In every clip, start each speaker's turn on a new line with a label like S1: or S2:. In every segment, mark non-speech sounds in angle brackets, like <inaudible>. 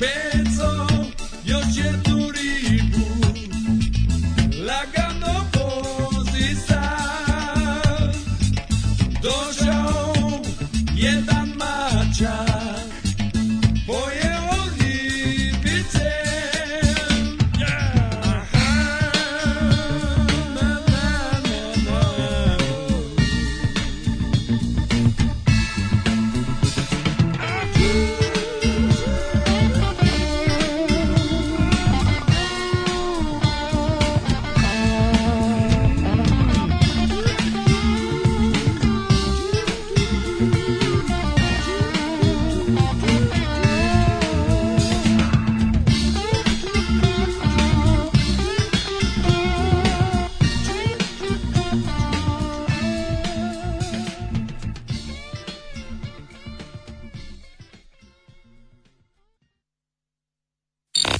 S1: é e e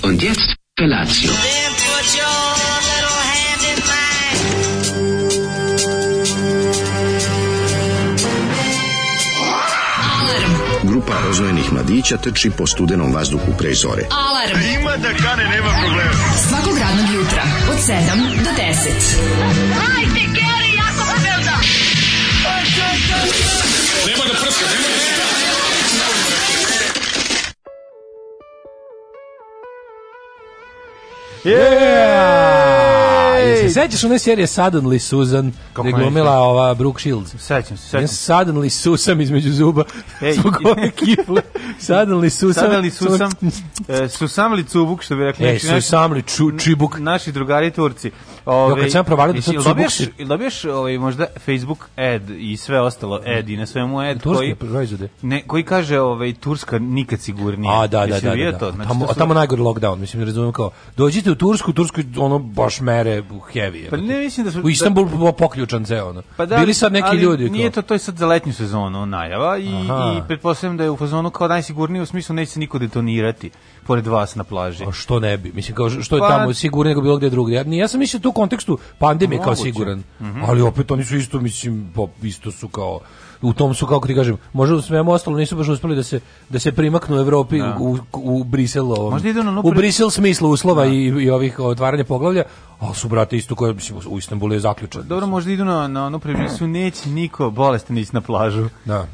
S1: Und jetzt Felatio.
S2: Grupa rozvojenih mladića trči po studenom vazduhu pre zore.
S3: Alarm
S4: Ima da kane, nema problema.
S3: svakog radnog jutra od 7 do 10.
S5: Ej!
S6: Se sećaš one serije Suddenly Susan, gde je
S5: ne,
S6: glumila ova Brooke Shields?
S5: Sećam se,
S6: Ja
S5: sećam se.
S6: Suddenly Susam između zuba <laughs>
S5: Ej.
S6: zbog
S5: <laughs>
S6: ove kifle. Suddenly Susam.
S5: Sada
S6: <laughs>
S5: li susam, e, susam li cubuk, što bi rekli.
S6: Ej,
S5: naši- naši-
S6: Susam li ču- čibuk.
S5: Naši drugari Turci. Ove,
S6: Jo, kad sam ja provalio da
S5: jesi-
S6: sad
S5: jel
S6: cubuk
S5: dobijaš-
S6: si-
S5: jel dobijaš ovaj, možda Facebook ad i sve ostalo ad i na svemu ad
S6: Turske
S5: koji...
S6: proizvode.
S5: Ne, koji kaže ovaj Turska nikad sigurnije.
S6: A, da, da,
S5: Jesi
S6: da.
S5: vidio
S6: da,
S5: to?
S6: da.
S5: Znači,
S6: tamo,
S5: to
S6: a
S5: su-
S6: tamo najgori lockdown, mislim, razumijem kao, dođite u Tursku, u Turskoj, ono, baš mere heavy.
S5: Pa ne, mislim da su-
S6: U Istanbulu da, poključan ceo, ono.
S5: Pa da,
S6: Bili sad neki
S5: ali
S6: ljudi.
S5: Nije
S6: kao,
S5: to, to je sad za letnju sezonu najava i,
S6: Aha.
S5: i pretpostavljam da je u fazonu kao najsigurnije u smislu neće se niko detonirati pored vas na plaži.
S6: A Pa što ne bi? Mislim, kao, što je
S5: Pa-
S6: tamo sigurnije nego bilo gde drugdje. Ja, ni- ja sam mislio tu u kontekstu pandemije kao
S5: Moguće. Mhm.
S6: siguran. Ali opet oni su isto, mislim, po, isto su kao u tom su kako ti kažem, možda u svemu ostalo nisu baš uspeli da se da se primaknu u Evropi u u Brisel ovom.
S5: Možda idu na onu
S6: u
S5: pri-
S6: Brisel smislu uslova i, i ovih otvaranja poglavlja, ali su brate isto koje mislim u Istanbulu je zaključeno.
S5: Dobro, možda idu na, na ono
S6: <clears throat>
S5: premisu, neće niko bolestan ići na plažu.
S6: Da.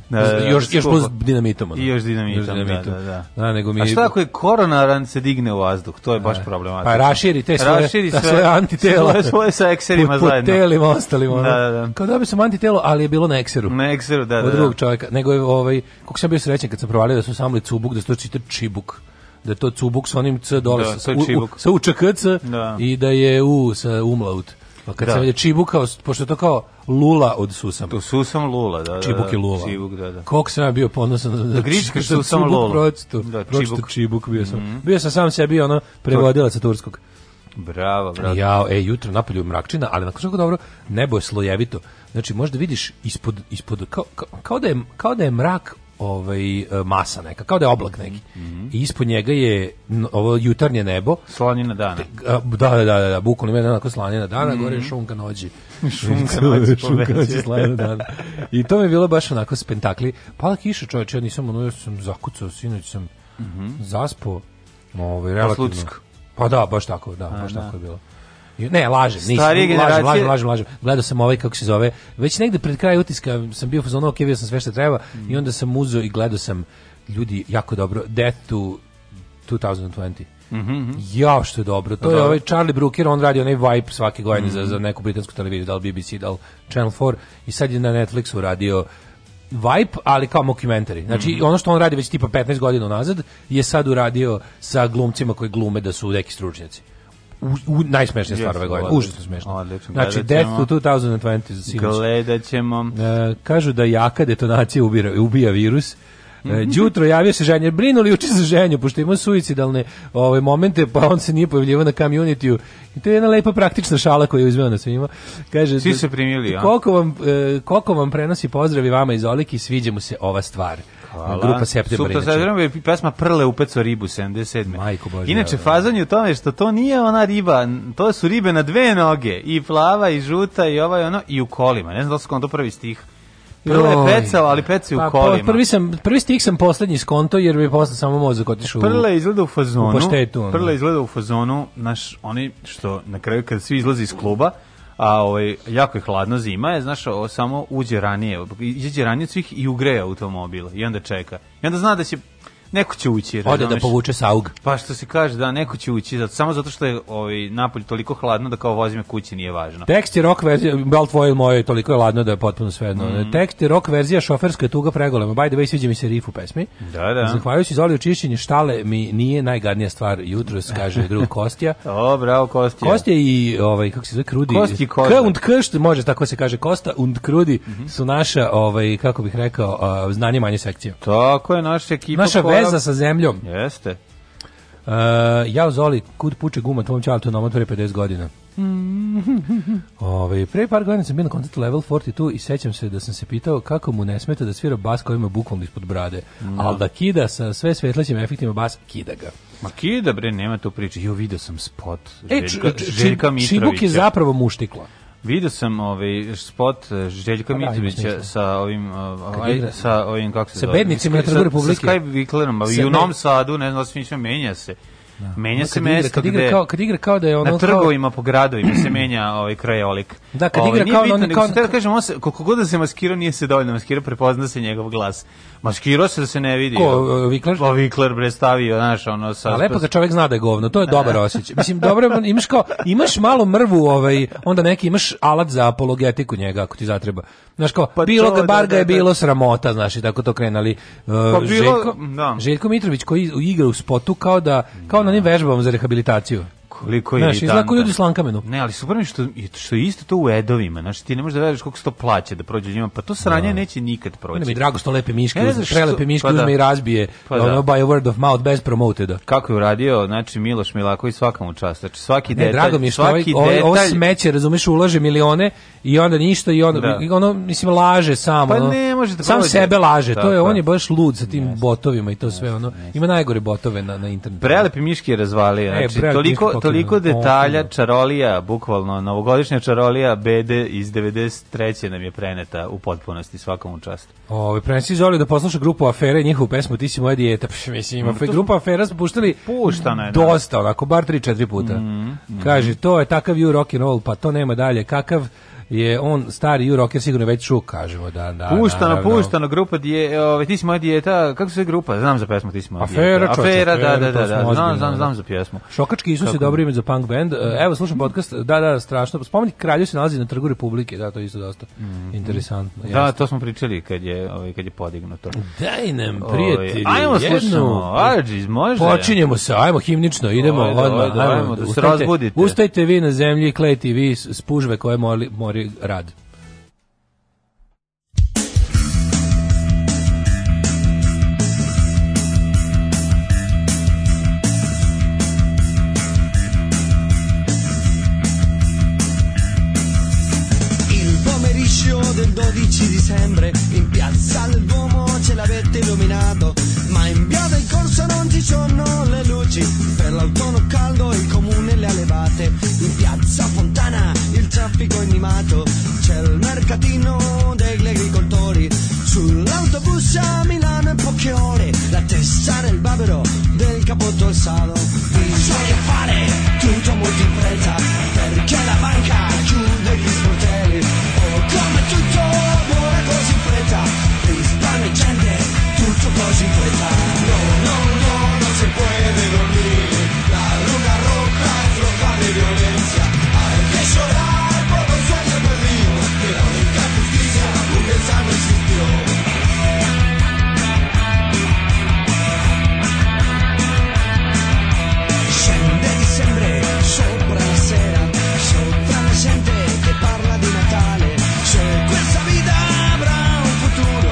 S6: još, još
S5: skupo.
S6: plus dinamitom. ono.
S5: I još dinamitom, da, da, da.
S6: nego mi...
S5: A šta ako je koronaran se digne u vazduh? To je baš problematično.
S6: Pa raširi te svoje,
S5: Raširi
S6: ta svoje antitela.
S5: Svoje, svoje sa ekserima
S6: po, po
S5: zajedno.
S6: telima ostalim. Ono.
S5: Da, da, da.
S6: Kao dobio sam antitelo, ali je bilo na ekseru.
S5: Na ekseru, da, da.
S6: Od
S5: da.
S6: drugog čovjeka. Nego je, ovaj, kako sam bio srećen kad sam provalio da su samli cubuk, da su to čita čibuk. Da je to cubuk sa onim c dole,
S5: Da,
S6: sa,
S5: to je
S6: u- u-
S5: čibuk.
S6: sa učkc
S5: Da.
S6: i da je u sa umlaut. Pa kad
S5: Da.
S6: sam vidio čibuk, kao, pošto je to kao lula od susama.
S5: To susam lula, da, da.
S6: Čibuk i Lula.
S5: Čibuk, da, da.
S6: Koliko sam ja bio ponosan za- za
S5: gričkaš
S6: za
S5: tu samo
S6: Čibuk
S5: Lolu.
S6: pročito.
S5: Da,
S6: Pročito
S5: Čibuk. Mhm.
S6: čibuk bio sam. Bio sam sam sebi ono prevodilac sa turskog.
S5: Bravo, bravo.
S6: Ja, e, jutro napolju mrakčina, ali nakon svega dobro, nebo je slojevito. Znači, možda vidiš ispod, ispod kao, kao, kao da je, kao da je mrak ovaj e, masa neka, kao da je oblak neki. I ispod njega je n- ovo jutarnje nebo.
S5: Slanina
S6: <laughs>
S5: dana.
S6: A, Da, da, da, da, da bukvalno ima onako slanjena dana, gore je šunka <laughs> noći.
S5: Šunka noći
S6: Mhm. šunka noći
S5: poveće.
S6: slanjena dana. <laughs> I to mi je bilo baš onako spentakli. Pala kiša, čoveče, ja nisam ono, ja sam zakucao, sinoć sam Mhm. zaspao. Ovaj, relativno.
S5: Poslucko.
S6: Pa da, baš tako, da, baš tako je bilo. I- Ne, lažem, nisam.
S5: Starije
S6: lažem,
S5: generacije-
S6: lažem, lažem, lažem. Gledao sam ovaj, kako se zove, već negde pred kraj utiska sam bio u fazonu, ok, vidio sam sve što treba i onda sam uzeo i gledao sam ljudi jako dobro, Death to 2020.
S5: Mhm,
S6: Jao što je dobro. To je ovaj Charlie Brooker, on radi onaj vibe svake godine za, za neku britansku televiziju, da li BBC, da li Channel 4 i sad je na Netflixu radio vibe, ali kao mockumentary. Znači,
S5: Mhm.
S6: ono što on radi već tipa 15 godina unazad je sad uradio sa glumcima koji glume da su neki stručnjaci. U, u najsmešnija stvar ove godine.
S5: odlično.
S6: Užasno smešno.
S5: Odlično,
S6: Znači,
S5: gledat
S6: Death
S5: ćemo.
S6: to 2020 za sinoć.
S5: Gledat ćemo.
S6: E, kažu da jaka detonacija ubira, ubija virus. E, Đutro javio se ženjer, brinuli uči za ženju, pošto ima suicidalne ove, momente, pa on se nije pojavljivao na community I to je jedna lepa praktična šala koju je uzmeo na svima. Kaže,
S5: Svi su je primili, a?
S6: Koliko vam, e, koliko vam prenosi pozdravi vama iz Olike, sviđa mu se ova stvar. Grupa September.
S5: Super,
S6: inače.
S5: sad vreme je pesma Prle upeco ribu 77.
S6: Majko Božja,
S5: Inače,
S6: da.
S5: fazan je u tome što to nije ona riba, n- to su ribe na dve noge, i plava, i žuta, i ova, i ono, i u kolima. Ne znam da li su to prvi stih. Prle
S6: Joj.
S5: je pecao, ali pecao i
S6: Pa,
S5: u
S6: po-
S5: kolima.
S6: prvi, sam, prvi stih sam poslednji skonto, jer mi je posle samo mozak otišao u-
S5: Prle izgleda u fazonu.
S6: u paštetu, ono.
S5: Prle izgleda u fazonu, naš, oni što na kraju kad svi izlaze iz kluba, a ovaj, jako je hladno zima, je, znaš, o, samo uđe ranije, izađe ranije od svih i ugreje automobil i onda čeka. I onda zna da će, neko će ući.
S6: Ode da
S5: razumeš?
S6: povuče saug.
S5: Pa što se kaže, da, neko će ući, zato, samo zato što je ovaj, napolj toliko hladno da kao vozi me kući nije važno.
S6: Tekst je rock verzija, bal tvoje moje, toliko je ladno da je potpuno svejedno.
S5: Mm.
S6: Tekst je rock verzija šoferska je tuga pregolema. By the way, sviđa mi se riff u pesmi.
S5: Da, da.
S6: Zahvaljujući Zoli čišćenje štale mi nije najgadnija stvar jutros, kaže drug
S5: <laughs>
S6: Kostja.
S5: O, bravo, Kostija.
S6: Kostja i ovaj kako se zove Krudi.
S5: Kosti i Mhm. Koza.
S6: K und Kršt, može tako se kaže Kosta und Krudi su naša ovaj kako bih rekao a, znanje manje sekcija.
S5: Tako je naša ekipa.
S6: Naša
S5: koja-
S6: veza sa zemljom.
S5: Jeste.
S6: Uh, ja Zoli, kud puče guma tvom čaltu na pre 50 godina.
S5: Mm. <laughs>
S6: Ove, pre par godina sam bio na koncertu Level 42 i sećam se da sam se pitao kako mu ne smeta da svira bas koji ima bukvalno ispod brade, ali da kida sa sve svetlećim efektima bas, kida ga.
S5: Ma kida, bre, nema tu priče. Jo, vidio sam spot
S6: E,
S5: Željka,
S6: Č- Č-
S5: Željka Mitrovića.
S6: Čibuk je zapravo muštikla.
S5: Vidio sam ovaj spot eh, Željka
S6: Pa da, ima
S5: Mitrovića
S6: smisla.
S5: sa ovim eh,
S6: Kad
S5: aj,
S6: igra-
S5: sa ovim kako se
S6: Sa
S5: zove?
S6: bednicima na
S5: Sa-
S6: Trgu Republike.
S5: Sa Skype Viklerom, ali
S6: Sa
S5: i u
S6: ne- Ono
S5: Novom Sadu, ne znam, sve menja se. Menja se
S6: Kad igra,
S5: mesto
S6: kad igra
S5: gde-
S6: kao, kad igra kao da je ono...
S5: na
S6: kao-
S5: trgovima po gradovima se menja ovaj krajolik.
S6: Da, kad
S5: Ovaj,
S6: igra
S5: nije
S6: kao
S5: bitno,
S6: on-
S5: nego
S6: kao-
S5: sam teo da kažem, on se, koliko god da se maskirao, nije se dovoljno maskirao, prepozna se njegov glas. Maskirao se da se ne vidi.
S6: Ko, eh, Vikler?
S5: Pa Vikler bre stavio, znaš, ono sa
S6: A lepo kad čovjek zna da je govno, to je dobar osjećaj. Mislim, dobro, je, imaš kao, imaš malo mrvu, ovaj, onda neki imaš alat za apologetiku njega, ako ti zatreba. Znaš kao,
S5: Pa
S6: bilo
S5: to,
S6: ga,
S5: da,
S6: bar ga je
S5: da, da.
S6: bilo sramota, znaš, i tako to krenali. Uh,
S5: bilo,
S6: Željko,
S5: da.
S6: Željko Mitrović koji igra u spotu kao da, kao na onim vežbama za rehabilitaciju.
S5: koliko je
S6: Znaš, izgleda kao
S5: iritantan.
S6: ljudi u slankamenu.
S5: Ne, ali super mi je što, što je isto to u edovima. Znači, ti ne možeš da veriš koliko se to plaće da prođe ljima. Pa to sranje neće nikad
S6: Mene mi
S5: proći.
S6: je drago što lepe miške,
S5: Ne, ne
S6: uzme,
S5: znam što-
S6: prelepe miške
S5: pa da.
S6: uzme i razbije,
S5: Pa da.
S6: ono, by word of mouth, bez promoteda.
S5: Kako je uradio, znači, Miloš Milaković svaka mu čast. Znači, svaki
S6: Ne,
S5: detalj,
S6: drago mi je što ovaj,
S5: svaki
S6: ovaj- ovo
S5: detalj-
S6: smeće, razumeš, ulaže milione i onda ništa i onda,
S5: Da.
S6: i ono, mislim, laže sam.
S5: Pa
S6: ono,
S5: ne može da
S6: Sam
S5: prođe.
S6: sebe laže, to
S5: Tako
S6: je, on
S5: je.
S6: je baš lud sa tim botovima i to sve, ono, ima najgore botove na, na internetu.
S5: Prelepi miški je razvalio, znači
S6: E, prelepi
S5: toliko,
S6: miški pokidno.
S5: toliko detalja,
S6: Pokidno.
S5: čarolija, bukvalno, novogodišnja čarolija BD iz 93. nam je preneta u potpunosti svakom častu.
S6: Ove, prenesi Zoli da posluša grupu Afere i njihovu pesmu Ti si moja dijeta. Pš,
S5: Mm,
S6: mislim, ima, grupa Afera smo puštali
S5: Puštana je, da. Mm,
S6: dosta, onako, bar 3-4 puta. Kaže, to je takav you rock and roll, pa to nema dalje. Kakav je on stari you rocker, sigurno je već čuk, kažemo. Da, da,
S5: Puštano,
S6: naravno.
S5: puštano, grupa dije, ove, ti si moja dijeta, kako se zove grupa? Znam za pesmu, ti si moja
S6: Afera,
S5: dijeta.
S6: čoveče,
S5: Afera, da, da,
S6: afera, to
S5: da, da,
S6: smo
S5: znam,
S6: ozbiljno,
S5: znam,
S6: da.
S5: znam za pjesmu.
S6: Šokački Isus je
S5: Kako?
S6: dobro ime za punk band. E, Evo, slušam podcast. Da, da, strašno. Spomenik kralju se nalazi na trgu Republike. Da, to je isto dosta interesantno.
S5: Mhm. Da, to smo pričali kad je, ovaj, kad je podignuto.
S6: Daj nam,
S5: Ovaj,
S6: prijatelji,
S5: ajmo
S6: jednu-
S5: slušamo, Arđis, može?
S6: Počinjemo se, ajmo himnično, idemo
S5: Ajde,
S6: odmah,
S5: ajde, ajmo, da se
S6: ustajte-
S5: razbudite.
S6: Ustajte vi na zemlji, klejte vi s s pužve koje mori, mori rad.
S1: Il pomeriggio pomeriggio del 12 dicembre in piazza del Duomo ce l'avete illuminato ma in via del corso non ci sono le luci per l'autunno caldo il comune le ha levate in piazza Fontana il traffico è animato c'è il mercatino degli agricoltori sull'autobus a Milano in poche ore la testa nel babero del capotto al salo bisogna fare tutto molto in fretta perché la banca chiude gli sportelli oh, come tutto muore così in fretta risparmio e gente tutto così in fretta no no no non si puede dormir la luna roja es roja de violencia hay que llorar por los sueños perdidos que la única justicia burguesa no existió scende dicembre sopra la sera, sopra la gente che parla di Natale. Se questa vita avrà un futuro,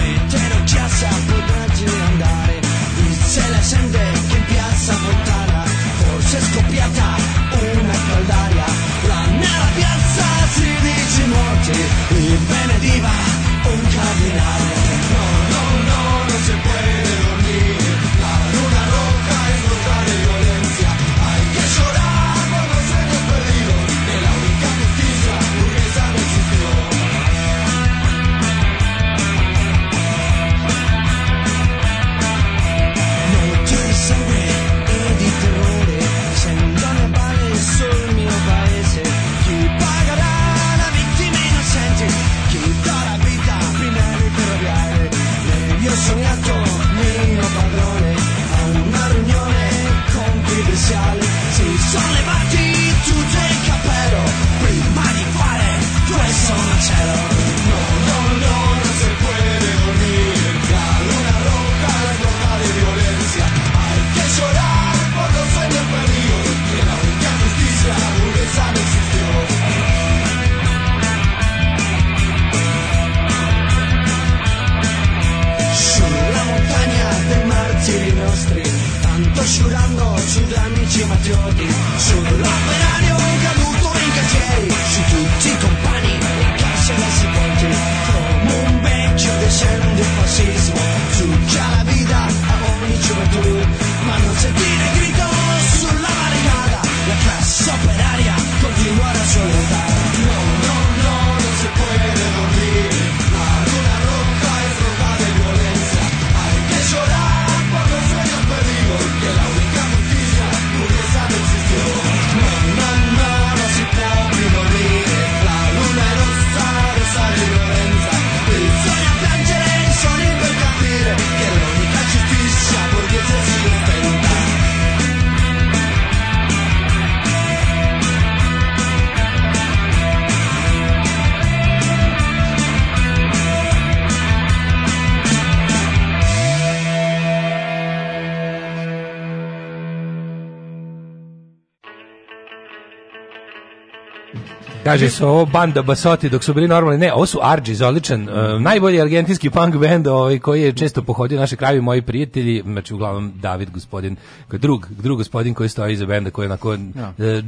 S1: metterò in piazza potrà girandare. Dice la gente che in piazza Fontana forse è scoppiata una caldaria. La nera piazza si dice morti, e benediva un cardinale. No, no, no, non si puede dormir. La luna roja es roja de violencia. Hay que llorar por los sueños perdidos. Que la única justicia burguesa no existió. Notte di sangue e di terrore, sendono balle sul mio paese. Chi pagherà la vittima innocente? Chi darà vita a Pinelli ferroviarie? Lei ho sognato, mio padrone, a una riunione confidenziale. Si sono levati tutti il cappello, prima di fare questo macello. No, no, no, non si puede dormir, la luna roja es roja de violencia. Hay que llorar por los sueños perdidos, que la única justicia burguesa no existió. sulla montagna dei martiri nostri, tanto sciurando sugli amici e patrioti, sull'operario caduto in cantieri, su tutti i compagni e case da sepolti, come un vecchio che scende il fascismo, succia la vita a ogni gioventù, ma non sentire il grito sulla barricata, la classe operaria continua la sua lotta. No, no, no, non si puede dormir, la luna roja es roja de violencia, hay que llorar por los sueños perdidos, que la única justicia burguesa no existió. No, no, no, no si puede dormir, la luna rosa, rosa de violencia, bisogna piangere i sogni per capire che l'unica giustizia borghese si inventa.
S6: Kaže se ovo banda Basoti dok su bili normalni. Ne, ovo su Argies, odličan. e, najbolji argentinski punk band ovaj, koji je često pohodio naše krajevi moji prijatelji. Znači, uglavnom, David gospodin, koji je drug, drug gospodin koji stoji iza benda, koji je onako e,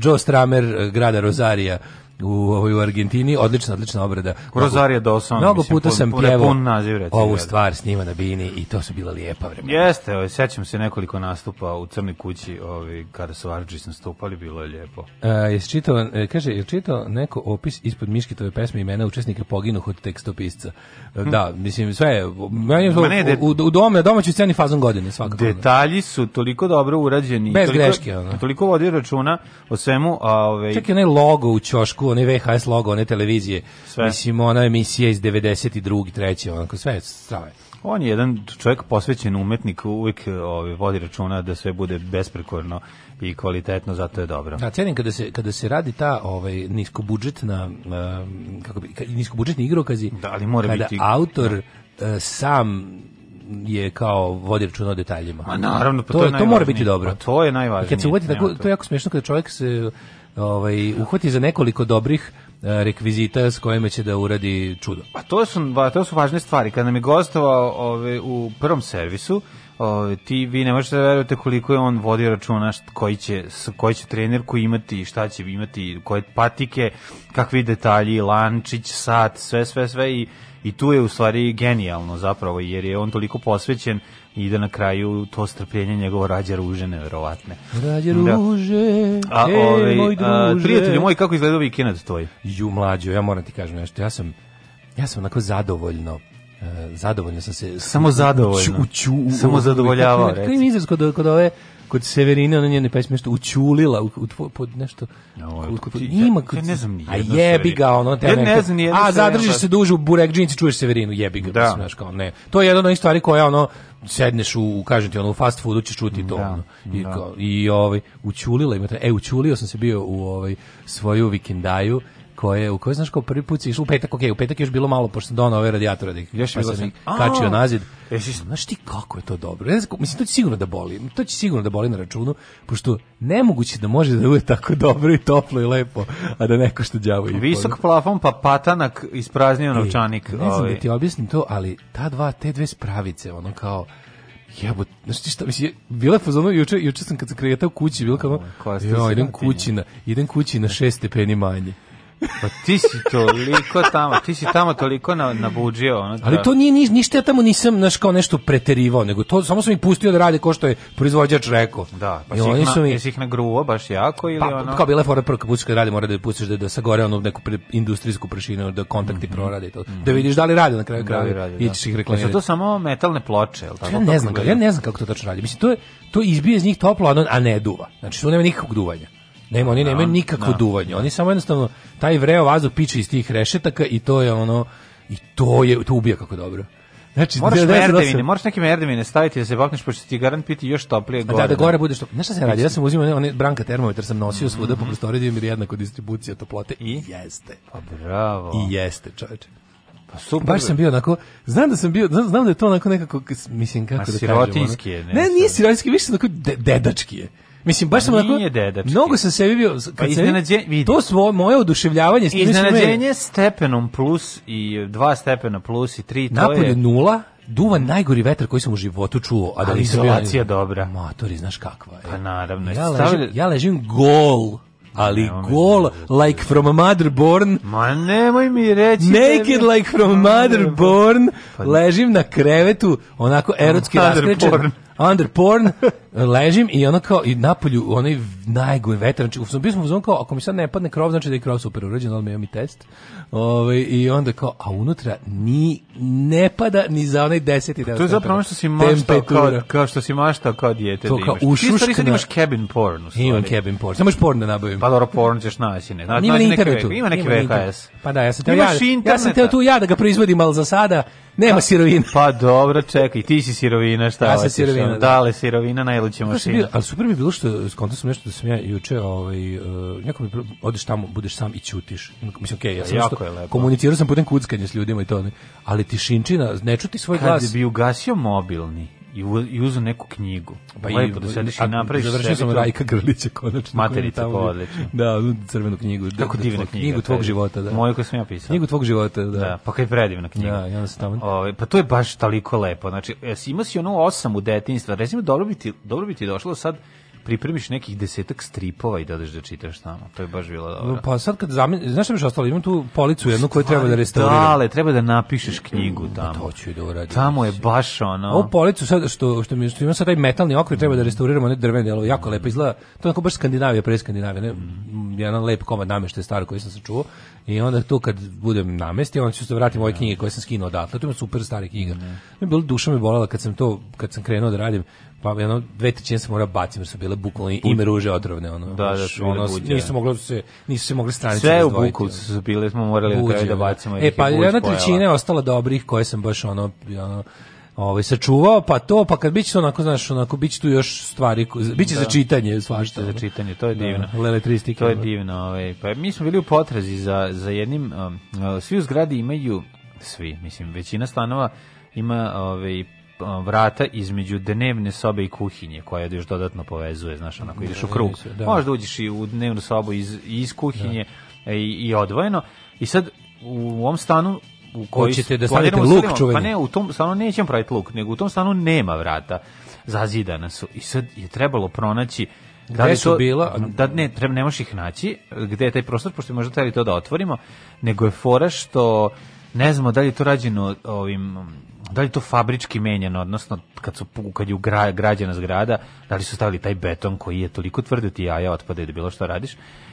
S6: Joe Stramer e, grada Rosarija u, ovoj, u Argentini. Odlična, odlična obrada.
S5: Rosario Dawson,
S6: Mnogo
S5: mislim,
S6: puta
S5: pun-
S6: sam
S5: pun-
S6: pjevao
S5: pun naziv, reci,
S6: ovu
S5: da.
S6: stvar snima na Bini i to su bila lijepa vremena.
S5: Jeste, ovaj, sećam se nekoliko nastupa u Crnoj kući ovaj, kada su Arđis nastupali, bilo je lijepo.
S6: E, jesi čitao, e, kaže, je čitao neko opis ispod Miškitove pesme imena učesnika poginuh od tekstopisca? E, Da, mislim, sve je, meni je to
S5: Hm. Ma ne, de-
S6: u, u dome, domaćoj sceni fazon godine, svakako.
S5: Detalji su toliko dobro urađeni.
S6: Bez
S5: toliko,
S6: greške, ono.
S5: Toliko vodi računa o svemu. A, ovaj,
S6: Čak i onaj logo u ćošku, onaj VHS logo, one televizije.
S5: Sve.
S6: Mislim, ona emisija iz 92. treće, onako, sve je strava.
S5: On je jedan čovjek posvećen umetnik, uvijek ovaj, vodi računa da sve bude besprekorno i kvalitetno, zato je dobro.
S6: Da, cenim kada se, kada se radi ta ovaj, niskobudžetna, em, kako bi, ka- niskobudžetni igrokazi,
S5: Da, ali mora
S6: kada
S5: biti-
S6: autor e, sam je kao vodi računa o detaljima.
S5: Ma naravno, pa to,
S6: to,
S5: je
S6: to mora
S5: najvažnije.
S6: biti dobro.
S5: Pa to je najvažnije.
S6: Kad se uvati
S5: Nema
S6: tako, to je jako smiješno kada čovjek se ovaj, uhvati za nekoliko dobrih e, rekvizita s kojima će da uradi čudo.
S5: Pa to su, ba, to su važne stvari. Kad nam je gostovao ove, u prvom servisu, Ovaj, ti vi ne možete da verujete koliko je on vodio računa št- koji će s- koji će trenerku imati, šta će imati, koje patike, kakvi detalji, lančić, sat, sve sve sve i i tu je u stvari genijalno zapravo jer je on toliko posvećen i da na kraju to strpljenje njegovo rađa ruže neverovatne.
S6: Rađe
S5: Da.
S6: ruže,
S5: A
S6: ej,
S5: ovaj,
S6: moj
S5: a,
S6: druže.
S5: prijatelju moj, kako izgledao vikend tvoj?
S6: Ju mlađo, ja moram ti kažem nešto. Ja sam ja sam onako zadovoljno e, zadovoljno sam se
S5: Samo zadovoljno.
S6: u-
S5: Samo
S6: u-
S5: zadovoljavao,
S6: kako je- kako je
S5: reci.
S6: izraz kod, kod ove kod Severine, ona njene pesme što učulila u, u tvo- pod nešto.
S5: Ovo,
S6: kod- kod-
S5: ti-
S6: ima
S5: ja- ja ne znam ni
S6: A
S5: jednu
S6: jebi
S5: Severinu.
S6: ga, ono te
S5: Ja ne
S6: neka-
S5: znam ni jednu
S6: A
S5: Severinu,
S6: zadržiš
S5: pa-
S6: se duže u burek džinsi, čuješ Severinu, jebi ga,
S5: Da.
S6: mislim, znaš, kao ne. To je jedna od onih stvari koja ono sedneš u kažem ti ono u fast foodu ćeš čuti to.
S5: Da,
S6: ono. I, kao, i ovaj učulila ima taj- e učulio sam se bio u ovaj svoju vikendaju koje u kojoj znaš kao prvi put si išao u petak, okej, u petak je još bilo malo pošto sam donao ove radijatore da ih
S5: Još
S6: pa
S5: je bilo
S6: sam
S5: sam-
S6: ih kačio
S5: A!
S6: nazad.
S5: Jesi E, s-
S6: Znaš ti kako je to dobro? Ne znam, ko- mislim, to će sigurno da boli. To će sigurno da boli na računu, pošto nemoguće da može da bude tako dobro i toplo i lepo, a da neko što đavo i
S5: Visok plafon pa patanak ispraznio novčanik.
S6: E, ne znam
S5: ovaj.
S6: da ti objasnim to, ali ta dva, te dve spravice, ono kao, jebot, znaš ti šta, mislim, je- bila je fazonu, juče, juče sam kad sam kretao kući, bilo kao,
S5: koja ste
S6: jo, idem
S5: sirotinja."
S6: kući, na, idem kući na šest stepeni manje.
S5: Pa ti si toliko tamo, ti si tamo toliko na, nabuđio. Ono,
S6: Ali
S5: da-
S6: to nije niš, ništa, ja tamo nisam, znaš, kao nešto preterivao, nego to, samo sam ih pustio da rade ko što je proizvođač rekao.
S5: Da, pa
S6: I
S5: si ih
S6: E, oni
S5: na-
S6: su mi,
S5: jesi ih nagruo baš jako ili
S6: Pa,
S5: ono...
S6: kao bila je fora prvo kad pustiš kad radi, mora da pustiš da, da sagore ono neku pre, industrijsku prašinu, da kontakti prorade i to. Da vidiš da li rade na kraju
S5: Mhm. Da li
S6: kraja
S5: radi,
S6: i ćeš ih
S5: Jesu to
S6: reklamirati.
S5: samo metalne ploče, jel tako?
S6: Ja ne znam, kako, ja ne znam kako to tačno radi. Mislim, to, je, to izbije iz njih toplo, a, ono- a ne duva. Znači, tu nema nikakvog duvanja. Nema, oni nemaju nikakvo duvanje. Oni samo jednostavno, taj vreo vazduh piče iz tih rešetaka i to je ono, i to je, to ubija kako dobro. Znači,
S5: Moraš
S6: 98
S5: merdevine, moraš neke merdevine staviti da se bakneš, pošto će ti garant piti još toplije gore.
S6: Da, da gore bude što. Znaš šta sam ja radio? Ja sam uzimao one, one branka termometar sam nosio svuda po prostoriji bio mi je jednako distribucija toplote i jeste.
S5: Pa bravo.
S6: I jeste, čoveče.
S5: pa super.
S6: Baš sam bio onako, znam da sam bio, znam, znam da je to onako nekako, k- s- mislim kako
S5: Ma,
S6: da kažem.
S5: sirotinjski
S6: ono.
S5: je, ne
S6: Ne,
S5: znam.
S6: nije sirotinjski, više sam onako de- dedački je. Mislim, baš sam onako...
S5: nije dedački.
S6: Mnogo sam sebi bio... Kad
S5: Pa
S6: sam-
S5: iznenađe- vidi.
S6: To svo, moje oduševljavanje... s time što me-
S5: Iznenađenje stepenom plus i dva stepena plus i tri, to
S6: Napolje
S5: je...
S6: nula, duva najgori vetar koji sam u životu čuo, a da
S5: Ali
S6: nisam bio-
S5: izolacija dobra.
S6: Matori, znaš kakva je.
S5: Pa naravno,
S6: Ja ležim,
S5: stavili-
S6: ja ležim gol, ali
S5: Nemoj me
S6: gol, like from a mother born,
S5: Ma nemoj mi reći...
S6: naked
S5: tebi-
S6: like from a mother born, ležim na krevetu, onako erotski
S5: Pa- Under
S6: raskrečen,
S5: porn.
S6: under porn, ležim i ono kao, i napolju, onaj najgori vetar, znači, u- bio sam uzman kao, ako mi sad ne padne krov, znači da je krov super urađen, odmah imam i test, Ovaj, i onda kao, a unutra ni, ne pada ni za onaj deseti deo.
S5: To je zapravo
S6: stepena.
S5: ono što si maštao kao,
S6: Temperatura.
S5: kao što si maštao kao dijete
S6: To
S5: da
S6: kao
S5: imaš. Ti u stvari sad
S6: ušuškana-
S5: imaš cabin porn u stvari.
S6: Imam cabin porn, samo još porn da nabavim.
S5: Pa dobro, porn ćeš naći, ne. Znači,
S6: Ima na
S5: naći neki
S6: internetu.
S5: VHS. Ima neki
S6: na internetu.
S5: VHS.
S6: Pa da, ja sam teo ja,
S5: Imaš
S6: ja sam
S5: interneta.
S6: teo tu ja da ga proizvodim, ali za sada nema sirovina.
S5: Pa dobro, čekaj, ti si sirovina, šta
S6: Ja sam
S5: hoćeš,
S6: sirovina,
S5: ono,
S6: da.
S5: Dale, sirovina, najluće
S6: Baš je
S5: mašina.
S6: bio, ali super mi je bilo što skontao sam nešto da sam ja juče ovaj uh, neko mi pro- odeš tamo budeš sam i ćutiš. Mislim okej, ja sam
S5: Pa Jako
S6: nešto-
S5: je lepo.
S6: komunicirao sam putem kuckanja s ljudima i to ne. Ali tišinčina, ne čuti svoj
S5: Kad
S6: glas.
S5: bi ugasio mobilni i, u, i uzu neku knjigu, pa lepo da sediš
S6: a
S5: i napraviš
S6: Završio sam
S5: sebi to.
S6: Rajka Grlića konačno.
S5: Materica,
S6: Tamo-
S5: pa odlično.
S6: Da, onu crvenu knjigu.
S5: Kako
S6: da,
S5: divna
S6: tvoj-
S5: knjiga.
S6: Knjigu tvog
S5: taj.
S6: života, da.
S5: Moju koju sam ja pisao.
S6: Knjigu tvog života, da.
S5: Da, pa kaj predivna knjiga.
S6: Da, i onda sam tamo-
S5: Ovaj, pa to je baš toliko lepo. Znači, jesi imao si ono osam u detinjstva, recimo dobro bi ti, dobro bi ti došlo sad pripremiš nekih desetak stripova i dodaš da čitaš tamo. To je baš bilo dobro.
S6: Pa sad kad zamen, znaš šta mi je još ostalo? Imam tu policu jednu koju treba da restauriram.
S5: Dale, treba da napišeš knjigu tamo.
S6: Pa To ću i da pa- uradim.
S5: Tamo je baš
S6: Ovu
S5: ono...
S6: policu sad što što mi što ima sad taj metalni okvir treba da
S5: Mm.
S6: restauriramo ne drvene delove jako lepo izgleda. To je onako baš Skandinavija, pre Skandinavija, ne? Mm, Jedan lep komad nameštaja staro koji sam sačuvao i onda tu kad budem namestio, onda ću se vratiti moje knjige koje sam skinuo odatle. To ima super stare knjige. Mm. Bilo duša me bolela kad sam to kad sam krenuo da radim. Pa jedno dve trećine sam morao bacim jer su bile bukvalno ime ruže otrovne ono.
S5: Da, da,
S6: Znaš,
S5: su bile
S6: ono,
S5: buđe.
S6: nisu moglo se nisu se mogle stranice
S5: Sve u
S6: razdvojiti,
S5: Bukovcu
S6: ono.
S5: su bile, smo morali na kraju
S6: Buđe,
S5: da bacimo. jer
S6: E
S5: ih je
S6: pa
S5: Buć
S6: jedna
S5: pojela.
S6: trećina je ostala dobrih koje sam baš ono ono ovaj sačuvao, pa to, pa kad biće to onako, znaš, onako biće tu još stvari, ko- biće za čitanje svašta.
S5: za
S6: ono.
S5: čitanje, to je
S6: Da, ono.
S5: divno.
S6: Lele tri stike.
S5: To je divno. Ovaj. Pa mi smo bili u potrazi za, za jednim, um, uh, svi u zgradi imaju, svi, mislim, većina stanova ima ovaj, um, vrata između dnevne sobe i kuhinje, koja još dodatno povezuje, znaš, onako ideš u krug.
S6: nisu, da.
S5: Možda uđeš i u dnevnu sobu iz, iz kuhinje e, i, i odvojeno. I sad u ovom stanu u koji
S6: Hoćete da
S5: planiramo
S6: stavite luk
S5: stanimo-
S6: čuveni?
S5: Pa ne, u tom stanu nećemo praviti luk, nego u tom stanu nema vrata. zazidana su i sad je trebalo pronaći
S6: Gde
S5: li je
S6: su bila?
S5: Da, ne, treba, ne možeš ih naći, gde je taj prostor, pošto bi možda trebali to da otvorimo, nego je fora što ne znamo da li je to rađeno ovim da li je to fabrički menjeno, odnosno kad, su, pu- kad je ugra, građena zgrada, da li su stavili taj beton koji je toliko tvrd da ti jaja otpadaju da bilo što radiš,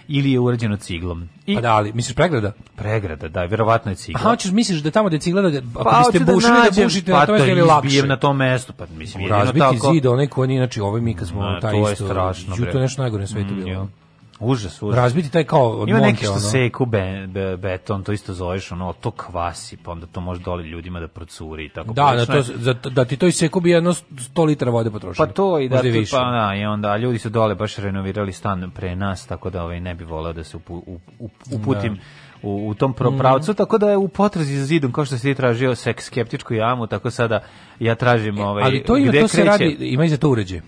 S5: ili je urađeno ciglom. I
S6: Pa da, ali misliš pregleda?
S5: pregrada, da, verovatno je cigla.
S6: Aha, hoćeš misliš da tamo gde cigla da ako
S5: Pa hoću
S6: biste bušili da,
S5: nađem,
S6: bušite
S5: pa
S6: na to mesto ili lakše.
S5: izbijem na tom mestu, pa mislim, jedino
S6: Razbiti
S5: tako.
S6: zid, onaj koji nije, znači ovo mi kad smo
S5: Ma,
S6: taj
S5: to je
S6: isto,
S5: strašno,
S6: ju,
S5: bre.
S6: to je nešto najgore na svetu bilo.
S5: Ja. Užas, užas.
S6: Razbiti taj kao od
S5: Ima
S6: monte,
S5: neki što
S6: ono.
S5: seku be, be, beton, to isto zoveš, ono, to kvasi, pa onda to može dole ljudima da procuri i tako.
S6: Da, da,
S5: Prilično
S6: to,
S5: je-
S6: za, da ti to iseku bi jedno 100 litara vode potrošilo.
S5: Pa to i da,
S6: Možda
S5: to,
S6: više.
S5: pa da, i onda ljudi su dole baš renovirali stan pre nas, tako da ovaj, ne bi voleo da se upu, u- u- uputim u, u tom
S6: Mhm.
S5: pro- pravcu, tako da je u potrazi za zidom, kao što si ti tražio seks skeptičku jamu, tako sada ja tražim ovaj,
S6: E, ali to ima,
S5: gde
S6: to se
S5: kreće.
S6: radi, ima i za to uređaj.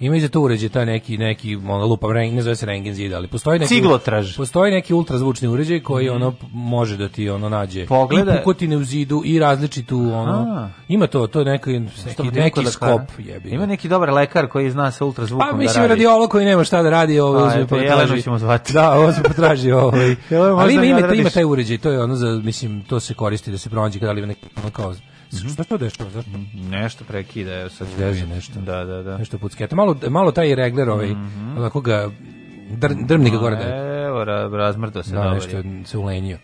S6: Ima i za to uređaj, taj neki, neki ono, lupa, reng- ne zove se rengen zid, ali postoji neki...
S5: Ciglotraž.
S6: Postoji neki ultrazvučni uređaj koji ono p- može da ti ono nađe
S5: Mhm. Pogleda-
S6: i pukotine u zidu i različitu ono...
S5: A.
S6: Ima to, to je neki, neki,
S5: Dobro,
S6: neki
S5: kod
S6: skop
S5: lekara.
S6: jebi. ga.
S5: Ima neki dobar lekar koji zna sa ultrazvukom
S6: Pa
S5: da
S6: mislim
S5: radi.
S6: radiolog koji nema šta da radi, ovo
S5: Pa,
S6: uzme
S5: eto,
S6: pa
S5: Jelenu
S6: traži.
S5: ćemo zvati.
S6: Da, ovo se potraži
S5: <laughs>
S6: ovaj.
S5: Jel ovo možda
S6: Ali ima
S5: mi
S6: ima,
S5: odradiš?
S6: ima taj uređaj, to je ono za mislim to se koristi da se pronađe kada li ima neki ono kao
S5: Mhm.
S6: Što to dešava? Zašto?
S5: Nešto prekida, evo sad ću
S6: Veze
S5: vidjeti.
S6: nešto.
S5: Da, da, da.
S6: Nešto pucketa. Malo, malo taj regler ovaj,
S5: Mhm.
S6: onako ga dr, drmni ga gore da je.
S5: Evo, ra, razmrdo se
S6: Da,
S5: dobro. Mhm.
S6: nešto se ulenio.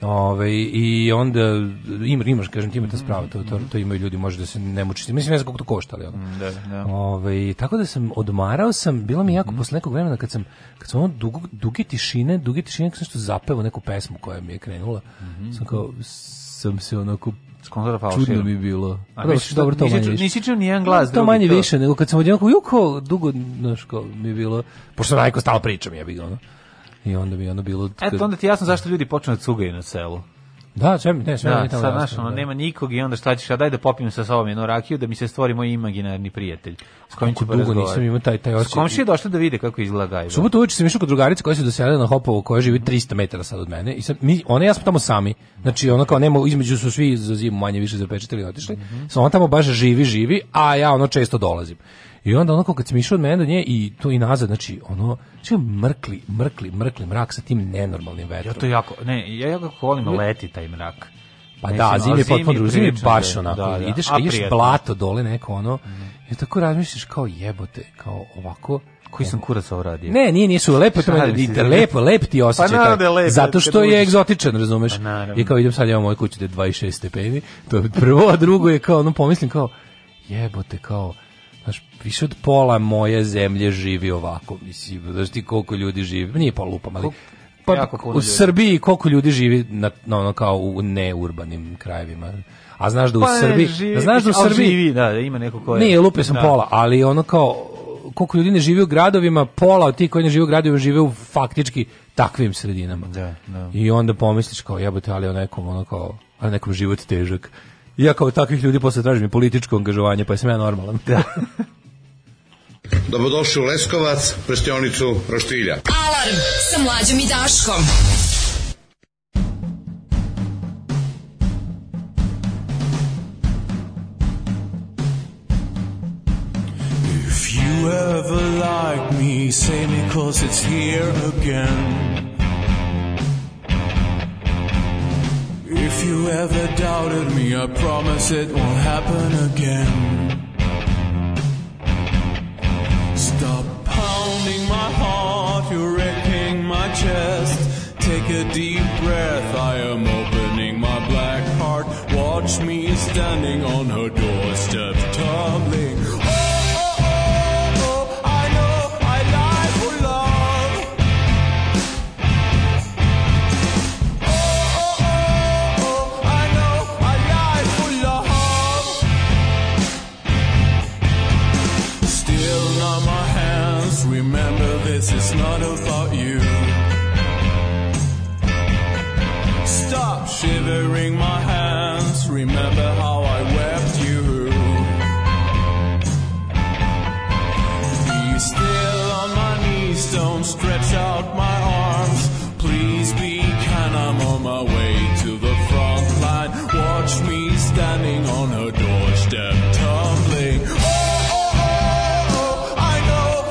S6: Ovaj, I onda ima, imaš, kažem ti, ima ta sprava, to,
S5: Mhm.
S6: to, to imaju ljudi, može da se ne muči. Mislim, ne znam koliko to košta, ali ono.
S5: Da, da.
S6: Ovaj, tako da sam odmarao sam, bilo mi je jako
S5: Mhm.
S6: posle nekog vremena kad sam kad sam ono dugo, duge tišine, duge tišine kad sam nešto zapevao neku pesmu koja mi je krenula.
S5: Mhm.
S6: Sam kao sam se onako
S5: Skontra
S6: čudno
S5: falširu.
S6: mi je bilo.
S5: A
S6: Dobro,
S5: misliš da
S6: dobro, to
S5: nisi
S6: manje
S5: čuo-
S6: više.
S5: nisi čuo nijedan glas
S6: To
S5: drugi,
S6: manje
S5: to?
S6: više, nego kad sam odjednom kao, "Ju, kao dugo, znaš, kao mi je bilo, pošto sam najko stalo pričam, ja bih ono. I onda mi je ono bilo...
S5: Eto, onda ti jasno zašto ljudi počnu da cugaju na selu.
S6: Da, sve mi, ne, sve mi
S5: Da,
S6: je tamo
S5: sad,
S6: jasno,
S5: znaš, ono,
S6: da.
S5: nema nikog i onda šta ćeš, a daj da popijem sa sobom jednu rakiju da mi se stvori moj imaginarni prijatelj. S kojim ću
S6: Kako dugo
S5: porazgovarati.
S6: nisam imao taj, taj
S5: S
S6: osjećaj.
S5: komšije došli da vide kako izgleda gajba.
S6: Subotu uveče sam išao kod drugarice koja se doselila na Hopovo, koja živi 300 metara sad od mene. I sad mi, ona i ja smo tamo sami. Znači, ono kao nema, između su svi za zimu manje više zapečetili i otišli.
S5: Mhm.
S6: Samo ona tamo baš živi, živi, a ja ono često dolazim. I onda ono kao kad sam išao od mene do nje i tu i nazad, znači ono, sve mrkli, mrkli, mrkli mrak sa tim nenormalnim vetrom.
S5: Ja to jako, ne, ja jako volim leti taj mrak.
S6: Pa
S5: Mislim,
S6: da,
S5: a
S6: zim je potpuno drugo, zim je
S5: prilično
S6: baš
S5: da-
S6: onako,
S5: da, da,
S6: ideš,
S5: a
S6: ideš
S5: prijatno. Mhm.
S6: blato dole neko ono, i tako razmišljaš kao jebote, kao ovako,
S5: Koji sam kurac ovo radio?
S6: Ne, nije, nisu lepo, to
S5: Šta
S6: je
S5: misliš?
S6: inter- lepo, lep ti osjećaj.
S5: Pa naravno
S6: taj.
S5: da je lep,
S6: zato
S5: kad
S6: što je
S5: uđeš.
S6: egzotičan, razumeš?
S5: Pa naravno.
S6: I kao idem sad ja u moju kuću da je 26 stepeni, to je prvo, a drugo je kao, ono pomislim kao, jebote, kao, znaš, više od pola moje zemlje živi ovako, mislim, znaš ti koliko ljudi živi, nije pola lupam, ali... Pa,
S5: jako puno
S6: u
S5: ljudi.
S6: Srbiji koliko ljudi živi na, na ono kao u neurbanim krajevima. A znaš da u
S5: Pa ne,
S6: Srbiji,
S5: živi-
S6: a znaš da u
S5: ali
S6: Srbiji
S5: Živi, da, da, ima neko ko je...
S6: nije, lupio sam
S5: Da.
S6: pola, ali ono kao koliko ljudi ne živi u gradovima, pola od tih koji ne žive u gradovima žive u faktički takvim sredinama.
S5: Da, da.
S6: I onda pomisliš kao jebote, ali o nekom ono kao, a nekom život težak. I ja kao takvih ljudi posle tražim i političko angažovanje, pa sam ja normalan. <laughs> Da.
S7: Dobrodošli u Leskovac, prštionicu Roštilja.
S3: Alarm sa mlađom i Daškom.
S8: If you ever like me, say me cause it's here again. If you ever doubted me, I promise it won't happen again. Stop pounding my heart, you're wrecking my chest. Take a deep breath, I am opening my black heart. Watch me standing on her doorstep, tumbling. Oh, oh, oh, oh, I know I lie for love. Oh, oh, oh, oh, I know I lie for love. Still on my hands, remember this is not about you. Stop shivering my hands, remember how I wept you. Be still on my knees, don't stretch out my arms. Please be kind, I'm on my way to the front line. Watch me standing on her doorstep, tumbling. Oh, oh, Oh,
S9: Oh, Oh,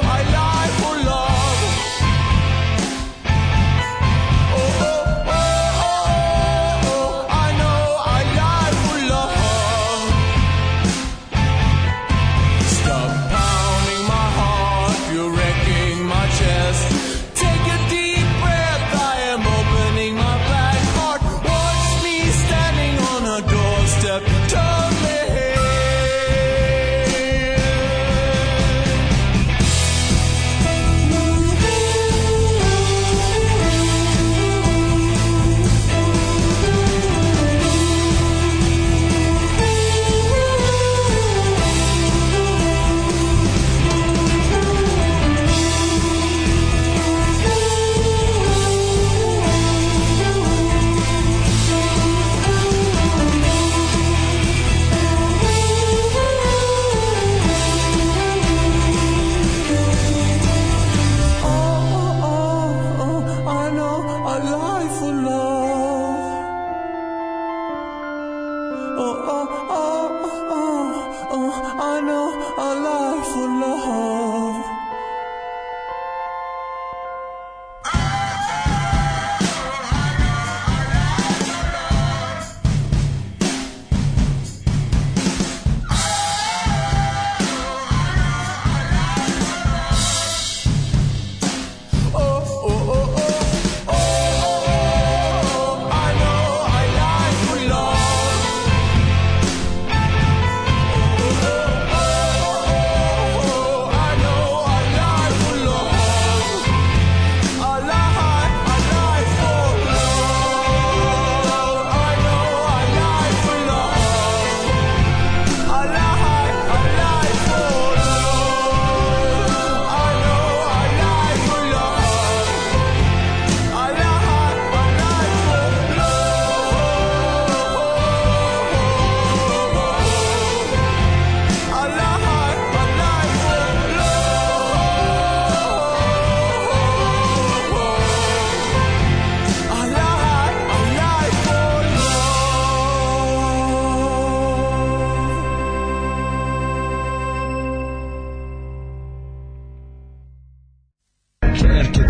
S9: trenerke,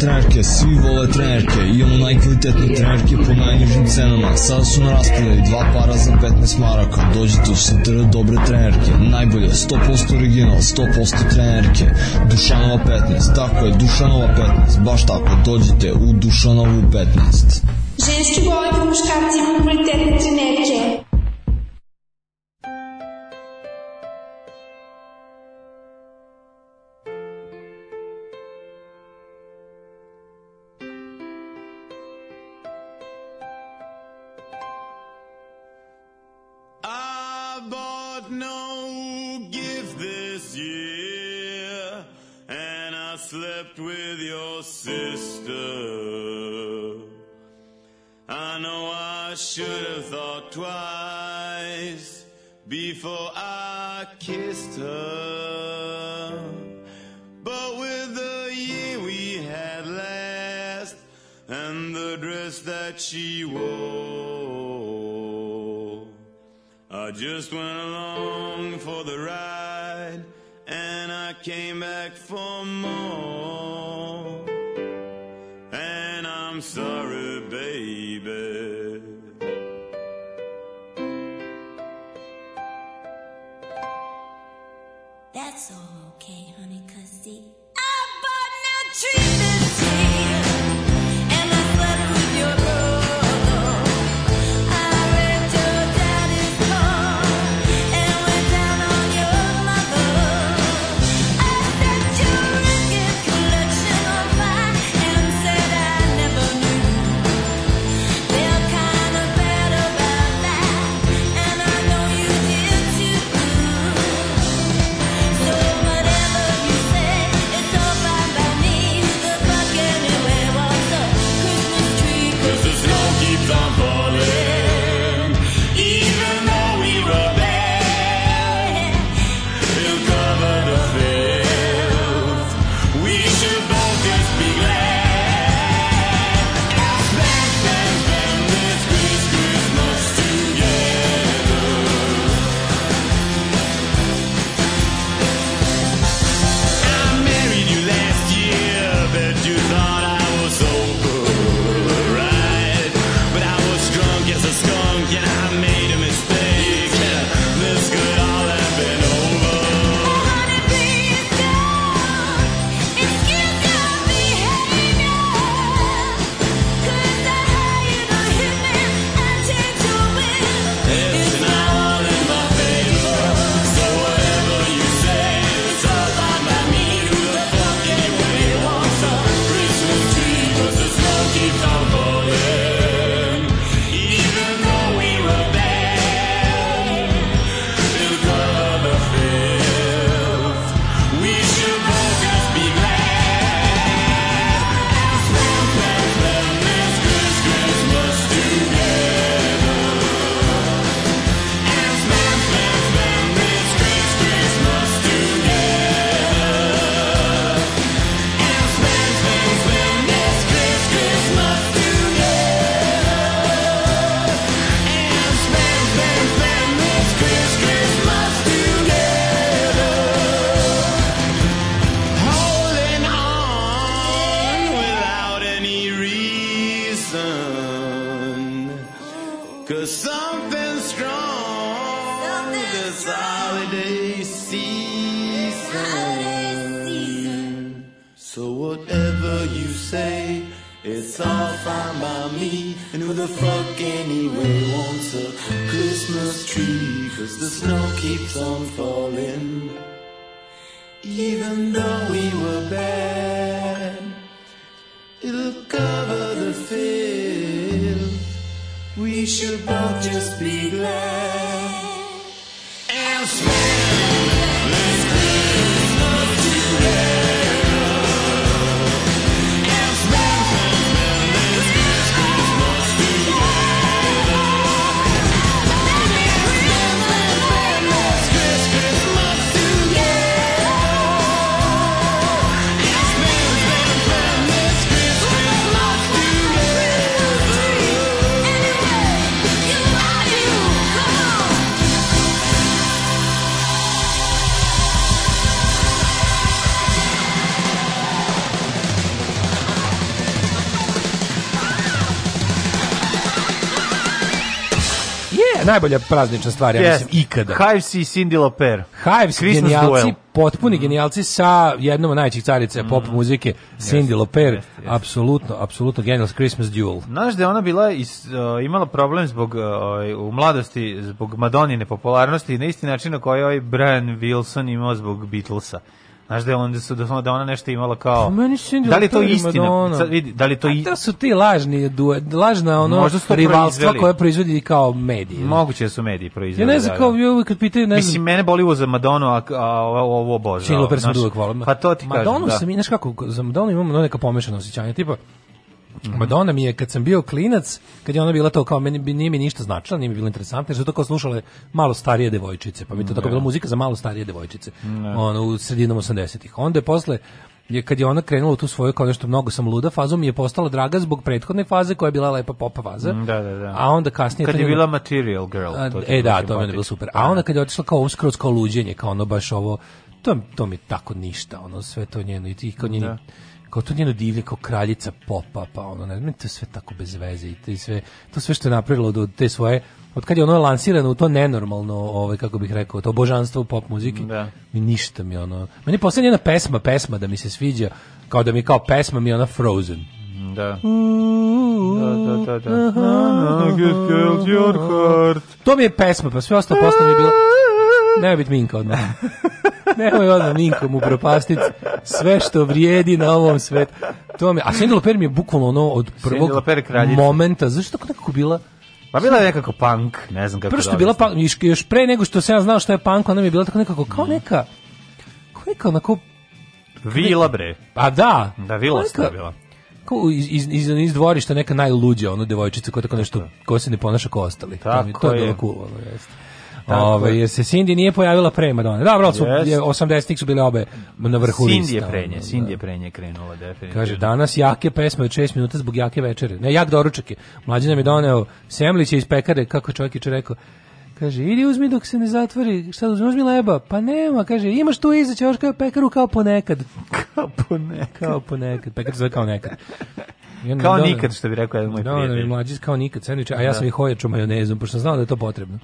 S9: trenerke, svi vole trenerke Imamo najkvalitetne trenerke po najnižim cenama Sada su na raspodaju dva para za 15 maraka Dođite u Santera dobre trenerke Najbolje, 100% original, 100% trenerke Dušanova 15, tako je, Dušanova 15 Baš tako, dođite u Dušanovu 15
S10: Ženski boli po muškarcima kvalitetne trenerke.
S11: I bought no gift this year, and I slept with your sister. I know I should have thought twice before I kissed her. But with the year we had last, and the dress that she wore. I just went along for the ride and I came back for more. And I'm sorry, baby.
S10: That's all okay, honey, cause see, I bought no treatment here, and I slept with your brother. I read your daddy's car and went down on your mother. I set your record collection on fire and said I never knew. Felt kinda bad about that, and I know you did too. So whatever you say, it's all fine by me. The bucket anyway was the Christmas tree, 'cause the snow keeps on falling, even though we were bad. It'll cover the fields. We should both just be glad. Let's spend, spend this Christmas together. I married you last year. Bet you thought I was sober, right? But I was drunk as a skunk, and I made a mistake. This could all have been over. honey, please don't excuse your behavior. 'Cause I hired a hitman and changed your will. It's now all in my favor. So whatever you say, it's all fine by me. Who the fuck anyway wants a Christmas tree? 'Cause the snow keeps on falling, even though we were bad. It'll cover the fields. We should both just be glad. Let's spend, spend, spend this Christmas together. Holding on without any reason. Cause something strong this holiday season. So whatever you say, it's all fine by me. And who the fuck anyway wants a Christmas tree? Cause the snow keeps on falling. Even though we were bad, it'll cover the field. We should both just be glad and spend this Christmas together. And spend, spend, spend this Christmas together. And spend, spend, spend this Christmas together. And spend, spend, spend this Christmas together. Anyway, you are you. Come on.
S6: Ne, najbolja praznična stvar, ja
S5: Yes.
S6: mislim, ikada.
S5: Hives i Cindy Loper.
S6: Hives,
S5: Christmas
S6: genijalci,
S5: Duel. Mm.
S6: potpuni genijalci sa jednom od najvećih carica pop muzike, Cindy Lauper, apsolutno, apsolutno genijal Christmas Duel.
S5: Znaš da je ona bila is, o, imala problem zbog o, u mladosti zbog Madonine popularnosti na isti način na koji je ovaj Brian Wilson imao zbog Beatlesa. Znaš da je onda su da da ona nešto imala kao
S6: Pa meni Cyndi
S5: Da li je to
S6: Lauper i
S5: istina?
S6: Madonna.
S5: Sad vidi, da li je to
S6: A
S5: i
S6: to su ti lažni, due- lažna ono
S5: Možda su to
S6: rivalstva
S5: proizveli.
S6: koje proizvodi kao mediji.
S5: moguće da su mediji
S6: Ja
S5: proizveli.
S6: ne
S5: da,
S6: znam
S5: da.
S6: kao, ja uvijek kad pitaju, ne znam,
S5: Mislim, mene boli uvo za Madonu, a, a ovo, ovo obožavam.
S6: Cindy Lauper sam
S5: Znaš,
S6: uvek volim.
S5: Pa to ti
S6: Madonu
S5: kažem, da.
S6: sam, i- znaš kako, za Madonu imam ono neka pomešana osjećanja, tipa, Madonna mi je, kad sam bio klinac, kad je ona bila to kao, meni, nije mi ništa značila, nije mi bilo interesantno, jer su to kao slušale malo starije devojčice, pa mi je to tako bila muzika za malo starije devojčice, ono, u sredinom 80-ih. Onda je posle, je kad je ona krenula u tu svoju kao nešto mnogo sam luda fazu, mi je postala draga zbog prethodne faze koja je bila lepa pop faza.
S5: Mm, da, da, da.
S6: A onda kasnije
S5: Kad
S6: to
S5: je
S6: njeno-
S5: bila Material Girl.
S6: a,
S5: to ti
S6: e
S5: je
S6: da,
S5: bilo
S6: to mi je bilo
S5: simpatično.
S6: super. A onda kad je otišla kao ovo skroz kao luđenje, kao ono baš ovo, to, to mi je tako ništa, ono sve to njeno i tih kao njeni, kao to njeno divlje, kao kraljica popa, pa ono, ne znam, meni to je sve tako bez veze i to, je sve, to sve što je napravilo od, od te svoje, od kad je ono lansirano u to nenormalno, ovaj, kako bih rekao, to božanstvo pop muzike,
S5: Da.
S6: mi ništa mi ono, meni je poslednja jedna pesma, pesma da mi se sviđa, kao da mi je kao pesma mi je ona Frozen.
S5: Da.
S6: Mm-hmm.
S5: Da, da, da, da. I killed your heart.
S6: To mi je pesma, pa sve ostalo posle mi je bilo... Nemoj biti Minka odmah. Nemoj odmah Minkom upropastiti sve što vrijedi na ovom svetu. To mi, a Cindy Lauper mi je bukvalno ono od prvog
S5: Cyndi Lauper je kraljica.
S6: momenta. Zašto tako nekako bila?
S5: Pa bila je nekako punk, ne znam kako
S6: Prvo što
S5: da
S6: je bila
S5: objasnim.
S6: punk, još- još pre nego što sam ja znao što je punk, ona mi je bila tako nekako kao
S5: Mm.
S6: neka... Kao neka onako...
S5: Vila, bre.
S6: A da.
S5: Da, vila
S6: kao neka-
S5: bila.
S6: Kao iz, iz, iz, iz dvorišta neka najluđa ono devojčica koja tako nešto, koja se ne ponaša kao ostali. to, mi,
S5: Tako
S6: to je
S5: je.
S6: bilo cool, ono, jeste. Ove, jer se Cindy nije pojavila pre Madonna. Da, bro, su,
S5: Jeste.
S6: je, 80-ih su bile obe na vrhu
S5: Cindy
S6: lista,
S5: je pre nje,
S6: ono,
S5: Cindy je
S6: da.
S5: pre nje krenula, definitivno.
S6: Kaže,
S5: <laughs>
S6: danas jake pesme od 6 minuta zbog jake večere. Ne, jak doručak je. Mlađe nam je doneo semliće iz pekare, kako čovjek je rekao. Kaže, idi uzmi dok se ne zatvori, šta uzmi, uzmi leba. Pa nema, kaže, imaš tu iza ćoška pekaru kao ponekad.
S5: Kao po neka.
S6: Kao ponekad, pekar se zove kao
S5: <laughs>
S6: nekad. I onda
S5: Kao
S6: mi doneo-
S5: nikad, što bi rekao jedan moj
S6: Da, ono je
S5: prijatelj.
S6: mlađi kao nikad sendviče, a ja sam ih ojačao majonezom, pošto sam znao da je to potrebno.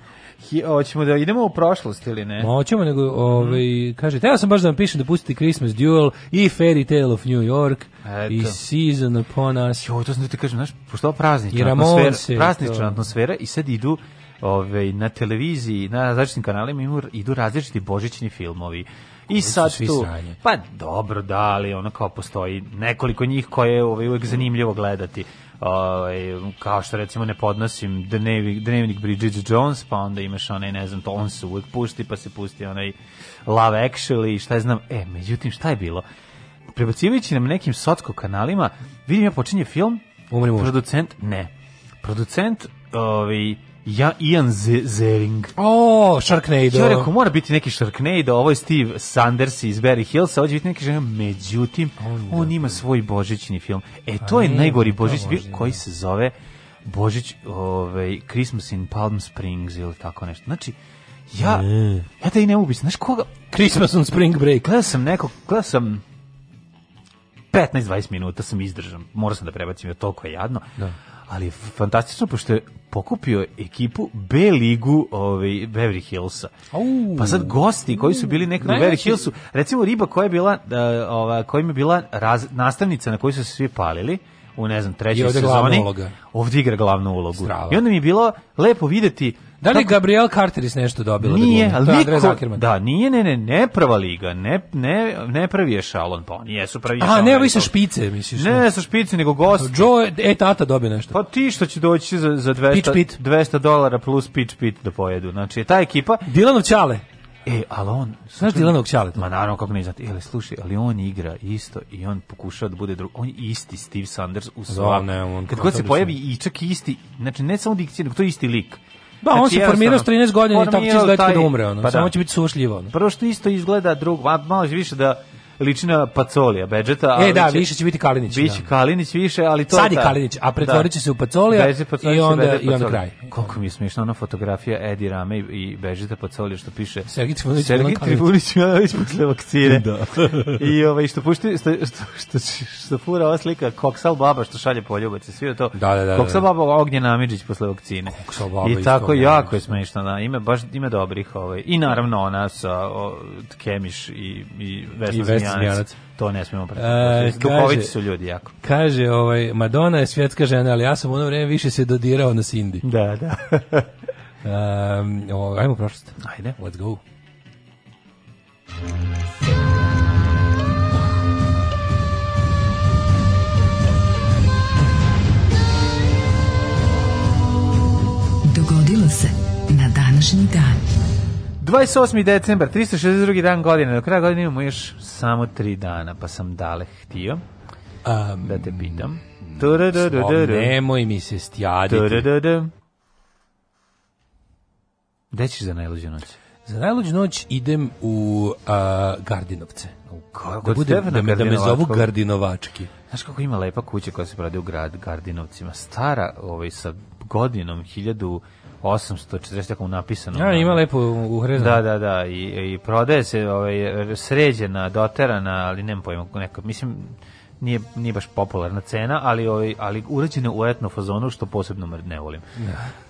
S5: Hi- Hoćemo da idemo u prošlost ili ne?
S6: Moćemo, nego,
S5: Mhm.
S6: ovaj, kaže, teo sam baš da vam pišem da pustite Christmas Duel i Fairy Tale of New York
S5: Eto.
S6: i Season Upon Us.
S5: Jo, to sam da ti kažem, znaš, pošto je ovo praznična
S6: I Ramonsi,
S5: atmosfera, praznična
S6: to.
S5: atmosfera i sad idu ove, na televiziji, na različitim kanalima imu- idu različiti božićni filmovi. I
S6: su
S5: sad
S6: svi
S5: tu,
S6: sranje.
S5: pa dobro, da, ali ono kao postoji nekoliko njih koje je ovaj, uvek zanimljivo gledati. Ovaj, kao što recimo ne podnosim dnevnik, dnevnik Bridget Jones, pa onda imaš onaj, ne znam, to on se uvek pušti, pa se pusti onaj Love Actually, i šta je znam. E, međutim, šta je bilo? Prebacivajući nam nekim socko kanalima, vidim ja počinje film,
S6: Umri muž.
S5: Producent, ne. Producent, ovaj, ja, Ian Ze- Zering.
S6: O, Sharknado.
S5: Ja rekao, mora biti neki Sharknado, ovo je Steve Sanders iz Barry Hillsa, ovdje biti neki žena, međutim, on ima svoj božićni film. E, to je
S6: ne,
S5: najgori
S6: to
S5: božićni
S6: može,
S5: film koji se zove Božić, ovaj, Christmas in Palm Springs ili tako nešto. Znači, ja, ja da i ne mogu biti, znaš koga,
S6: Christmas on Spring Break.
S5: gledao sam nekog, gledao sam 15-20 minuta sam izdržan. Morao sam da prebacim, jer toliko je jadno. Ali je fantastično, pošto je pokupio ekipu B ligu ovaj, Beverly Hillsa.
S6: Au.
S5: Pa sad gosti koji su bili nekad u Beverly
S6: Najveći-
S5: Hillsu, recimo riba koja je bila, da, ova, kojim je bila raz, nastavnica na koju su se svi palili, u ne znam,
S6: I
S5: trećoj
S6: ovdje glavna
S5: sezoni.
S6: uloga.
S5: Ovdje igra glavnu ulogu.
S6: Strava.
S5: I onda mi je bilo lepo videti
S6: Da li je
S5: kako-
S6: Gabrielle Carteris nešto dobila? da
S5: nije,
S6: glumi?
S5: ali
S6: to je
S5: niko-
S6: Andrea Zuckerman.
S5: Da, nije, ne, ne, ne prva liga, ne, ne, ne pravi je šalon, pa oni jesu pravi je
S6: Aha,
S5: šalon.
S6: ne,
S5: ali
S6: ovi sa
S5: to-
S6: špice, misliš.
S5: Ne, ne, sa špici, nego gost.
S6: Joe, e, tata dobio nešto.
S5: Pa ti što će doći za, za 200,
S6: Pitch pit.
S5: 200 dolara plus pitch pit da pojedu. Znači, ta ekipa,
S6: Dilanov Ćale.
S5: e, ali on...
S6: Znaš Dilanovog Ćaleta?
S5: Ma naravno, kako ne znate. Ili, slušaj, ali on igra isto i on pokušava da bude drug. On je isti Steve Sanders u svakom.
S6: ne, on-
S5: Kad
S6: on
S5: god
S6: to
S5: se
S6: bi
S5: pojavi i čak isti, znači ne samo dikcija, nego to je isti lik.
S6: Da, on
S5: Znači,
S6: se formirao s 13 godina i tako će
S5: formirao
S6: izgledati
S5: taj-
S6: kada umre. Ono.
S5: Pa da.
S6: Samo će biti sušljivo. Ono.
S5: Prvo što isto izgleda, drugo, a malo će više da liči na Pacolija, Bedžeta. ali
S6: E, da,
S5: će-
S6: više će biti Kalinić,
S5: Biće
S6: da.
S5: Kalinić više, ali to
S6: Sad je
S5: ta-
S6: Kalinić, a pretvorit će se u Pacolija
S5: Beže Pacolija
S6: i
S5: će
S6: onda-
S5: Bede
S6: i onda
S5: Pacolija.
S6: kraj.
S5: Koliko mi je smiješna ona fotografija Edi Rame i, i Bežita Pacolija što piše
S6: Sergej Trifunić,
S5: Sergej
S6: Milan Kalinić.
S5: Trifunić Milanović posle vakcine. <laughs> I ovaj, što, pušti, što, što, što, što fura ova slika Koksal Baba što šalje poljubac i svi to.
S6: Da, da, da,
S5: Koksal
S6: da.
S5: Baba Ognjen Amidžić posle vakcine.
S6: Koksal Baba
S5: I
S6: isto
S5: tako
S6: Ognjen
S5: jako
S6: Amidžić.
S5: je smešno, da. Ima baš ima dobrih ovaj. I naravno ona sa o, Kemiš i i Vesna,
S6: I Vesna
S5: Zmijanac.
S6: Zmijanac.
S5: To ne smemo preskočiti.
S6: E,
S5: Duhoviti
S6: kaže-
S5: su ljudi jako.
S6: Kaže, ovaj, Madonna je svjetska žena, ali ja sam u ono vreme više se dodirao na Cindy.
S5: Da, da.
S6: Um, o, ajmo u prošlost.
S5: <laughs> Ajde.
S6: Let's go.
S3: Dogodilo se na današnji dan.
S5: 28. decembar, 362. dan godine. Do kraja godine imamo još samo tri dana, pa sam dale htio
S6: Um,
S5: da te pitam.
S6: o,
S5: Turudurududu.
S6: Ovaj, nemoj mi se stjaditi.
S5: Turududu. Gde ćeš za najluđu noć?
S6: Za najluđu noć idem u a, Gardinovce.
S5: Kako
S6: Da, budem, da, me, da me zovu Gardinovački.
S5: Znaš kako ima lepa kuća koja se prodaje u grad Gardinovcima? Stara, ovaj, sa godinom 1840, tako napisano.
S6: Ja,
S5: na-
S6: ima lepo uhrezano.
S5: Da, da, da, i, i prodaje se ovaj, sređena, doterana, ali nemam pojma, neka, mislim, nije, nije baš popularna cena, ali ovaj, ali urađena u etno fazonu, što posebno mr- ne volim,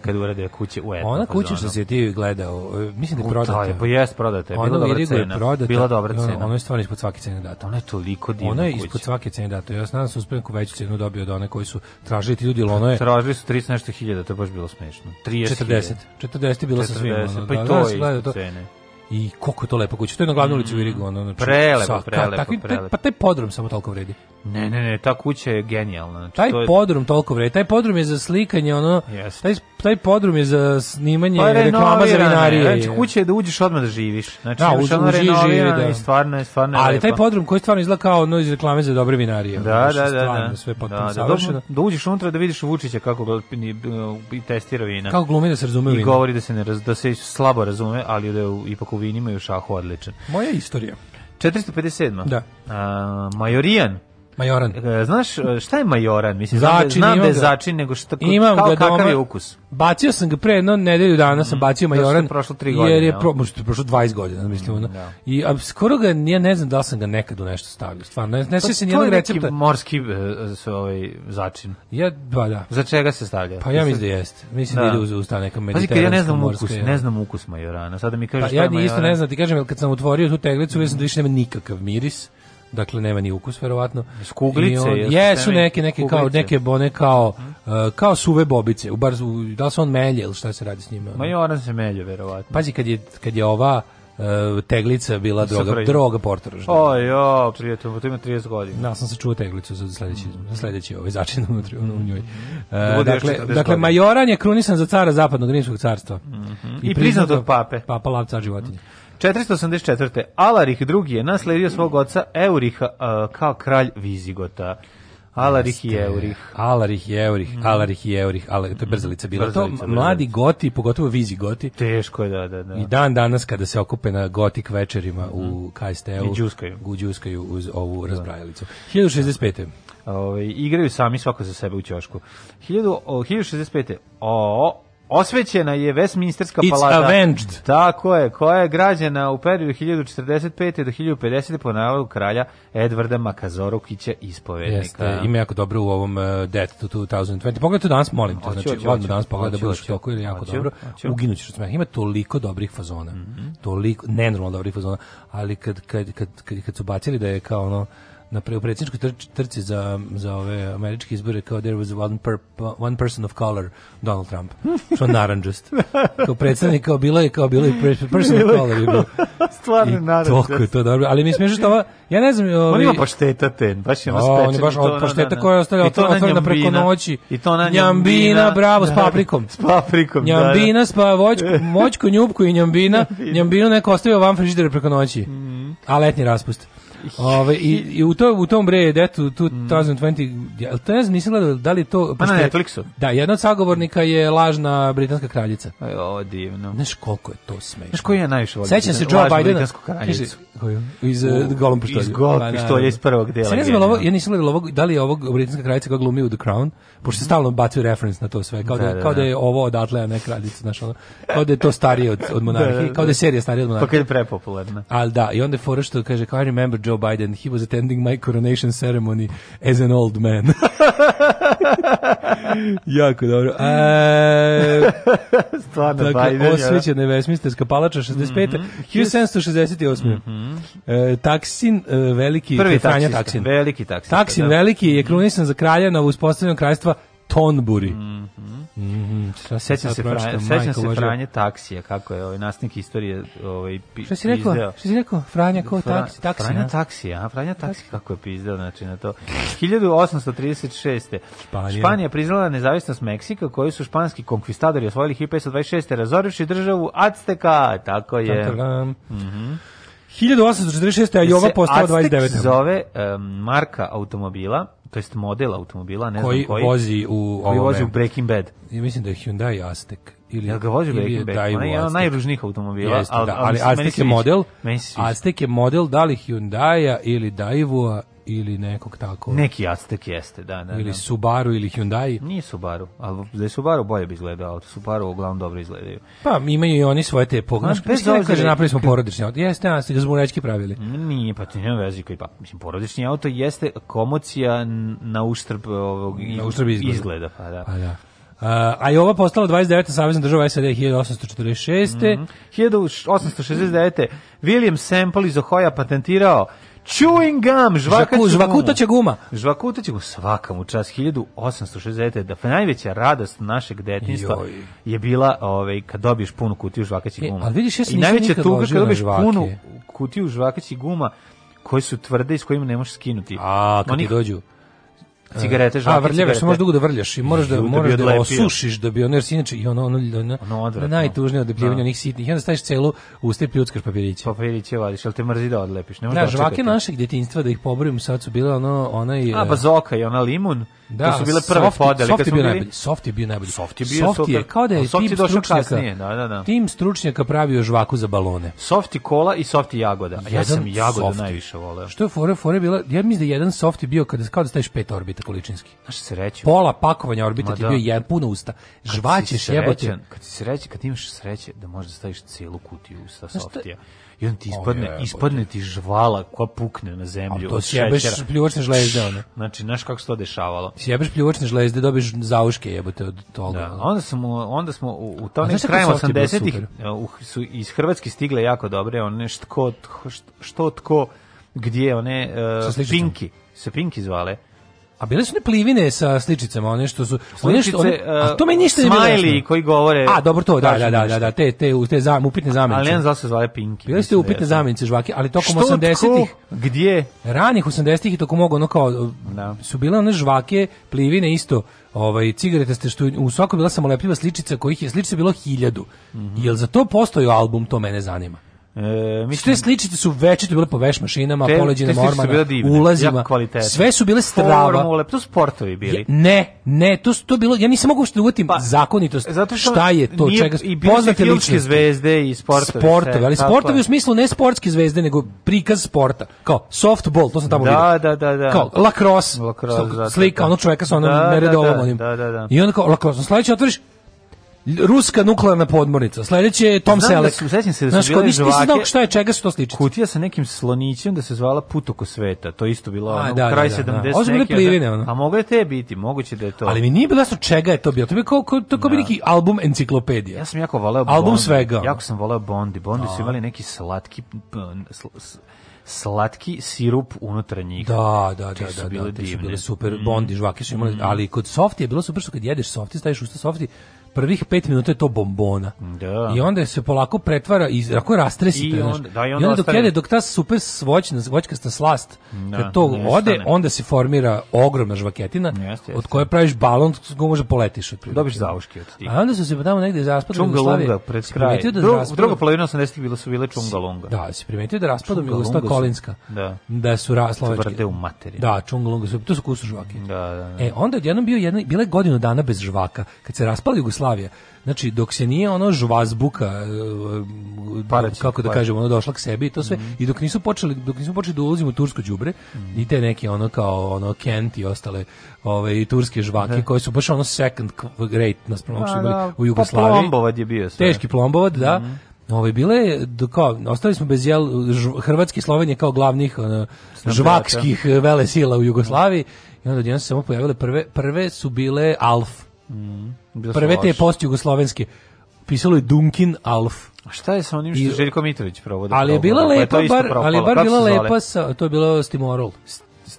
S5: kad urade kuće u etno
S6: Ona
S5: fazonu.
S6: kuća što si ti gledao, e, mislim da je
S5: U,
S6: prodata.
S5: to je, pa jest prodata, je, bila
S6: Ona u
S5: dobra
S6: Irigu je
S5: cena.
S6: prodata.
S5: Bila dobra
S6: i ono-
S5: cena.
S6: Ono je stvarno ispod svake cene data.
S5: Ona je toliko divna
S6: Ona je
S5: kuća.
S6: ispod svake cene data. Ja znam da sam uspio neku veću cenu dobio od one koji su tražili ti ljudi, ali ono je
S5: Tražili su 30 nešto hiljada, to je baš bilo smešno. 30
S6: 40. 40 je bilo sa svim.
S5: 40,
S6: ono,
S5: pa
S6: da,
S5: i
S6: da,
S5: to
S6: sam
S5: je
S6: gledao
S5: ispod cene.
S6: I koliko je to lepo kuća. To je na glavnoj ulici u Irigu. Ono, znači,
S5: Prelepo,
S6: sa- ka-
S5: prelepo,
S6: takvi- taj-
S5: prelepo.
S6: Pa taj podrum samo toliko vredi.
S5: Ne, ne, ne, ta kuća je genijalna. Znači,
S6: Taj
S5: to je-
S6: podrum toliko vredi. Taj podrum je za slikanje, ono...
S5: Jeste.
S6: Taj, taj podrum je za snimanje
S5: Pa
S6: reklama za
S5: renovirana je.
S6: vinarije.
S5: Znači, kuća je da uđeš odmah da živiš. Znači,
S6: Da,
S5: da,
S6: uz-
S5: uđeš odmah
S6: uživi, živi,
S5: renovirana
S6: da.
S5: i stvarno je, stvarno je
S6: Ali taj
S5: lepa.
S6: podrum koji stvarno izgleda kao ono iz reklame za dobre vinarije. ono,
S5: Da,
S6: znači,
S5: da, da,
S6: stvarno
S5: da.
S6: Sve potpuno
S5: da, da,
S6: savršeno.
S5: da, da uđeš unutra da vidiš Vučića kako ga ni- i testira vina.
S6: Kako glumi da se razume u
S5: I
S6: vino.
S5: govori da se ne raz, da se slabo razume, ali da je u, ipak u vinima i u šahu odličan.
S6: Moja istorija.
S5: 457.
S6: Da.
S5: A, majorijan.
S6: Majoran.
S5: E, Znaš e, šta je majoran? Mislim, znam da-
S6: Začin,
S5: znam
S6: imam
S5: da je
S6: ga.
S5: začin, nego šta,
S6: Imam
S5: kao,
S6: ga
S5: kakav
S6: doma.
S5: je ukus?
S6: Bacio sam ga pre jedno nedelju dana
S5: Mhm.
S6: sam bacio
S5: Zato što je
S6: Majoran.
S5: prošlo tri godine,
S6: Jer
S5: jel?
S6: je pro, možda je prošlo 20 godina, mislim ono. I a skoro ga ja ne znam da li sam ga nekad u nešto stavio. Stvarno ne, ne sjećam se
S5: Pa To je
S6: nijednog
S5: neki
S6: recepta.
S5: morski e, s- ovaj, začin.
S6: Ja ba da.
S5: Za čega se stavlja?
S6: Pa ja mislim da jeste. Mislim da,
S5: Da.
S6: ide uz uz ta neka
S5: Pazi, kad
S6: mediteranska
S5: ja ne znam
S6: morska,
S5: ukus,
S6: ja.
S5: ne znam ukus majorana. Sada mi
S6: Pa
S5: kažeš šta
S6: ja
S5: je
S6: ni isto
S5: majoran.
S6: ne znam, ti kažem, jer kad sam otvorio tu teglicu, vidio sam da više nema nikakav miris. Dakle nema ni ukus verovatno.
S5: kuglice,
S6: I on-
S5: jesu
S6: jesu
S5: spremni
S6: neke neke kao
S5: kuglice. Mhm.
S6: neke bone kao uh, kao suve bobice, u bar u- da li se on melje ili šta se radi s njima. ono?
S5: Majoran se melje, verovatno.
S6: Pazi kad je kad je ova e, teglica bila droga,
S5: Super.
S6: droga portorožna.
S5: O, jo, prijatelj, to ima 30 godina.
S6: Da, sam se čuo teglicu za sledeći, za sledeći ovaj začin unutra ono, u njoj. E,
S5: bude još
S6: dakle,
S5: 40
S6: dakle
S5: godina. Mhm.
S6: Majoran je krunisan za cara zapadnog rimskog carstva.
S5: I priznat od pape.
S6: Papa lav car životinje.
S5: 484. Alarih II je nasledio svog oca Euriha a, kao kralj Vizigota. Alarih i Eurih.
S6: Alarih i Eurih, Alarih i Eurih, Alarih, to je brzalica bila.
S5: Brzalica,
S6: to
S5: brzalica.
S6: mladi goti, pogotovo vizi goti,
S5: Teško je, da, da, da.
S6: i dan danas kada se okupe na gotik večerima u KST-u,
S5: Mhm. I đuskaju.
S6: gu- đuskaju uz ovu razbrajalicu. 1065.
S5: Ove, Ovaj, igraju sami svako za sebe u ćošku. 1000 o, 1065. O, osvećena je Westminsterska
S6: It's
S5: palata.
S6: avenged.
S5: Tako je, koja je građena u periodu 1045. do 1050. po nalogu kralja Edvarda Makazorukića ispovednika.
S6: Jeste, ima jako dobro u ovom uh, Death to 2020. Pogledaj to danas, molim te.
S5: Hoću,
S6: Znači,
S5: hoću,
S6: odmah
S5: hoću.
S6: danas pogledaj
S5: Hoću,
S6: da budeš u
S5: hoću.
S6: toku jer je jako
S5: Hoću,
S6: dobro.
S5: hoću. Mhm.
S6: Uginućeš od smeha. Ima toliko dobrih fazona. Toliko, nenormalno dobrih fazona. Ali kad, kad, kad, kad, kad su bacili da je kao ono, na pre, u predsjedničkoj trč- trci za, za ove američke izbore kao there was one, per, one person of color Donald Trump
S5: <laughs>
S6: što naranđast kao predstavnik kao bilo je kao bilo je per- person of color je bilo.
S5: <laughs> Stvarno,
S6: i
S5: naravno.
S6: toliko je to dobro ali mi smiješ što ova ja ne znam
S5: On
S6: ovi-
S5: ima pašteta ten, baš je ono
S6: A,
S5: spečen.
S6: on je baš
S5: i to
S6: od
S5: ono,
S6: pašteta
S5: da, da.
S6: koja je ostavila
S5: I to ona
S6: otvorena preko
S5: njambina.
S6: noći.
S5: I to ona
S6: Njambina,
S5: <laughs>
S6: bravo, s paprikom.
S5: S paprikom, da, da.
S6: Njambina spa voćku,
S5: Mhm.
S6: moćku, njupku i njambina. Njambinu neko ostavio van frižidera preko noći. A letnji raspust. Ove, i, i u, to, u tom bre, detu,
S5: Mhm.
S6: 2020, jel to ne znam, nisam gledao, da li je to...
S5: Pa na
S6: pošto je-
S5: Netflixu.
S6: Da, jedna od sagovornika je lažna britanska kraljica.
S5: Aj, ovo je divno.
S6: Znaš koliko je to smešno.
S5: Znaš koji ja najviše volim?
S6: Sećam se
S5: Lažnu
S6: Joe Bidena.
S5: britansku kraljicu.
S6: Kaže, koju? Iz uh, golom pištolja.
S5: iz golom
S6: Pa, naravno.
S5: pištolja iz prvog dela,
S6: Sad Ne znam, jel ovo,
S5: genijalno.
S6: ja nisam gledao ovog, da li je ovog britanska kraljica koja glumi u The Crown, pošto se stalno bacuje reference na to sve, kao da,
S5: Mhm. Da, da,
S6: kao da
S5: da.
S6: je ovo odatle, a ne kraljica, znaš, ono, kao da je to starije od, od monarhije,
S5: Da, da,
S6: kao da je serija starija od
S5: Pa
S6: monarhije.
S5: kad je prepopularna.
S6: Ali da, i onda je fora što kaže, kao I remember Joe Biden, he was attending my coronation ceremony as an old man. <laughs> jako dobro.
S5: <laughs>
S6: E,
S5: Stvarno,
S6: dakle,
S5: Biden je-
S6: osvećena je Westminsterska palača
S5: Mhm.
S6: 65. 1768. E, taksin, e, veliki,
S5: Prvi
S6: Franja
S5: taksista,
S6: Taksin.
S5: veliki taksista.
S6: Taksin
S5: da.
S6: veliki je krunisan za kralja na uspostavljanju kraljstva Tonburi. Mm -hmm.
S5: Mhm. Sećam se, Franje, sećam se Franje taksija, kako je ovaj nastavnik istorije ovaj, pi,
S6: Šta si rekao?
S5: pizdeo.
S6: Šta si rekao? Franja ko?
S5: Fra-
S6: Taksi, taksi.
S5: Franja
S6: a?
S5: taksi, a Franja taksi kako je pizdeo znači na to. 1836.
S6: Španija.
S5: Španija priznala nezavisnost Meksika koju su španski konkvistadori osvojili 1526. razorivši državu Acteka, tako je. Mhm.
S6: Tantaram. 1846. a Jova
S5: Se
S6: postala
S5: Aztek
S6: 29.
S5: zove em, marka automobila, to jest model automobila, ne
S6: Koji
S5: znam koji.
S6: vozi u
S5: koji vozi u
S6: ovome.
S5: Breaking Bad.
S6: Ja mislim da je Hyundai Aztek. Ili,
S5: Jel ga vozi u
S6: ili
S5: Breaking
S6: je
S5: Bad?
S6: Daewoo
S5: Ona je jedan od
S6: Aztek.
S5: najružnijih automobila.
S6: Jeste, da, ali Aztek je model.
S5: Meni se sviđa.
S6: Aztek je model da li Hyundaia ili Daewoo ili nekog tako.
S5: Neki Aztek jeste, da, da. da.
S6: Ili Subaru ili Hyundai.
S5: Nije Subaru, ali da je Subaru bolje bi izgledao auto. Subaru uglavnom dobro izgledaju.
S6: Pa imaju i oni svoje te pognaš.
S5: bez
S6: Mislim
S5: obzira-
S6: kaže napravili smo porodični auto. Jeste, Aztek, smo rečki pravili.
S5: Nije, pa to nema veze koji, pa, mislim, porodični auto jeste komocija n- na uštrb ovog i-
S6: Na uštrb izgleda.
S5: pa da.
S6: Pa da. Uh, a Jova postala 29. savezna država SAD
S5: Mm. Mhm.
S6: 1846.
S5: 1869. William Semple iz Ohoja patentirao chewing gum, žvakaću
S6: Žvaku,
S5: gumu.
S6: žvakutaća guma.
S5: Žvakuta će mu svaka mu čas 1869. Da najveća radost našeg detinjstva
S6: Joj.
S5: je bila ovaj, kad dobiješ punu kutiju žvakaćih
S6: E,
S5: guma.
S6: ali vidiš, ja se
S5: I
S6: nisam
S5: najveća
S6: nikad
S5: tuga
S6: ložio
S5: kad
S6: na
S5: dobiješ
S6: žvake.
S5: punu kutiju žvakaćih guma koje su tvrde i s kojima ne možeš skinuti.
S6: A, kad ti
S5: Onih
S6: dođu.
S5: cigarete, žvake,
S6: A, vrljave, što
S5: cigarete.
S6: možeš dugo da vrljaš i moraš da,
S5: Ju, da bi
S6: moraš da,
S5: odlepio.
S6: osušiš da bi ono, jer si inače, i ono, ono, ono,
S5: Ono odvratno.
S6: najtužnije odlepljivanje
S5: Da.
S6: onih sitnih, i onda staviš celu usta i pljuckaš papiriće.
S5: Papiriće Pa vadiš, jel te mrzi pa, da odlepiš? Ne možeš
S6: Da, žvake
S5: očekati.
S6: našeg djetinjstva, da ih pobrojim, sad su bile ono, onaj...
S5: A,
S6: e,
S5: bazoka i ona limun.
S6: Da,
S5: to su bile prve
S6: Soft-
S5: podele.
S6: Soft
S5: kad
S6: je
S5: smo
S6: bio
S5: bili-
S6: najbolji. Soft je bio najbolji.
S5: Soft je bio
S6: Soft je
S5: super.
S6: kao da je
S5: A Soft
S6: tim
S5: je došao
S6: stručnjaka.
S5: kasnije, da, da, da.
S6: Tim stručnjaka pravio žvaku za balone.
S5: Softi kola i softi jagoda. A ja
S6: Jedan
S5: sam jagodu
S6: softi.
S5: najviše voleo.
S6: Što je fora, fora je bila, ja mislim da je jedan soft je bio kada kao da staviš pet orbita količinski.
S5: Znaš sreću.
S6: Pola pakovanja orbita
S5: Ma
S6: ti
S5: da.
S6: je bio jedan puno usta. Žvaćeš jebote.
S5: srećan, Kad si srećan, kad imaš sreće da možeš da staviš celu kutiju sa
S6: Znaš šta-
S5: softija. I on ti ispadne,
S6: jebote.
S5: ispadne ti žvala koja pukne na zemlju.
S6: A to
S5: od
S6: sjebeš
S5: šećera.
S6: pljuvačne žlezde, ono.
S5: Znači, znaš kako se to dešavalo.
S6: Sjebeš pljuvačne žlezde, dobiješ zauške jebote od toga.
S5: Da,
S6: ono.
S5: onda smo onda smo u, u
S6: A
S5: tom
S6: znaš kako
S5: krajem
S6: je soft je bio
S5: 80-ih
S6: super?
S5: e, u- su iz Hrvatske stigle jako dobre one što što, što tko gdje one
S6: Sa
S5: uh,
S6: sličicom.
S5: Pinki se Pinki zvale
S6: A bile su ne plivine sa sličicama, one što su... one što- one-
S5: Sličice, e,
S6: a to meni ništa nije bilo
S5: smiley
S6: jasno.
S5: koji govore
S6: A, dobro to, da,
S5: kažu
S6: da, da, da,
S5: nešto.
S6: da, te, te, te zam, upitne zamenice.
S5: ali ne znam zašto se zvale Pinki
S6: Bile ste
S5: mislim da
S6: upitne
S5: je-
S6: zamenice žvake, ali tokom
S5: Što,
S6: 80-ih,
S5: tko, gdje
S6: ranih 80-ih i tokom mog ono kao,
S5: Da.
S6: su bile one žvake, plivine isto, ovaj, cigaretaste, što u svakoj bila samolepljiva sličica, kojih je sličica bilo hiljadu.
S5: Mhm.
S6: Jel za to postoji album, to mene zanima.
S5: e,
S6: Mislim, te sličice su večito bile po veš mašinama,
S5: te- te
S6: poleđinama,
S5: sličice su bile
S6: ormana,
S5: divne,
S6: ulazima,
S5: jako kvalitetne.
S6: sve su bile strava.
S5: formule to su sportovi bili
S6: Je- ne, ne, to su to bilo, ja nisam mogu uopšte da uvatim zakonitost.
S5: Pa, zato što
S6: šta je to,
S5: nije-
S6: čega
S5: i bili su
S6: poznate
S5: filmske
S6: ličnosti.
S5: zvezde i sportovi
S6: Sportovi,
S5: sve,
S6: ali
S5: tako
S6: sportovi
S5: je.
S6: u smislu ne sportske zvezde, nego prikaz sporta. Kao softball, to sam tamo
S5: Da,
S6: vidio.
S5: da, da, da.
S6: Kao lacrosse,
S5: Lacrosse,
S6: sto-
S5: da, da,
S6: slika
S5: da.
S6: onog čoveka sa onom
S5: Da, da,
S6: neredovom
S5: da,
S6: onim.
S5: da, da, da.
S6: I onda kao lacrosse, sledeće otvoriš l- Ruska nuklearna podmornica. Sledeće je Tom
S5: Znam da
S6: Selleck.
S5: su- sećam se da su
S6: Znaš, kao
S5: bile
S6: nisam- nisam znao
S5: žvake.
S6: šta je čega su to sličice.
S5: kutija sa nekim slonićem da se zvala Put oko sveta. To je isto bilo
S6: A,
S5: ono,
S6: da, da,
S5: kraj
S6: da, da.
S5: 70
S6: Ovo su bile
S5: neki,
S6: plivine, ono.
S5: A moglo je te biti, moguće da je to.
S6: Ali mi nije bilo jasno čega je to bilo. To bi kao, kao, to kao bi neki album enciklopedija.
S5: Ja sam jako voleo
S6: Album
S5: Bondi.
S6: svega. ono.
S5: Jako sam voleo Bondi. Bondi su imali neki slatki p- sl- s- slatki sirup unutar njih.
S6: Da, da, da,
S5: Te su Mm.
S6: da, da,
S5: bile
S6: te su
S5: divne.
S6: bile super, bondi, žvake su imali, ali kod softi je bilo super što kad jedeš softi, staviš usta softi, prvih pet minuta je to bombona.
S5: Mm. Da.
S6: I onda se polako pretvara i ako rastresite,
S5: I
S6: znaš.
S5: onda- da, i onda
S6: dok,
S5: ostane-
S6: jede, dok ta super svoćna, voćkasta slast,
S5: Da,
S6: kad to
S5: nestane.
S6: ode, onda se formira ogromna žvaketina,
S5: Jeste,
S6: od
S5: jeste.
S6: koje praviš balon, s kojom može poletiš. otprilike.
S5: Dobiš zauške od tih.
S6: A onda su se tamo negde iz raspada
S5: Čungalunga pred kraj.
S6: Da
S5: Dru,
S6: raspadom-
S5: druga polovina 80-ih bila su bile Čungalunga.
S6: Da, si primetio da raspadom
S5: Čungalunga
S6: Jugoslava
S5: su-
S6: Kolinska.
S5: Da.
S6: Da su raslovački.
S5: Tvrde u materinu.
S6: Da, Čungalunga su, to su kusu žvake.
S5: Da, da, da.
S6: E, onda je odjednom bio jedna, bila je godinu dana bez žvaka, kad se raspala Jugoslavija. Znači, dok se nije ono žvazbuka, e,
S5: Parać,
S6: kako da
S5: parać.
S6: kažem, ono došla k sebi i to
S5: Mhm.
S6: sve, i dok nisu počeli, dok nismo počeli da ulazimo u tursko đubre i te neke ono kao ono Kent i ostale ove, i turske žvake, koje su baš ono second rate nas
S5: Pa, da,
S6: u Jugoslaviji.
S5: pa plombovad je bio sve.
S6: Teški plombovat, da.
S5: Mhm.
S6: Ovaj bile je do- kao ostali smo bez jel ž- Hrvatske i Slovenije kao glavnih ono, žvakskih eh, velesila u Jugoslaviji i onda odjednom su se samo pojavile prve prve su bile Alf.
S5: Bilo su
S6: Prve te
S5: loše.
S6: postjugoslovenske. Pisalo je Dunkin Alf.
S5: A šta je sa onim što
S6: I-
S5: je Željko Mitrović Pa provodi?
S6: Ali je bila lepa bar, ali je bar bila lepa sa, to je bilo Stimorol.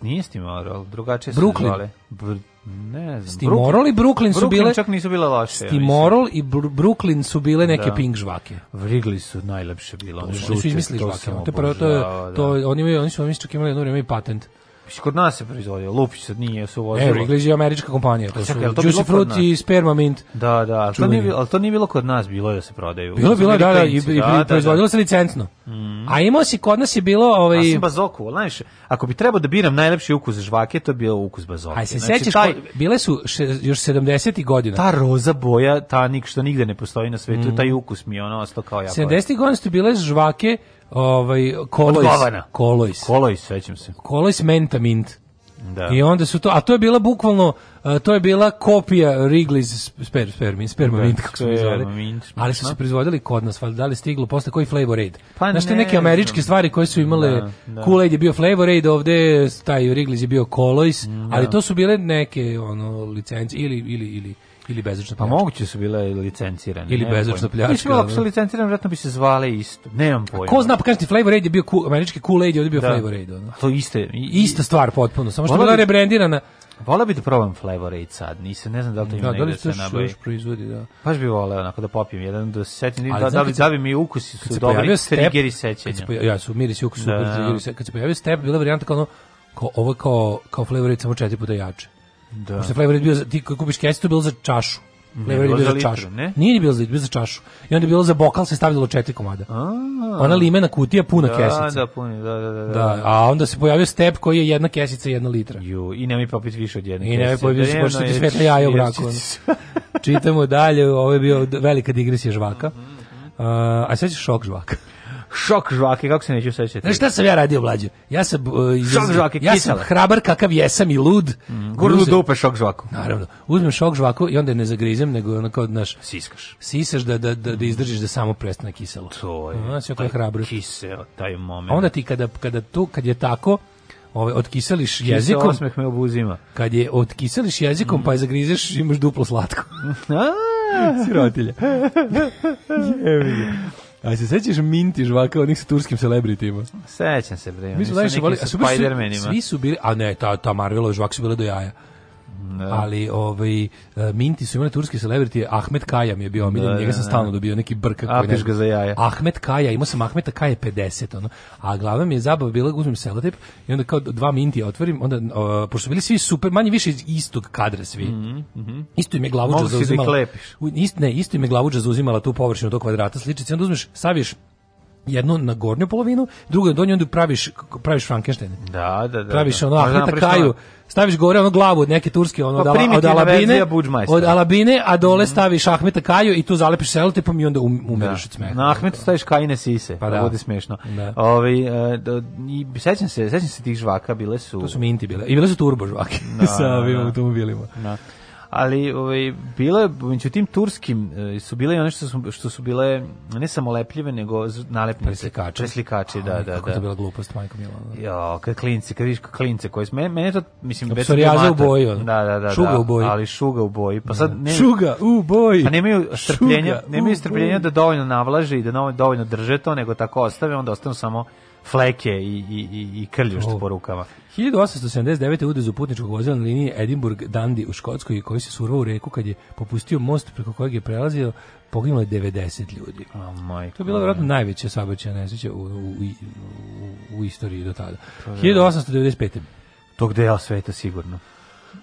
S5: Nije Stimorol, drugačije se
S6: Brooklyn.
S5: zvale. Br ne znam.
S6: Stimorol i Brooklyn su
S5: Brooklyn
S6: bile
S5: čak nisu bile loše. ja
S6: Stimorol i Bru- Brooklyn su bile neke
S5: Da.
S6: pink žvake.
S5: mislim. Vrigli su najlepše bile. one
S6: Oni su
S5: žute,
S6: izmislili
S5: to
S6: žvake. ono.
S5: sam
S6: To je prvo, to,
S5: obožavao,
S6: je-
S5: da.
S6: to, oni, imaju- oni su oni su čak imali jedno vrijeme i patent.
S5: Mislim, Kod nas se proizvodio, Lupić sad nije, su
S6: Evo,
S5: vozili.
S6: Wrigley's je američka kompanija. To su
S5: Pa Čekaj, je li to bilo
S6: Juicy
S5: kod
S6: Fruit
S5: nas?
S6: i Sperma Mint.
S5: Da, da, ali to, nije,
S6: Čuveni.
S5: bilo- ali to nije bilo kod nas, bilo je da se prodaju.
S6: Bilo,
S5: Su
S6: bilo, je,
S5: bili
S6: da, da, i,
S5: klinci,
S6: i, i proizvodilo se licencno. A imao si, kod nas je bilo, ovaj,
S5: Mm. A sam bazoku, ali znaš, ako bi trebao da biram najlepši ukus žvake, to bi bio ukus bazoke.
S6: aj se
S5: Znači,
S6: sećaš,
S5: taj-
S6: ko- bile su še- još 70. godina.
S5: ta roza boja, ta nik što nigde ne postoji na
S6: Mhm.
S5: svetu, taj ukus mi je ono ostao kao jako.
S6: 70. godina su bile žvake, ovaj, Kolois.
S5: govana.
S6: Kolois.
S5: Kolo i sećam se.
S6: Kolois Menta Mint.
S5: Da.
S6: I ono, onda su to, a to je bila bukvalno, a, to je bila kopija Wrigley's sper, spermin, spermamint,
S5: Da, ono
S6: kako se mi zvali.
S5: spermamint,
S6: Ali su se
S5: aha.
S6: proizvodili kod nas, valjda da li je stiglo posle koji Flavor Aid.
S5: Pa
S6: Znaš te
S5: ne
S6: neke
S5: znam.
S6: američke stvari koje su imale,
S5: Da, da.
S6: Kool Aid je bio Flavor Aid, ovde taj Wrigley's je bio Colois,
S5: Mm,
S6: ali to su bile neke ono, licence ili, ili, ili, ili bezočno.
S5: Pa moguće su bile licencirane.
S6: Ili
S5: nemam
S6: bezočno
S5: pojma.
S6: pljačka,
S5: Mislim, ako su
S6: ono.
S5: licencirane, vjerojatno bi se zvale isto. Nemam pojma.
S6: Ko zna, pa kažete, Flavor Aid je bio ku- američki Kool Aid, je ovde bio
S5: Da.
S6: Flavor Aid. Ono.
S5: A To iste. i-
S6: Ista stvar potpuno, samo što je
S5: Volao
S6: bila
S5: bi-
S6: rebrendirana.
S5: Vola bi da probam Flavor Aid sad, nisam, ne znam da li to ima
S6: Da, da
S5: negde
S6: li
S5: da
S6: se
S5: se
S6: još,
S5: nabavi.
S6: još proizvodi, da.
S5: Baš bi voleo onako da popijem jedan, da se setim,
S6: Ali
S5: da, da,
S6: znam
S5: li,
S6: kad se-
S5: da bi mi ukusi
S6: kad
S5: su
S6: se
S5: dobri
S6: pojavio step,
S5: triggeri
S6: Kad se
S5: sećanja.
S6: poja- ja su miris ukus super
S5: Da, da, da.
S6: triggeri se- Kad se pojavio step, bila varijanta kao ono, kao ovo je kao, kao flavor Aid, samo četiri puta jače.
S5: Da. Mhm.
S6: Pošto je flavor Aid bio, za, ti koji kupiš kesicu, to je bilo za čašu. Flavor Aid je
S5: bilo
S6: bio
S5: za
S6: za
S5: litru,
S6: čašu.
S5: ne?
S6: Nije ni bilo za litru, bio za čašu. I onda je bilo za bokal, se stavljalo četiri komada.
S5: A,
S6: Ona limena kutija puna
S5: Da,
S6: kesica.
S5: da, puni, da, da, da.
S6: Da, a onda se pojavio step koji je jedna kesica i jedna litra.
S5: Ju, i nemoj popit više od jedne
S6: I ne
S5: kesice.
S6: pojavio se
S5: Da,
S6: pošto
S5: jedno
S6: ti
S5: je-
S6: svetla jaja u braku.
S5: jeste-
S6: ono. Čitamo dalje, ovo je
S5: <laughs>
S6: bio d- velika digresija žvaka.
S5: Mhm,
S6: Uh, a sad šok žvaka.
S5: Šok žvake, kako se neću sećati.
S6: Znaš šta sam ja radio, mlađe? Ja sam, uh, iz-
S5: Šok žvake,
S6: ja sam
S5: kisela.
S6: hrabar kakav jesam i lud. Mm,
S5: Gurnu dupe šok žvaku.
S6: Naravno. Uzmem šok žvaku i onda je ne zagrizem, nego ono kao, znaš,
S5: Siskaš.
S6: sisaš da, da, da, da izdržiš da samo prestane kiselo.
S5: To je.
S6: Znaš, jako
S5: taj
S6: je hrabro.
S5: Kiseo, taj moment.
S6: A onda ti kada, kada tu, kad je tako, ovaj, otkiseliš
S5: Kiseo
S6: jezikom,
S5: osmeh me obuzima.
S6: kad je otkiseliš jezikom pa je zagrizeš imaš duplo <laughs> slatko. Sirotilje. Jebi ga. A se sećaš minti žvaka onih sa turskim celebritima?
S5: Sećam se, bre.
S6: Mi smo najviše volili, a su baš svi,
S5: Spider-manima.
S6: svi su bili, a ne, ta, ta Marvelova žvaka su bile do jaja. Ali ovaj e, Minti su imali turski celebrity Ahmet Kaja mi je bio omiljen, njega sam stalno dobio neki brkak
S5: A,
S6: koji ne
S5: piš ga za jaja.
S6: Ahmet Kaja, imao sam Ahmeta Kaja 50 ono. A glava mi je zabava bila uzmem selotip i onda kao dva Mintija otvorim, onda e, pošto su bili svi super, manje više iz istog kadra svi.
S5: Mm.
S6: Isto im je glavuđa
S5: Mogu si da ih
S6: zauzimala.
S5: lepiš.
S6: u- ist, ne, isto im je glavuđa zauzimala tu površinu tog kvadrata sličice, onda uzmeš, saviš jednu na gornju polovinu, drugu na donju, onda praviš, praviš Frankensteina.
S5: Da, da, da.
S6: Praviš
S5: da.
S6: ono
S5: Možda
S6: Ahmeta
S5: napraviš
S6: Kaju,
S5: ono-
S6: staviš gore ono glavu od neke turske, ono
S5: Pa
S6: od, ala, od
S5: primitivna
S6: Alabine,
S5: verzija Budmajstora.
S6: od Alabine, a dole staviš Ahmeta Kaju i tu zalepiš selotipom i onda um,
S5: Da.
S6: umireš od smeha.
S5: Na Ahmetu staviš kajine sise,
S6: Pa
S5: pa
S6: da.
S5: da. bude smešno.
S6: Da.
S5: Ove, e, da, i, sećam se, sećam se tih žvaka, bile su...
S6: To su minti bile. I bile su turbo žvake <laughs> sa ovim automobilima.
S5: Da. Ali ovaj bile među tim turskim e, su bile i one što su što su bile ne samo lepljive nego z- nalepnice,
S6: Preslikači.
S5: preslikači, Znači, da,
S6: Aj,
S5: da,
S6: Kako je to
S5: da.
S6: bila glupost, majko Milo. ono.
S5: Jo, kad klinci, kad vidiš klince koji sme, mene to mislim bez
S6: Psorijaza
S5: simptomata.
S6: u boji, ono.
S5: Da, da, da,
S6: Šuga
S5: da,
S6: u boji.
S5: ali šuga u boji. Pa sad ne
S6: Šuga u <laughs> boji.
S5: Pa nemaju strpljenja,
S6: Šuga u
S5: nemaju strpljenja
S6: boji.
S5: da dovoljno navlaže i da novo- dovoljno drže to, nego tako ostave, onda ostanu samo fleke i, i, i, i krljušt po rukama.
S6: 1879. udez u putničkog vozila na liniji Edinburgh Dundee u Škotskoj koji se survao u reku kad je popustio most preko kojeg je prelazio, poginulo je 90 ljudi.
S5: A, majko
S6: To je bila vjerojatno najveća saobraćajna nesreća u, u, u, u istoriji do tada. 1895.
S5: Tog dela sveta sigurno.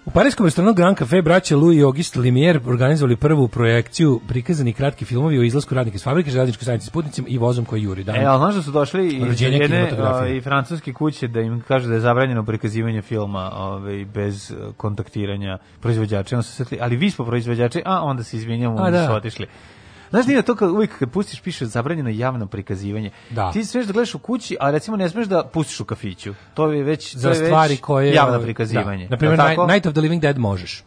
S6: U parijskom restoranu Grand Café braće Louis i Auguste Lumière organizovali prvu projekciju prikazani kratki filmovi o izlasku radnika iz fabrike, železničkoj stanici s putnicima i vozom koji juri. Dan.
S5: E, ali znaš da su došli iz
S6: Rođenje
S5: jedne
S6: kinematografije.
S5: o, i francuske kuće da im kaže da je zabranjeno prikazivanje filma ovaj, bez e, kontaktiranja proizvođača. I Onda su se setili, ali vi smo proizvođači, a onda se izvinjamo,
S6: A,
S5: onda
S6: da.
S5: su otišli. Znaš, nije to kad uvijek kad pustiš piše zabranjeno javno prikazivanje.
S6: Da.
S5: Ti smeš da gledaš u kući, a recimo ne smeš da pustiš u kafiću. To je već to
S6: za
S5: je već
S6: stvari koje...
S5: javno prikazivanje.
S6: Da. Naprimjer,
S5: Jel tako?
S6: Night- Night of the Living Dead možeš.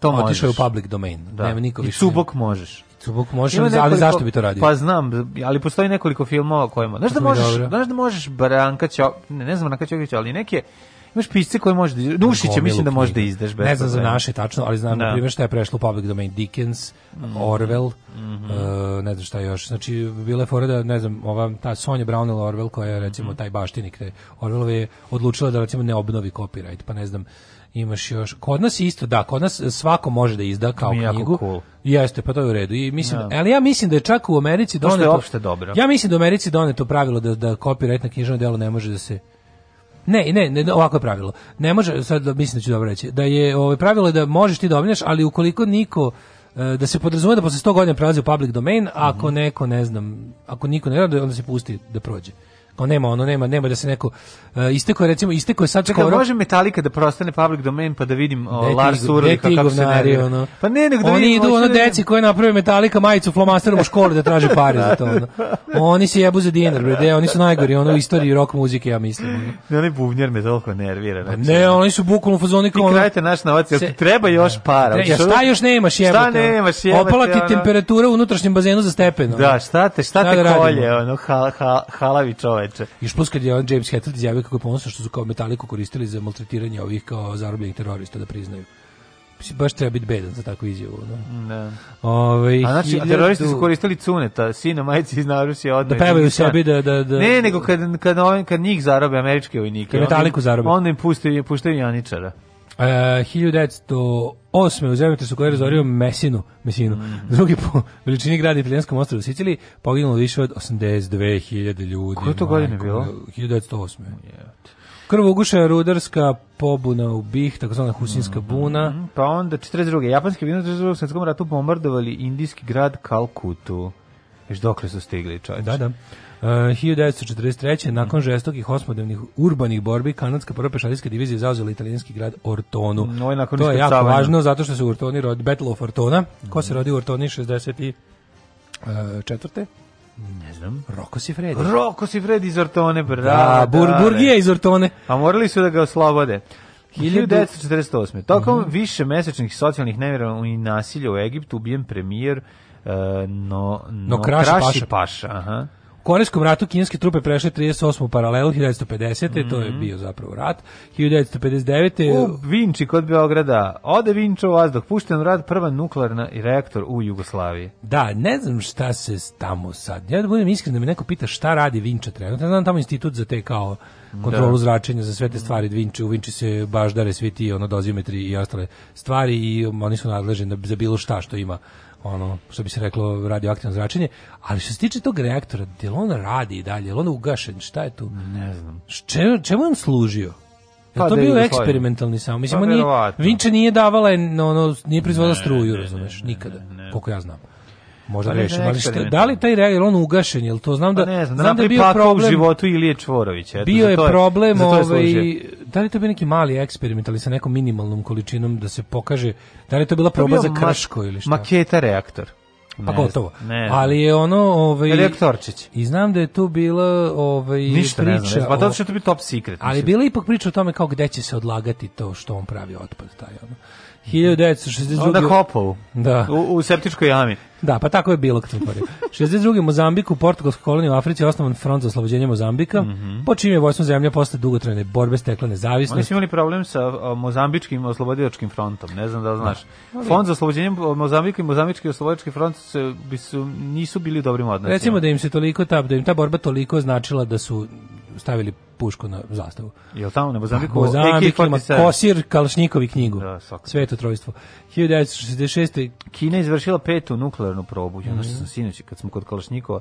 S5: to
S6: Otišao je u
S5: možeš.
S6: public domain.
S5: Da.
S6: Nema niko
S5: I
S6: više.
S5: subok možeš.
S6: Subok možeš,
S5: Ima
S6: ali
S5: nekoliko-
S6: zašto bi to radio?
S5: Pa znam, ali postoji nekoliko filmova kojima. Znaš da
S6: To mi je
S5: možeš,
S6: dobro.
S5: znaš da možeš Branka Ćo, ne, ne znam Branka Ćokić, ali neke imaš pisce koje možeš da izdaš. Dušića
S6: Gomilu
S5: mislim da možeš da
S6: knjiga.
S5: izdaš bez
S6: Ne znam za
S5: problema.
S6: naše tačno, ali znam
S5: Da. Mhm.
S6: na primjer šta je prešlo u public domain Dickens, Orwell, e, ne znam šta još. Znači bila je fora da ne znam, ova ta Sonja Brownell Orwell koja je recimo
S5: Mhm.
S6: taj baštinik te Orwellove je odlučila da recimo ne obnovi copyright, pa ne znam imaš još. Kod nas je isto, da, kod nas svako može da izda kao
S5: mi je jako
S6: knjigu.
S5: cool.
S6: Jeste, pa to je u redu. I mislim, ali ja mislim da je čak u Americi
S5: To što je
S6: doneto
S5: opšte dobro.
S6: Ja mislim da u Americi doneto pravilo da da copyright na knjižno delo ne može da se ne, ne, ne, ovako je pravilo. Ne može, sad da- mislim da ću dobro reći, da je ovaj, pravilo je da možeš ti da obneš, ali ukoliko niko, e, da se podrazumije da posle 100 godina prelazi u public domain, ako
S5: Mhm.
S6: neko, ne znam, ako niko ne radi, onda se pusti da prođe. Kao nema, ono nema, nema da se neko, e, isteko je recimo, isteko je sad
S5: Čekaj,
S6: skoro,
S5: može Metallica da prostane public domain pa da vidim o,
S6: Gde ti
S5: Lars
S6: gov-
S5: Ulrika
S6: gde ti
S5: kako se
S6: govnari,
S5: nervira.
S6: ono?
S5: Pa ne, nego da
S6: Oni
S5: vidim,
S6: idu
S5: hoću
S6: ono
S5: da vidim.
S6: deci koji naprave metalika majicu flomasterom u školi da traže pare za to. Ono. Oni se jebu za dinar, bre, de, oni su najgori ono, u istoriji rock muzike, ja mislim. ono.
S5: Ne, onaj bubnjar me toliko nervira. znači.
S6: Ne, oni su bukvalno u fazoni
S5: Vi
S6: kao Pa ono...
S5: krajete naš novac, jel
S6: Se-
S5: ti treba još para?
S6: Tre, ja,
S5: Hoćeš
S6: šta
S5: ono-
S6: još nemaš jebote?
S5: Šta
S6: ono?
S5: nemaš jebote?
S6: Opala ti
S5: ono?
S6: temperatura u unutrašnjem bazenu za stepen. ono.
S5: Da, šta te, šta,
S6: Šta
S5: te
S6: da radimo?
S5: kolje, ono, hal, hal, halavi čoveče.
S6: Još plus kad je on James Hetfield izjavio kako je ponosan što su kao metaliku koristili za maltretiranje ovih kao zarobljenih terorista da priznaju. Mislim, Baš treba biti bedan za takvu izjavu. ono.
S5: Da.
S6: Ove,
S5: A znači, a teroristi su koristili cuneta, sina majici iz Narusije odmah.
S6: Da pevaju
S5: iz Indijana.
S6: sebi da- da- da-
S5: Ne, nego kad, kad, on, kad njih zarobe američke vojnike.
S6: Kad Metaliku zarobe.
S5: Onda im puštaju, puštaju janičara.
S6: Uh, 1908. u zemljotresu koji je
S5: Mhm.
S6: razorio Mesinu, Mesinu. drugi po veličini grada italijanskom ostrovu Siciliji, poginulo više od 82.000 ljudi.
S5: Koje to godine
S6: Majko,
S5: bilo?
S6: 1908. Krvoguša rudarska pobuna u Bih, takozvana Husinska buna.
S5: Pa onda 42. Japanski vino u drugom svjetskom ratu bombardovali indijski grad Kalkutu. Viš dokle su stigli čovječe.
S6: Da, da. Uh, 1943. nakon žestokih osmodnevnih urbanih borbi kanadska prva pešadijska divizija zauzela italijanski grad Ortonu.
S5: Mm, ovo je nakon
S6: to je jako
S5: iskrcavanja.
S6: važno zato što se u Ortoni rodi Battle of Ortona. Ko se rodi u Ortoni e, 64.
S5: Ne znam.
S6: Roko si Fredi.
S5: Roko si Fred iz Ortone, brada.
S6: Da, Bur, Burgije
S5: ne.
S6: iz Ortone.
S5: A Pa morali su da ga oslobode.
S6: Hiljadu- Mhm.
S5: 1948. Tokom više mesečnih socijalnih nevjera i nasilja u Egiptu ubijen premijer e, no, no,
S6: Kraši Paša.
S5: Paša. Aha.
S6: U Korejskom ratu kineske trupe prešle 38. paralelu 1950. To je bio zapravo rat. 1959.
S5: Mhm. U Vinči kod Beograda. Ode Vinča u vazduh. Pušten u rad prva nuklearna i reaktor u Jugoslaviji.
S6: Da, ne znam šta se tamo sad. Ja da budem iskren da me neko pita šta radi Vinča trenutno. Ja znam tamo institut za te kao kontrolu zračenja za sve te stvari Vinče, u Vinči se baždare svi ti ono dozimetri i ostale stvari i um, oni su nadležni da- za bilo šta što ima ono što bi se reklo radioaktivno zračenje, ali što se tiče tog reaktora, je li on radi i dalje, je li on ugašen, šta je tu?
S5: Ne znam.
S6: S Čemu, čemu je on služio? Je
S5: Pa
S6: to
S5: da
S6: bio
S5: Jugoslavija.
S6: eksperimentalni samo? Mislim,
S5: Pa
S6: on nije,
S5: verovatno.
S6: Vinče nije davala, je, no, ono, nije proizvodila struju, razumeš, nikada, koliko ja znam. Možda
S5: Pa ne,
S6: grešim,
S5: ne,
S6: ali šta,
S5: eksperimentalni.
S6: da li taj reagir, on ugašen, jel to znam da,
S5: Pa ne znam, da
S6: znam da
S5: napravi
S6: je bio
S5: pakao u
S6: problem,
S5: životu Ilije Čvorovića. Eto,
S6: bio je
S5: za to
S6: problem,
S5: za to je
S6: ovaj,
S5: služio.
S6: da li je to bio neki mali eksperiment, ali sa nekom minimalnom količinom da se pokaže, da li je to bila proba
S5: Bio
S6: za
S5: ma-
S6: krško ili šta?
S5: Maketa reaktor.
S6: pa
S5: Ne
S6: gotovo.
S5: znam, ne znam.
S6: ali je ono, ovaj,
S5: Reaktorčić.
S6: i znam da je tu bila ovaj,
S5: Ništa
S6: priča
S5: ne znam. ne znam. Pa
S6: o-
S5: to što to bi top secret.
S6: Ali
S5: mislim.
S6: bila je ipak priča o tome kao gde će se odlagati to što on pravi otpad taj ono. 1962.
S5: Onda Kopovu.
S6: Da.
S5: U, u septičkoj jami.
S6: Da, pa tako je bilo kad sam
S5: <laughs>
S6: govorio. 62. Mozambik u portugalskoj koloniji u Africi je osnovan front za oslobođenje Mozambika, po čim je vojstvo zemlja posle dugotrajne borbe stekla
S5: Mhm. Oni
S6: nezavisnost.
S5: su imali problem sa a, mozambičkim oslobodilačkim frontom, ne znam da li znaš. Fond za oslobođenje Mozambika i mozambički oslobodilački front se, bi su, nisu bili u dobrim odnosima.
S6: Recimo da im se toliko ta, da im ta borba toliko značila da su stavili pušku na zastavu.
S5: Jel tamo na Mozambiku?
S6: Mozambik Pa, ima
S5: AK-47.
S6: Kosir Kalašnjikovi knjigu.
S5: Da, svakako.
S6: Sveto trojstvo. 1966.
S5: Kina je izvršila petu nuklearnu probu. Ja znaš što
S6: Mhm.
S5: sam sinoć, kad smo kod Kalašnikova,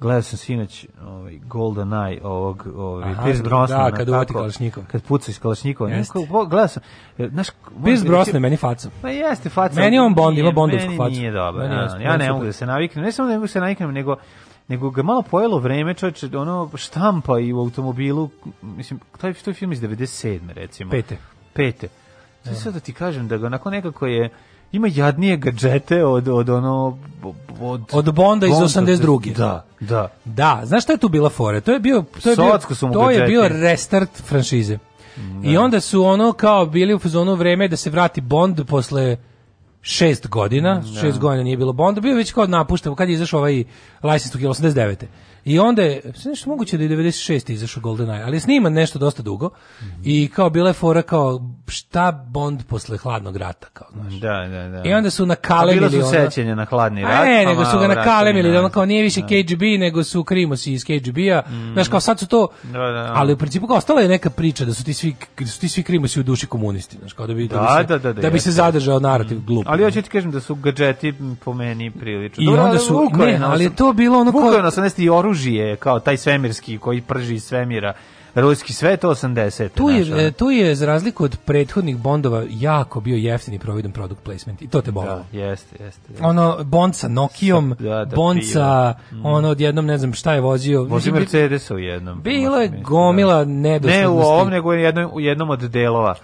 S5: gledao sam sinoć ovaj, Golden Eye ovog, ovaj,
S6: Aha,
S5: Pierce
S6: da,
S5: Brosnana.
S6: kad
S5: tako,
S6: uvati Kalašnikov.
S5: Kad puca iz Kalašnikova.
S6: Jeste.
S5: Jeste. Gledao sam, e, znaš...
S6: Pierce
S5: moram-
S6: Brosnan, meni faca.
S5: Pa jeste faca.
S6: Meni on Bond,
S5: Nije,
S6: ima bondovsku facu.
S5: Meni nije dobro.
S6: Meni
S5: ja,
S6: jeste,
S5: ja
S6: meni
S5: ne
S6: super.
S5: mogu da se naviknem. Ne samo da ne mogu da se naviknem, nego nego ga malo pojelo vreme, čovječe, ono štampa i u automobilu, mislim, taj, to je film iz 97. recimo.
S6: Pete.
S5: Pete. To je sad da ti kažem da ga onako nekako je, ima jadnije gadžete od, od ono... Od,
S6: Od Bonda iz 82..
S5: Da, da.
S6: Da, znaš šta je tu bila fora? To je bio to je bio,
S5: Socko su mu Mm,
S6: to je
S5: budžeti.
S6: bio restart franšize. I onda su ono kao bili u fazonu vreme da se vrati Bond posle šest
S5: Mm,
S6: godina, šest godina nije bilo Bonda, bio je već kao napušten, kad je izašao ovaj License to Kill 89. I onda je, sve nešto moguće da je 96. izašao GoldenEye, ali je sniman nešto dosta dugo
S5: Mhm.
S6: i kao bila je fora kao šta Bond posle hladnog rata, kao znaš.
S5: Da, da, da.
S6: I onda su
S5: Bila
S6: nakalemili
S5: su
S6: ono-
S5: sećenja na hladni rat.
S6: a ne,
S5: pa
S6: nego su ga
S5: malo
S6: nakalemili,
S5: vratili
S6: da ono
S5: nazad.
S6: kao nije više KGB, nego su krimosi iz KGB-a. Znaš, kao sad su to...
S5: Mm. Da, da, da.
S6: Ali u principu kao ostala je neka priča da su ti svi, da su ti svi krimosi u duši komunisti. Znaš, kao da bi, bi
S5: Da,
S6: se,
S5: da, da, da,
S6: bi se
S5: jeste. Mm.
S6: zadržao narativ glup.
S5: Ali ja ću ti kažem da su gadžeti m, po meni prilično.
S6: I onda su- ne, ali je to bilo ono
S5: kao...
S6: kao-
S5: Vukovina 80 i oružje, kao taj svemirski koji prži iz svemira. Ruski sve je to 80.
S6: tu je,
S5: znaš, ono.
S6: e, tu je, za razliku od prethodnih Bondova, jako bio jeftin i providan product placement. I to te bolalo.
S5: Da, jeste, jeste. jeste.
S6: ono Bond sa Nokijom,
S5: Sa- <laughs> da, da,
S6: Bond
S5: pivo.
S6: sa ono odjednom ne znam šta je vozio.
S5: Vozi
S6: Mislim, bi-
S5: Mercedes u jednom.
S6: Bilo je
S5: Mislim, da. Ne
S6: gomila
S5: u
S6: nedoslednosti.
S5: ovom, nego u jednom, u jednom od delova.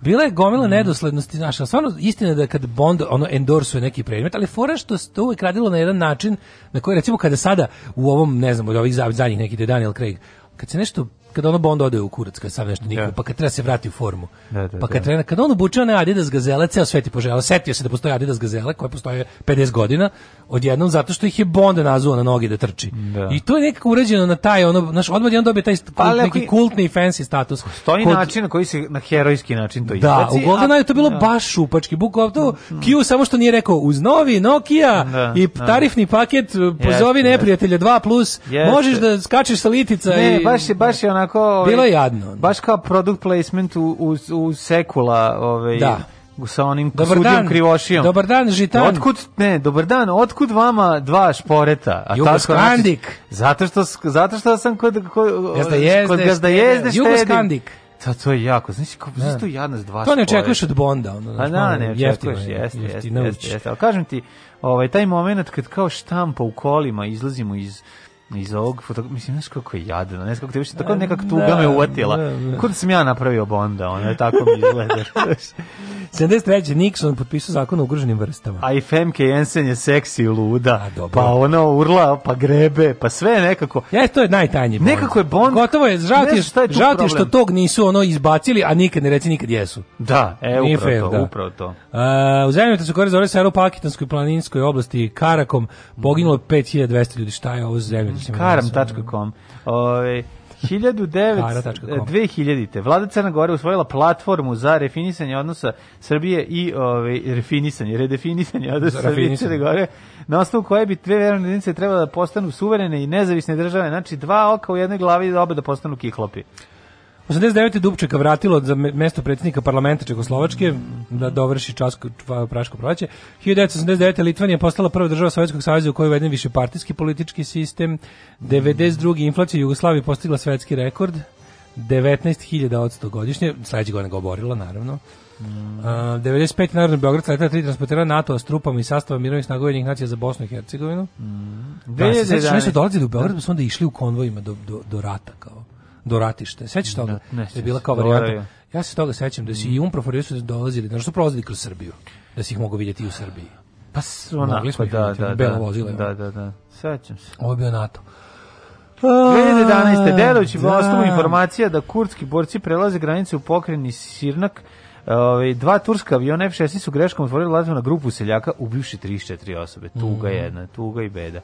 S6: Bila je
S5: Mhm.
S6: gomila nedoslednosti, znaš, ali stvarno istina je da kad Bond ono endorsuje neki predmet, ali fora što se to uvek radilo na jedan način na koji recimo kada sada u ovom, ne znam, od ovih za- zadnjih nekih da je Daniel Craig, kad se nešto kada ono Bond ode u kurac, kad sam nešto nikne,
S5: Da.
S6: pa kad treba se vrati u formu.
S5: Da, da,
S6: pa kad
S5: da.
S6: treba, kad on obuče one Adidas gazele, ceo svet je poželao. Setio se da postoje Adidas gazele koje postoje 50 godina, odjednom zato što ih je Bond nazvao na noge da trči.
S5: Da.
S6: I to je nekako urađeno na taj, ono, znaš, odmah on dobije taj st-
S5: Pa, ali
S6: kult-
S5: ako
S6: neki
S5: i-
S6: kultni i fancy status.
S5: To je
S6: Kod-
S5: način na koji se na herojski način to
S6: da,
S5: izbaci.
S6: u GoldenEye je to bilo
S5: a- Mm,
S6: baš šupački, bukvalno to Q samo što nije rekao uz novi Nokia
S5: Da,
S6: i
S5: da.
S6: tarifni paket e, pozovi
S5: Jeste,
S6: neprijatelja 2+, plus,
S5: Jeste.
S6: možeš da skačeš sa litica
S5: Ne,
S6: i...
S5: baš je, baš je onako... ovaj,
S6: Bilo je jadno.
S5: Baš kao product placement u, u, u sekula ovaj,
S6: Da.
S5: sa onim
S6: Dobar
S5: sudijom
S6: dan.
S5: krivošijom.
S6: Dobar dan, Žitan.
S5: Otkud, ne, dobar dan, otkud vama dva šporeta? A
S6: Jugoskandik.
S5: tako, znači, Zato što, s- zato što sam kod, kod,
S6: Gazdajezde
S5: kod gazdajezde
S6: štedim.
S5: štedim.
S6: Jugoskandik.
S5: Da, to je jako. Znači, kako, znači to jadno s dva
S6: To ne
S5: šporeta.
S6: očekuješ od Bonda. Ono,
S5: A
S6: znaš,
S5: Pa da,
S6: malo
S5: ne,
S6: jeftino
S5: očekuješ,
S6: je,
S5: jeste, jeste,
S6: jeftino
S5: jeste,
S6: ući.
S5: jeste. Ali kažem ti, ovaj, taj moment kad kao štampa u kolima izlazimo iz iz ovog fotogra- mislim, znaš kako je jadno, ne znaš kako te više, tako nekak tuga
S6: E, da,
S5: me uvatila.
S6: da, da.
S5: Kod sam ja napravio Bonda, ono je tako mi izgleda. <laughs>
S6: 73. Nixon potpisao zakon o ugroženim vrstama.
S5: A i Femke Jensen je seksi i luda,
S6: A, dobro.
S5: pa ono urla, pa grebe, pa sve je nekako...
S6: Ja, E, to je najtanji Bond.
S5: Nekako je Bond-
S6: Gotovo je, žao ti je,
S5: Znaš šta je tu
S6: žao ti je što
S5: problem?
S6: tog nisu ono izbacili, a nikad ne reci nikad jesu.
S5: Da, e,
S6: Nije
S5: upravo
S6: fair,
S5: to,
S6: da.
S5: upravo to.
S6: Uh, u zemljotu su gore zove sero u Pakistanskoj planinskoj oblasti Karakom poginulo 5200 ljudi. Šta je ovo za zemljotu?
S5: Karam.com. Ove, 1900,
S6: Kara.com.
S5: 2000. Vlada Crna Gora usvojila platformu za refinisanje odnosa Srbije i ove, refinisanje, redefinisanje odnosa
S6: Za
S5: Srbije i
S6: refinisanje.
S5: Crne Gore, na osnovu koje bi dve verovne jedinice trebala da postanu suverene i nezavisne države. Znači, dva oka u jednoj glavi da oba da postanu kihlopi.
S6: 89. Dubčeka vratilo za me- mesto predsjednika parlamenta Čekoslovačke da dovrši časko, čva- praško proleće. 1989. Litvanija postala prva država Sovjetskog saveza u kojoj je uveden višepartijski politički sistem. 92. inflacija u Jugoslaviji postigla svetski rekord. 19.000 od 100 godišnje, sledeće godine ga oborila, naravno. A, 95. Narodno Beograd sletela tri transportera NATO s trupama i sastava mirovnih snaga Ujedinjenih nacija za Bosnu i Hercegovinu. Da, se sećaš, oni su
S5: 2011.
S6: dolazili u Beograd, pa su onda išli u konvojima do, do, do rata, kao, do ratište. Sećaš toga?
S5: ne
S6: Da je
S5: sjećam
S6: bila
S5: se.
S6: kao
S5: Dobro Mm.
S6: varijanta.
S5: je.
S6: Ja se toga sećam da si i Umprofor su dolazili, da su prolazili kroz Srbiju, da si ih mogu vidjeti i u Srbiji.
S5: Pa su
S6: Mogli
S5: onako,
S6: smo ih
S5: da,
S6: vidjeti, ono,
S5: da,
S6: belo
S5: da,
S6: vozilo, evo.
S5: da, da, da, sećam se.
S6: Ovo je bio NATO.
S5: 2011. Delović
S6: Da.
S5: da. osnovu informacija da kurdski borci prelaze granice u pokreni Sirnak. Ovaj, dva turska aviona F-16 su greškom otvorili lazu na grupu seljaka, ubivši 34 osobe.
S6: Mm.
S5: Tuga jedna, tuga i beda.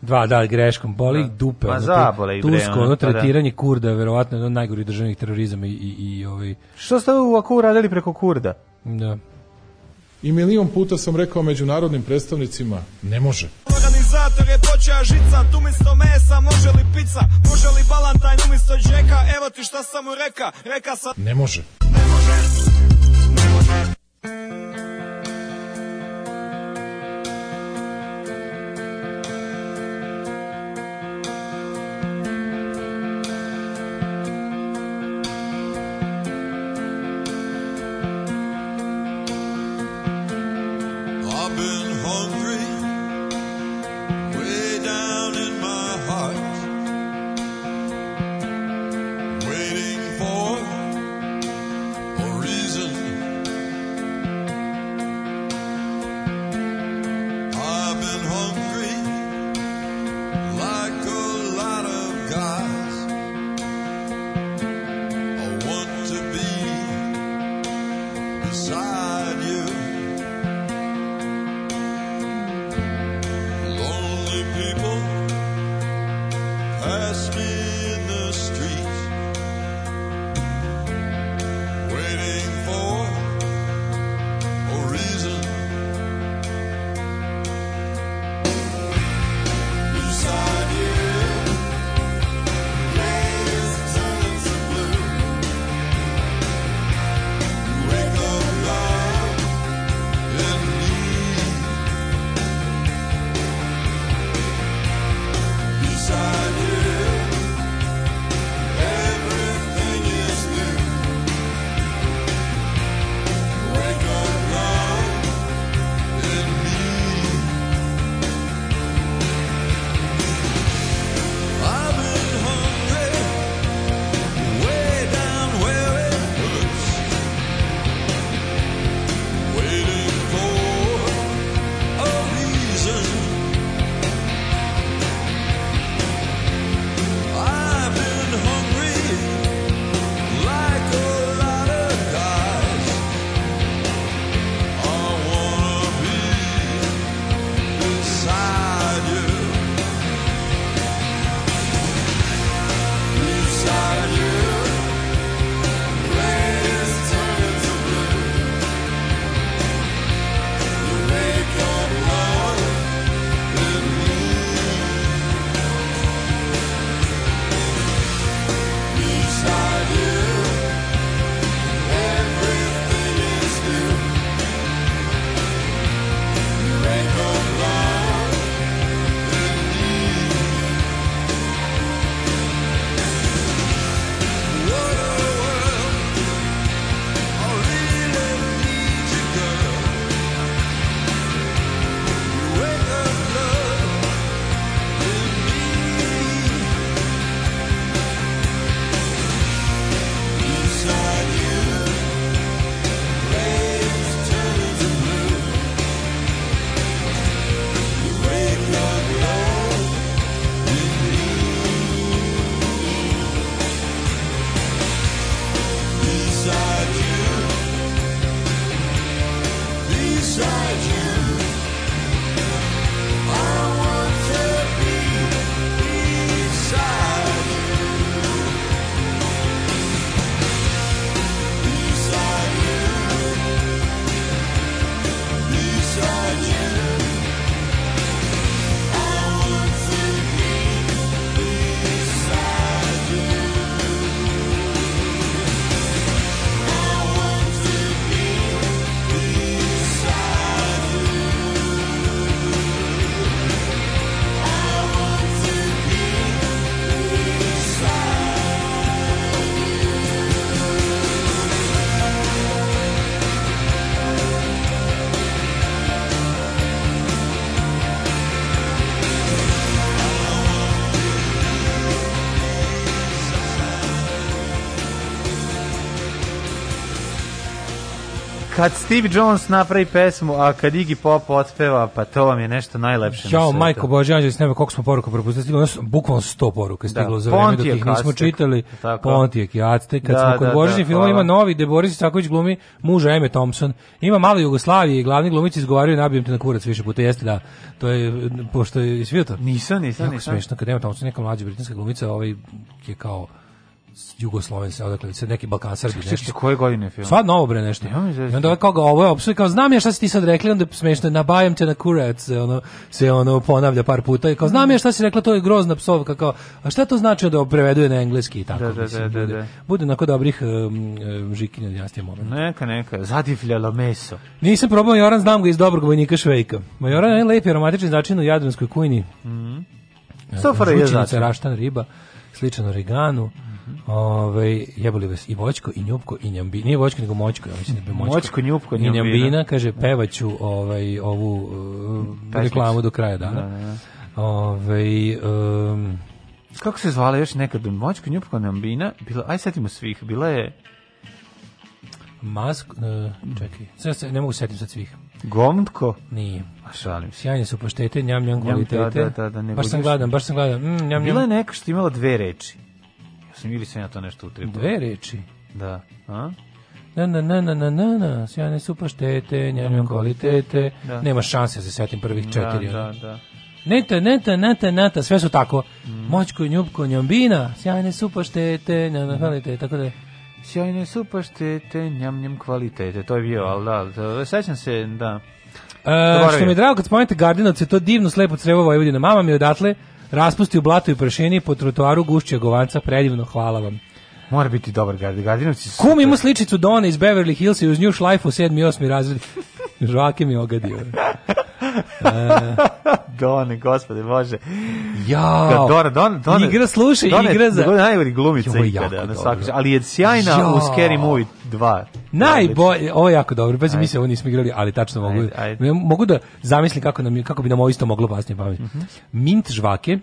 S6: Dva, da, greškom, boli ih dupe.
S5: Ma
S6: ono, tu-
S5: Pa zabole ih, bre,
S6: Tursko, ono,
S5: ono, pa da.
S6: tretiranje kurda, je verovatno, jedno od najgorih državnih terorizama i, i, i ovaj,
S5: Što ste ovako uradili preko Kurda?
S6: da.
S12: I milion puta sam rekao međunarodnim predstavnicima, ne može.
S8: Organizacija
S9: Sator je počeja žica Tu misto mesa može li pizza Može li balantajn umjesto džeka Evo ti šta sam mu reka Reka sam
S13: Ne može.
S1: I've been hungry way down in my heart, waiting for a reason. I've been hungry like a lot of guys. I want to be beside you. Lonely people pass me in the street, waiting for a reason. Beside you, layers and tons of blue. Wake up, love, in me. Beside you, everything is new. Wake up love in me. I've been hungry, way down where it hurts, waiting for a reason. I've been hungry like a lot of guys. I wanna be beside you, beside you. Rays turn to blue. You make your love in me. Beside you, everything is new. Wake up, love, in me. What a world! I really need you, girl. Wake up, love, in me. Beside you, waves turn to blue. You wake up low in me. Beside you, beside you, I want to be beside you. Beside you, beside you, I want to be beside you. I want to be beside you. I want to be beside you.
S5: Kad Steve Jones napravi pesmu, a kad Iggy Pop otpeva, pa to vam je nešto najlepše na
S6: Ćao,
S5: svetu.
S6: majko Bože, anđeli s neba, koliko smo poruka propustili, stiglo, nas bukvalno 100 poruka je
S5: Da,
S6: stiglo za vreme dok
S5: Pontijek,
S6: ih nismo
S5: Aztek,
S6: čitali.
S5: tako.
S6: Pontijek i Aztek, kad
S5: Da,
S6: smo kod
S5: da,
S6: da,
S5: da,
S6: Božićnih filmova,
S5: hvala.
S6: ima novi, gde Boris Isaković glumi muža Eme Thompson, ima malo Jugoslavije i glavni glumici izgovaraju nabijem te na kurac više puta, jeste da, to je, m, pošto je, jesi vidio to?
S5: Nisam, nisam,
S6: Jako
S5: nisam.
S6: smešno, kad Ema Thompson, neka mlađa britanska glumica, ovaj je kao Jugosloven se odakle, se neki Balkan Srbi
S5: Čekaj,
S6: nešto.
S5: koje godine je film?
S6: Sad novo bre nešto.
S5: Nemam izvesti.
S6: I onda ovaj koga ovo je opsuje kao znam ja šta si ti sad rekli, onda je smešno nabajam te na kurac, se ono se ono ponavlja par puta i kao znam ja šta si rekla, to je grozna psovka kao. A šta to znači da preveduje na engleski i tako?
S5: Da, da,
S6: mislim,
S5: da, da,
S6: bude-
S5: da.
S6: Bude onako dobrih um, um, Žikina dinastije moment.
S5: Neka, neka, zadivljalo meso.
S6: Nisam probao Majoran, znam ga iz dobrog vojnika Švejka. Majoran je lep i aromatični začin u jadranskoj kujni.
S5: Mhm.
S6: E,
S5: Sofara je
S6: žučinica,
S5: začin.
S6: raštan riba, sličan origanu. Ovaj jebali vas i voćko i njupko i njambi. Nije voćko nego moćko, ja mislim da bi moćko.
S5: Moćko, njupko,
S6: I
S5: njambina.
S6: njambina, kaže pevaću ovaj ovu uh,
S5: Pesmicu.
S6: reklamu do kraja dana.
S5: Da, da, da.
S6: Ovaj um,
S5: Kako se zvala još nekad? Moćko Njupko Nambina? Bila, aj setimo svih. Bila je
S6: mask, uh, čekaj. Sad se ne mogu setim sad svih.
S5: Gomtko?
S6: Nije.
S5: A šalim se.
S6: Sjajne su paštete, njam njam kvalitete.
S5: da, da, da, nego
S6: baš sam
S5: još-
S6: gladan, baš sam gladan. Mm, njam, njam.
S5: Bila je neka što je imala dve reči. Ja sam ili sam ja to nešto utripao.
S6: Dve reči.
S5: Da. A?
S6: Na na na na na na na, sjajne su paštete, njam kvalitete.
S5: Da.
S6: Nema šanse da se setim prvih četiri.
S5: Da,
S6: ono.
S5: da, da.
S6: Neta, neta, neta, neta, sve su tako. Moćko, njubko, njombina, sjajne su paštete, njam njam kvalitete, tako da. E,
S5: Sjajne su paštete, njam njam kvalitete. To je bio, ali da, da, sećam se, da.
S6: E,
S5: Zaboravio.
S6: što mi je drago kad spomenete Gardinovce, to divno slepo crevo Vojvodina. Mama mi je odatle raspusti u blatu i prašini po trotoaru gušća govanca, predivno, hvala vam.
S5: Mora biti dobar gard. Gardinovci su...
S6: Kum ima sličicu Done iz Beverly Hills i uz nju šlajfu 7. i 8. razred. <laughs> Žvake mi je ogadio.
S5: Done, gospode, bože.
S6: Jao.
S5: Dora, Don, Don,
S6: Igra, slušaj, igra za-
S5: Dona je najgori glumica
S6: Joj,
S5: ikada,
S6: jako
S5: na
S6: dobro.
S5: svaki, ali je sjajna u
S6: Jao.
S5: Scary Movie 2.
S6: Najbolje, ovo je jako dobro, bez mi se ovo nismo igrali, ali tačno mogu,
S5: Ajde, ajde.
S6: ja mogu da zamislim kako, nam, je- kako bi nam ovo isto moglo pasnije pamet.
S5: Mhm.
S6: Mint žvake,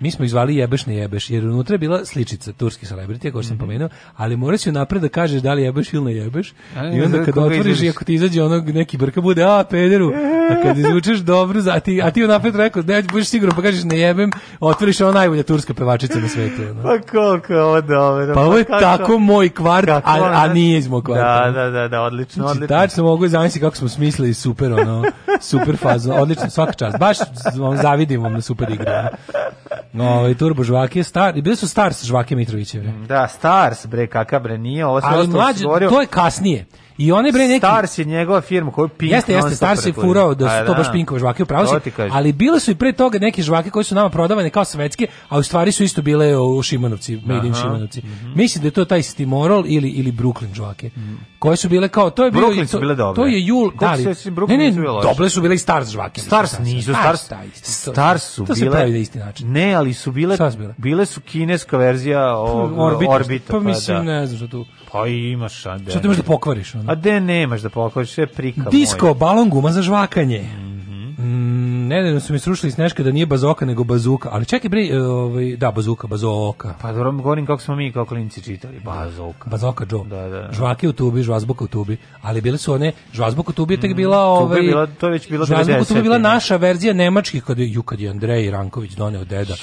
S6: mi smo ih zvali jebeš ne jebeš, jer unutra je bila sličica turskih celebrity,
S5: Mhm.
S6: kao što sam pomenuo, ali moraš joj napred da kažeš da li jebeš ili ne jebeš,
S5: A,
S6: i onda
S5: za
S6: kad
S5: koga
S6: otvoriš i
S5: izvadiš?
S6: ako ti izađe onog neki brka bude, a pederu, a kad izvučeš dobro, za, a ti, a ti napred rekao, ne, budeš sigurno, pa kažeš ne jebem, otvoriš ona najbolja turska pevačica na svetu.
S5: <laughs>
S6: ono.
S5: Pa koliko je ovo dobro.
S6: Pa ovo je
S5: kako-
S6: tako moj kvart, a,
S5: kako
S6: a
S5: ona-
S6: nije iz mog kvarta. ono.
S5: Da, da, da, da, odlično,
S6: Znači,
S5: odlično.
S6: tačno mogu zamisliti kako smo smislili super, ono, super fazu, odlično, svaka čast. Baš z- vam zavidim vam na super igru. No, i Turbo žvake, star, i bili su Stars žvake Mitrovićeve.
S5: Da, Stars, bre, kakav bre, nije, ovo sve
S6: Ali
S5: ostalo
S6: mlađe,
S5: se govorio-
S6: to je kasnije. I one bre neki...
S5: Stars je njegova firma koju Pink
S6: Jeste, jeste,
S5: non-stop
S6: Stars je
S5: reklama.
S6: furao da
S5: A,
S6: su to baš pinkove žvake, upravo
S5: Pa To
S6: si,
S5: ti kažem.
S6: ali bile su i pre toga neke žvake koje su nama prodavane kao svetske, a u stvari su isto bile u Šimanovci, made in
S5: Aha. mhm.
S6: Šimanovci. Mislim da je to taj Stimorol ili, ili Brooklyn žvake, koje su bile kao, to je bio,
S5: Brooklyn su
S6: to,
S5: bile dobre.
S6: to je jul,
S5: Koliko
S6: da li,
S5: se si- Brooklyn
S6: ne, ne,
S5: nisu bile loše.
S6: dobre su bile i Stars žvake.
S5: Stars nisu, Stars,
S6: da, Pa, isto, to-
S5: Stars su
S6: to
S5: bile...
S6: se pravi na isti način.
S5: Ne, ali su bile,
S6: Šta su bile?
S5: bile su kineska verzija ovog
S6: Orbita,
S5: Orbita.
S6: pa, mislim,
S5: da.
S6: ne znam što tu,
S5: Pa imaš, a de.
S6: što tu možeš da pokvariš, ono.
S5: A de nemaš da pokoliš, sve prika
S6: Disko,
S5: moja.
S6: balon guma za žvakanje. Mm, nedavno su mi srušili s neška da nije bazoka nego bazuka, ali čekaj bre, e, ovaj, da, bazuka, bazoka.
S5: Pa dobro, govorim kako smo mi kao klinci čitali. Bazovka.
S6: Bazoka Joe.
S5: Da, da, da.
S6: Žvake u tubi, žvazbuka u tubi. Ali bile su one, žvazbuka u tubi je tek bila...
S5: Mm, Tuba je
S6: Ovaj,
S5: bila- to je već bilo
S6: Žvazbuka u tubi je bila
S5: 90-te, ne?
S6: naša verzija nemačkih, kad je, ju, kad je Andrej Ranković doneo deda.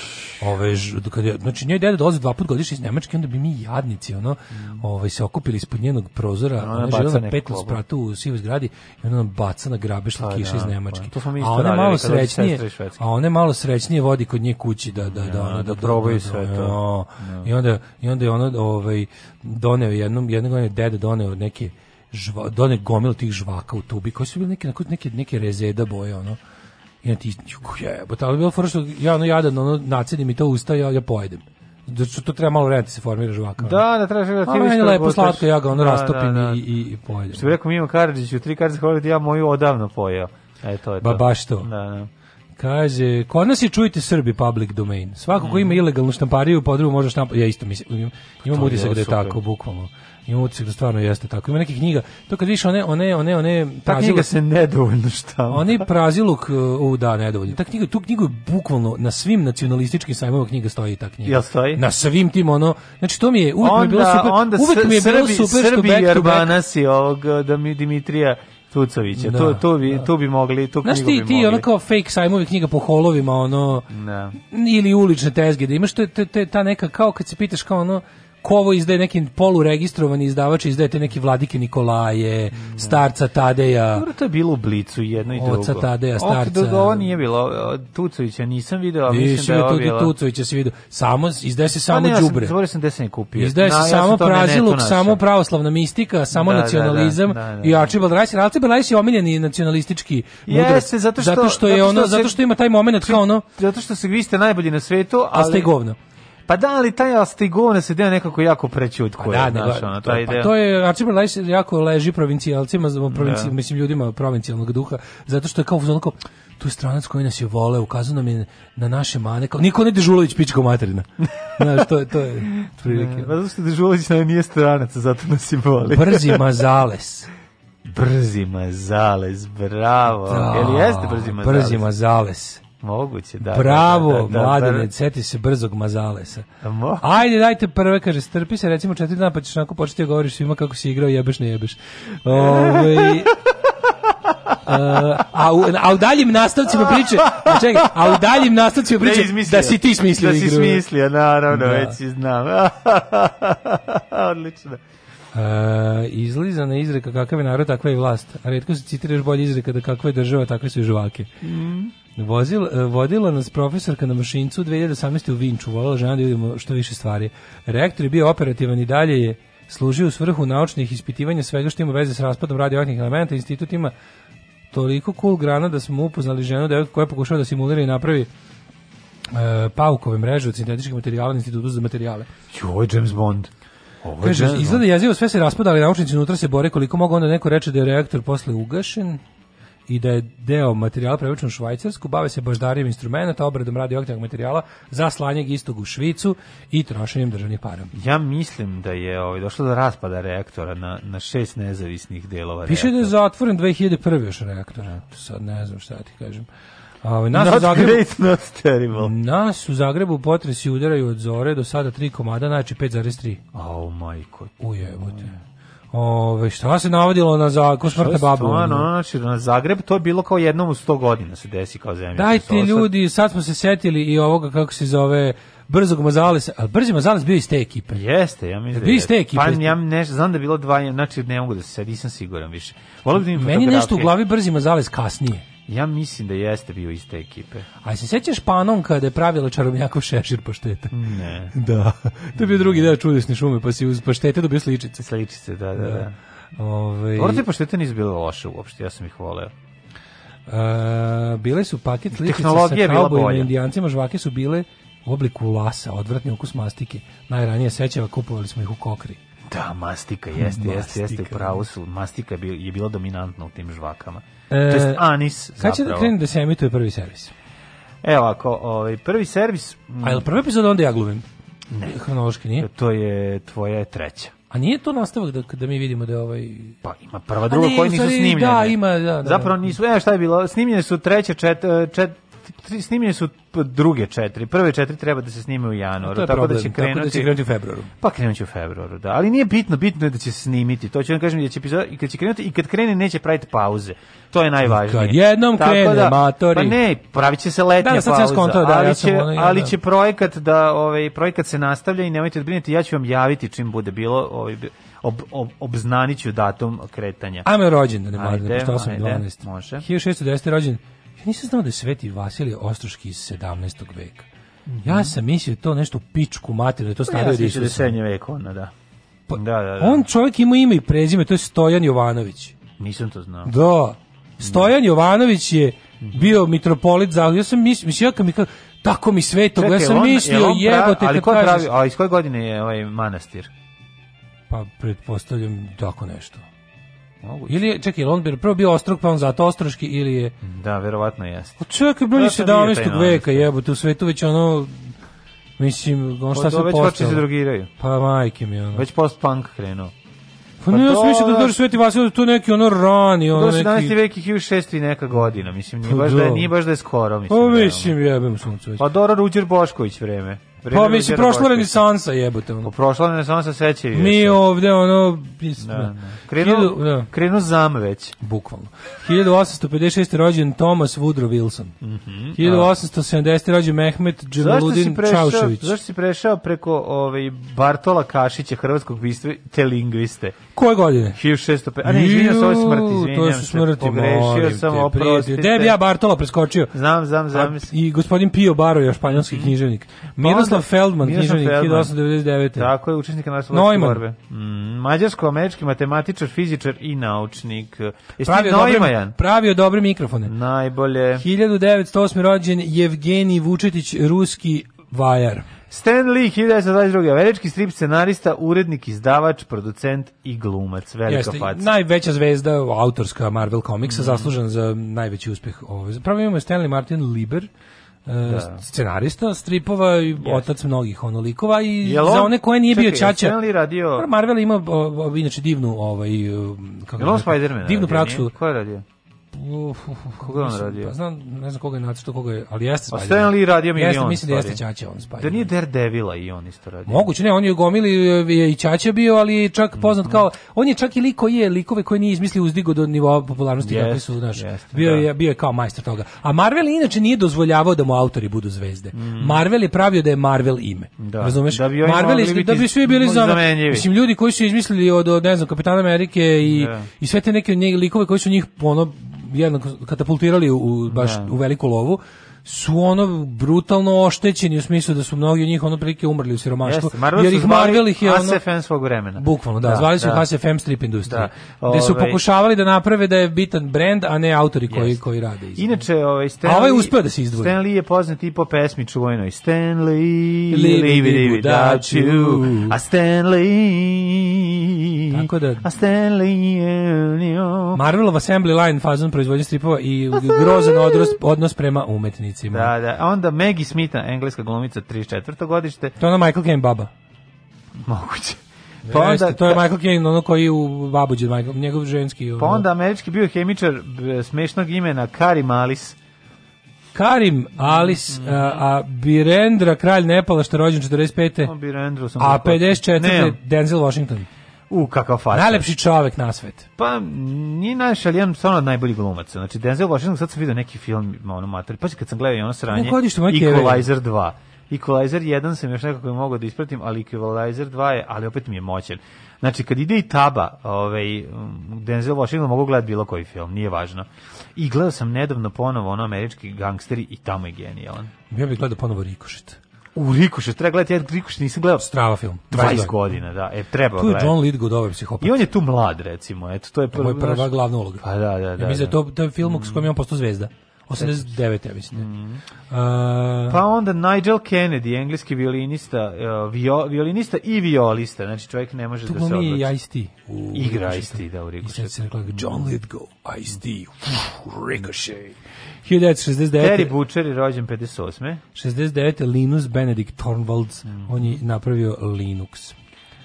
S6: Ove, ž, kad je, znači, njoj deda dolazi dva put godišnje iz Nemačke, onda bi mi jadnici, ono, ovaj, se okupili ispod njenog prozora,
S5: Mm. Ona
S6: ona je
S5: baca
S6: živjela na
S5: neku
S6: petu
S5: klobu.
S6: spratu u sivoj zgradi i ona nam baca na grabe slatkiše
S5: da,
S6: iz Nemačke.
S5: pa to smo mi
S6: a
S5: isto
S6: ona
S5: radili
S6: malo
S5: kad dođe
S6: srećnije,
S5: sestra iz Švedske.
S6: a one malo srećnije vodi kod nje kući da da da ono,
S5: da probaju sve to.
S6: jo. I onda i onda je ono ovaj doneo jednom jednog je deda doneo neke žva, doneo gomilu tih žvaka u tubi koji su bili neke onako neke neke rezeda boje ono. I ja ti jebote, ali je bilo fora što ja ono jadan ono nacedim i to usta ja ja pojedem. Da što to treba malo vremena da se formira žvaka. ono.
S5: Da, da, tražim da ti
S6: A meni je
S5: vidiš
S6: lepo
S5: kako
S6: slatko, ja ga ono
S5: Da,
S6: rastopim
S5: da, da.
S6: i, i, i pojedem.
S5: Što bi rekao Mimo Karadžić, u tri kartice hvala ja moju odavno pojeo. E, to je to.
S6: Ba, baš to.
S5: Da, da.
S6: Kaže, kod nas je čujte Srbi public domain. Svako ko ima ilegalnu štampariju u podrumu može štampati. Ja isto mislim, imam, imam
S5: Mhm. To je
S6: utisak da je
S5: super.
S6: tako, bukvalno. Imam utisak da stvarno jeste tako. Ima nekih knjiga, to kad vidiš one, one, one, one,
S5: Ta knjiga se nedovoljno šta.
S6: Oni praziluk, e, u da, nedovoljno. Ta knjiga, tu knjigu je bukvalno na svim nacionalističkim sajmovima knjiga stoji ta knjiga.
S5: Jel stoji?
S6: Na svim tim ono, znači to mi je uvek mi je bilo
S5: Onda-
S6: super.
S5: Onda
S6: uvek mi je bilo
S5: Srbi,
S6: super što
S5: Srbi
S6: back to back
S5: Jerbanas i ovog da mi Dimitrija Tucovića.
S6: Da,
S5: to, to, bi, tu bi mogli, tu
S6: Znaš
S5: knjigu
S6: ti,
S5: bi
S6: ti
S5: mogli.
S6: ono kao fake sajmovi knjiga po holovima, ono,
S5: Da.
S6: ili ulične tezge, da imaš te, te, te, ta neka, kao kad se pitaš kao ono, ko ovo izdaje neki poluregistrovani izdavač izdaje te neki Vladike Nikolaje, starca Tadeja.
S5: Dobro, to je bilo u Blicu jedno i drugo.
S6: Oca Tadeja,
S5: Ovo-
S6: starca.
S5: dok Ovo nije bilo, o, Tucovića nisam video, a mislim da
S6: Više
S5: je
S6: je
S5: ovo
S6: tu i
S5: bilo.
S6: Tucovića se vidio. Samo, izdaje se samo
S5: Pa ne, ja sam-
S6: đubre.
S5: zaboravio sam gde sam je kupio.
S6: Izdaje se
S5: Na, ja sam
S6: samo
S5: to na netu
S6: praziluk,
S5: našao.
S6: samo pravoslavna mistika, samo
S5: Da, da, da,
S6: nacionalizam
S5: da, da,
S6: i Archibald Rice. jer Archibald Rice je omiljeni nacionalistički mudrac.
S5: Jeste, zato što,
S6: zato što je ono, zato što ima taj momenat kao ono,
S5: zato što se vi ste najbolji na svetu, ali
S6: ste govno.
S5: Pa da, ali taj ali ste govno se deo nekako jako prećutkuje,
S6: Pa Da, nego,
S5: znaš, ono,
S6: to,
S5: taj
S6: pa
S5: deo.
S6: to je Archibald Rice jako leži provincijalcima, za- provinci,
S5: Da.
S6: mislim ljudima provincijalnog duha, zato što je kao onako tu je stranac koji nas je voleo, ukazao nam je na naše mane, kao Niko ne Dežulović pičko
S5: <laughs>
S6: materina. Znaš, to je, to je otprilike.
S5: Ne, <laughs> pa zato što Dežulović nam nije stranac, zato nas i voli.
S6: Brzi
S5: <laughs>
S6: mazales.
S5: Brzi mazales, bravo.
S6: Da,
S5: Jel jeste brzi mazales?
S6: Brzi mazales.
S5: Moguće, da.
S6: Bravo,
S5: da, da, da,
S6: mladene,
S5: br-
S6: seti se brzog mazalesa.
S5: mo-
S6: Ajde, dajte prve, kaže, strpi se, recimo četiri dana, pa ćeš onako početi da govoriš svima kako si igrao, jebeš, ne jebeš.
S5: <laughs>
S6: Ovaj, a, a, u, a u daljim nastavcima priče, a čekaj, a u daljim nastavcima priče,
S5: Da izmislio.
S6: da si ti smislio
S5: Da si
S6: igru.
S5: smislio, naravno,
S6: Da.
S5: već i znam. <laughs> Odlično.
S6: E, izlizana izreka kakav je narod, takva je i vlast. A redko se citira još bolje izreka da kakva je država, takve su i žvake. Vozil, e, vodila nas profesorka na mašincu u 2018. u Vinču, volala žena da vidimo što više stvari. Reaktor je bio operativan i dalje je služio u svrhu naučnih ispitivanja svega što ima veze s raspadom radioaktivnih elementa. Institut ima toliko cool grana da smo upoznali ženu devojku koja je pokušava da simulira i napravi e, paukove mreže od sintetičkih materijala na institutu za materijale.
S5: Joj, James Bond. Ovo je
S6: Kaže,
S5: James Bond.
S6: izgleda jezivo, sve se raspada, ali naučnici unutra se bore koliko mogu, onda neko reče da je reaktor posle ugašen i da je deo materijala prevučen u Švajcarsku, bave se baždarijom instrumenta, obradom radioaktivnog materijala za slanje istog u Švicu i trošenjem državnih para.
S5: Ja mislim da je ovaj, došlo do raspada reaktora na, na šest nezavisnih delova
S6: Piše da je
S5: reaktora.
S6: zatvoren 2001. još reaktor, eto, sad ne znam šta ti kažem. A, ovaj, nas, u
S5: Not
S6: Zagrebu,
S5: great, not terrible.
S6: nas u Zagrebu potresi udaraju od zore do sada tri komada, znači 5,3.
S5: Oh, majko.
S6: Ujebote. Ove, šta se navodilo na zakon
S5: To je
S6: smrtna baba?
S5: stvarno, ono, znači, na Zagreb to je bilo kao jednom u 100 godina se desi kao zemlja.
S6: Dajte ljudi, sad smo se setili i ovoga kako se zove brzog Mazalesa, ali brzi Mazales bio iz te ekipe.
S5: Jeste, ja mislim.
S6: Vi ste
S5: je-
S6: ekipa,
S5: Pa
S6: jeste?
S5: ja ne, znam da je bilo dva, ja- znači ne mogu da se sad, nisam siguran više. Volio bi
S6: Meni je nešto u glavi brzi Mazales kasnije.
S5: Ja mislim da jeste bio iz te ekipe.
S6: A se sećaš panom kada je pravila čarobnjakov šešir paštete?
S5: Ne.
S6: <laughs> Da. To je bio drugi deo čudesne šume, pa si uz paštete dobio sličice. Ovaj,
S5: Sličice, da, da, da.
S6: Ove,
S5: Dobro te poštete nisu bile loše uopšte, ja sam ih voleo.
S6: e, bile su paket sličice sa
S5: Tehnologija je bila
S6: kaubojima i
S5: bolja.
S6: indijancima, žvake su bile u obliku lasa, odvratni ukus mastike. Najranije sećava kupovali smo ih u kokri.
S5: Da, mastika, jeste, jeste, jeste, u
S6: Mastika.
S5: pravu su. Mastika je, bil, je bila dominantna u tim žvakama.
S6: E,
S5: to jest anis,
S6: Kad će da
S5: zapravo.
S6: krene da se emituje prvi servis?
S5: Evo, ako, ovaj, prvi servis, mm,
S6: A je li prva epizoda onda ja glumim? Ne. Hronološki nije.
S5: to je tvoja treća.
S6: A nije to nastavak da, da mi vidimo da je ovaj...
S5: Pa ima prva,
S6: A
S5: druga,
S6: ne,
S5: koje
S6: u
S5: nisu
S6: stvari,
S5: snimljene.
S6: da, ima, da, da, da.
S5: Zapravo nisu, evo šta je bilo, snimljene su treće, čet, e, čet, tri- snimljene su p- druge četiri. Prve četiri treba da se snime u januaru,
S6: To je
S5: tako
S6: problem,
S5: da će
S6: Tako da će
S5: krenuti.
S6: krenuti u februaru.
S5: Pa krenut će u februaru, da. Ali nije bitno, bitno je da će se snimiti. To ću vam kažem da će epizoda, i kad će krenuti, i kad krene neće praviti pauze. To je najvažnije.
S6: Kad jednom krene, matori.
S5: Pa ne, pravit će se letnja
S6: Da, sad sam
S5: pauza.
S6: skontao, da,
S5: ali,
S6: ja sam
S5: će,
S6: ono, ja,
S5: ali
S6: da.
S5: će projekat da, ovaj, projekat se nastavlja i nemojte odbriniti, ja ću vam javiti čim bude bilo, ovaj, ob, ob, obznaniću datum kretanja.
S6: Ajmo je rođen, da ne mladim,
S5: Ajde,
S6: pošto 8.
S5: ajde,
S6: 12.
S5: može.
S6: 1610. rođen. Ja nisam znao da je Sveti Vasilije Ostroški iz 17. veka. Ja sam mislio to nešto u pičku mater, da je to
S5: Mhm. Pa ja
S6: stavio
S5: sam
S6: da
S5: mislio da je srednje veko, ona, da. Da, da, da.
S6: Pa, On čovjek ima ime i prezime, to je Stojan Jovanović.
S5: Nisam to znao.
S6: Da. Stojan Jovanović je bio mitropolit za... Ja sam mislio, mislio ja kad mi kao, tako mi svetog, ja sam
S5: jel on-
S6: mislio,
S5: jel on pravi-
S6: jebote,
S5: ali
S6: kad
S5: ko je
S6: kažeš-
S5: pravi, a iz koje godine je ovaj manastir?
S6: Pa pretpostavljam tako nešto. Ili je, čekaj, jel on bi prvo bio ostrog, pa on zato ostroški, ili je...
S5: Da, verovatno jeste.
S6: Pa čekaj, bre,
S5: Hm. Zato nije taj
S6: 17.
S5: novac.
S6: veka, jebote, u svetu već ono... Mislim, on šta
S5: Pa
S6: se
S5: to već počeli se
S6: postao.
S5: drogiraju.
S6: Pa majke mi, ono.
S5: Već post-punk krenuo.
S6: Pa ne, ja
S5: to,
S6: sam mislio da
S5: znaš-
S6: dođe Sveti Vasilij, da je to neki ono rani, ono
S5: Do 17.
S6: neki...
S5: veki 1600 i neka godina, mislim, nije
S6: Pa
S5: baš da je,
S6: da.
S5: nije baš da ono. je skoro, mislim.
S6: Pa
S5: realno.
S6: mislim, jebem suncu već.
S5: Pa Dora Ruđer Bošković vreme.
S6: Pa mislim, prošla renesansa jebote. Ono.
S5: Prošla renesansa sećaju.
S6: Mi
S5: se.
S6: ovde, ono...
S5: Da, da. Krenu,
S6: Hiljadu- da.
S5: krenu zam već.
S6: Bukvalno. 1856. rođen Thomas Woodrow Wilson.
S5: Mhm.
S6: 1870. rođen Mehmet
S5: Zašto si,
S6: Džemaludin
S5: prešao,
S6: Čaušević.
S5: zašto si prešao preko ovaj, Bartola Kašića, hrvatskog bistve, te lingviste?
S6: Koje godine?
S5: 1605. A ne, izvinjam se, ovo je smrt,
S6: Ju,
S5: izvinjam
S6: To su
S5: se.
S6: smrti,
S5: Pogrešio
S6: molim
S5: sam,
S6: te,
S5: oprostite.
S6: prijatelju. Gde bi ja Bartola preskočio?
S5: Znam, znam, znam.
S6: A, I gospodin Pio Baro, je
S5: Mhm.
S6: španjolski književnik.
S5: Pa
S6: Miroslav Feldman, književnik, 1899.
S5: Tako je, učesnik naslovačke
S6: Neumann.
S5: borbe. Mm, Mađarsko-američki matematičar, fizičar i naučnik. Jesi ti Mhm.
S6: Pravio dobre,
S5: Neumann?
S6: pravio dobre mikrofone.
S5: Najbolje.
S6: 1908. rođen Evgenij Vučetić, ruski vajar.
S5: Stan Lee, 1922. Američki strip scenarista, urednik, izdavač, producent i glumac. Velika
S6: Jeste,
S5: faca.
S6: najveća zvezda autorska Marvel
S5: Mm.
S6: komiksa, zaslužen za najveći uspeh. Ove. Zapravo imamo Stanley Martin Lieber, e, scenarista stripova i otac mnogih onolikova i
S5: Jel
S6: za
S5: on-
S6: one koje nije bio
S5: čekaj,
S6: ćaća.
S5: jel Stan Lee radio-
S6: Marvel ima o, o, inače divnu ovaj e, kako
S5: Jel on
S6: bih rekao,
S5: Spider-Man? radio,
S6: Divnu praksu.
S5: nije? Ko je radio?
S6: Uf, uf, uf,
S5: Koga je on
S6: mislim,
S5: radio?
S6: Pa znam, ne znam koga je nacrtao, koga je, ali jeste
S5: A
S6: Spider-Man.
S5: Stan Lee radio milion.
S6: Jeste, mislim da jeste
S5: stvari.
S6: Ćaća on Spider-Man.
S5: Da nije Daredevila i on isto radio.
S6: Moguće, ne, on je u gomili e, je i Ćaća bio, ali je čak
S5: Mhm.
S6: poznat kao, on je čak i lik koji je likove koji nije izmislio uzdigo do nivoa popularnosti
S5: Jeste,
S6: kakvi su, znaš,
S5: jeste,
S6: bio,
S5: da.
S6: je, bio je kao majstor toga. A Marvel inače nije dozvoljavao da mu autori budu zvezde. Marvel je pravio da je Marvel ime.
S5: Mhm. Da.
S6: Razumeš?
S5: Da bi oni
S6: Marvel je-
S5: mogli biti
S6: da bi svi bili za- ono-
S5: zamenjivi.
S6: Mislim, ljudi koji su izmislili od, od, ne znam, Kapitana Amerike i,
S5: Da.
S6: i sve te neke nje- likove koji su njih ono, jednako katapultirali u, u- baš
S5: Da.
S6: u veliku lovu, su ono brutalno oštećeni u smislu da su mnogi od njih ono prilike umrli u siromaštvu.
S5: Jeste, Marvel
S6: jer
S5: su
S6: ih
S5: zvali
S6: Marvel ih je ono,
S5: ASFM svog vremena.
S6: Bukvalno, da, zvali su ih ASFM strip industrija.
S5: Da.
S6: Gde su
S5: Ovaj-
S6: pokušavali da naprave da je bitan brend, a ne autori koji,
S5: Jeste.
S6: koji rade. Iz...
S5: Inače, ovaj Stan
S6: A ovaj
S5: Lee-
S6: uspeo da se izdvoji.
S5: Stan Lee je poznat i po pesmi čuvenoj Stanley,
S6: Live
S5: live, live,
S6: it
S5: without
S6: without you.
S5: you, a Stanley,
S6: Tako da-
S5: a Stanley, you.
S6: Marvelov assembly line fazon proizvodnje stripova i grozan odnos, odnos prema umetnicima.
S5: Da, da. A onda Maggie Smitha, engleska glumica 34.
S6: <laughs>
S5: godište,
S6: To je ono Michael Caine baba.
S5: moguće.
S6: Pa to je Michael Caine, ono koji u babuđe, Michael, njegov ženski. Ono.
S5: pa onda američki biohemičar b- smešnog imena Kari Malis.
S6: ono. Karim
S5: Mm.
S6: Alis, a, a Birendra, kralj Nepala, što je rođen 45.
S5: Birendru sam
S6: E, A
S5: zakočio.
S6: 54.
S5: Pa, Nemam.
S6: Denzel Washington.
S5: U, kakav faca.
S6: Najlepši čovek na svet.
S5: Pa, nije naš, ali jedan stvarno od najboljih glumaca. Znači, Denzel Washington, sad sam vidio neki film, ono, mater, pa kad sam gledao i ono sranje,
S6: U godištu moje keve.
S5: Equalizer 2. Equalizer 1 sam još nekako mogao da ispratim, ali Equalizer 2 je, ali opet mi je moćen. Znači, kad ide i taba, ovaj, um, Denzel Washington mogu gledati bilo koji film, nije važno. I gledao sam nedavno ponovo ono američki gangsteri i tamo je genijalan.
S6: Ja bih gledao ponovo Rikošet.
S5: U Rikušu, treba gledati, ja Rikušu nisam gledao
S6: Strava film.
S5: 20 godina, da, e, treba
S6: Tu je
S5: gledati.
S6: John Lithgow dobar psihopat.
S5: I on je tu mlad, recimo, eto, to je
S6: To mu je prva
S5: znaš-
S6: glavna uloga.
S5: Pa da, da, da.
S6: ja mislim da
S5: da.
S6: je to, to je film s kojim je on postao zvezda. 89. ja mislim.
S5: Mhm.
S6: Mm. Uh,
S5: Pa onda Nigel Kennedy, engleski violinista, uh, vio, violinista i violista, znači čovjek ne može
S6: tu
S5: da se
S6: glumi
S5: odluči.
S6: i Ice-T. u
S5: Igra
S6: Rikošetu.
S5: Ice-T, da, u Rikošetu.
S6: I sad se rekla John Lithgow, Ice-T, Ricochet. 1969.
S5: Terry Butcher je rođen 58.
S6: 69. Linus Benedict Torvalds, on je napravio Linux.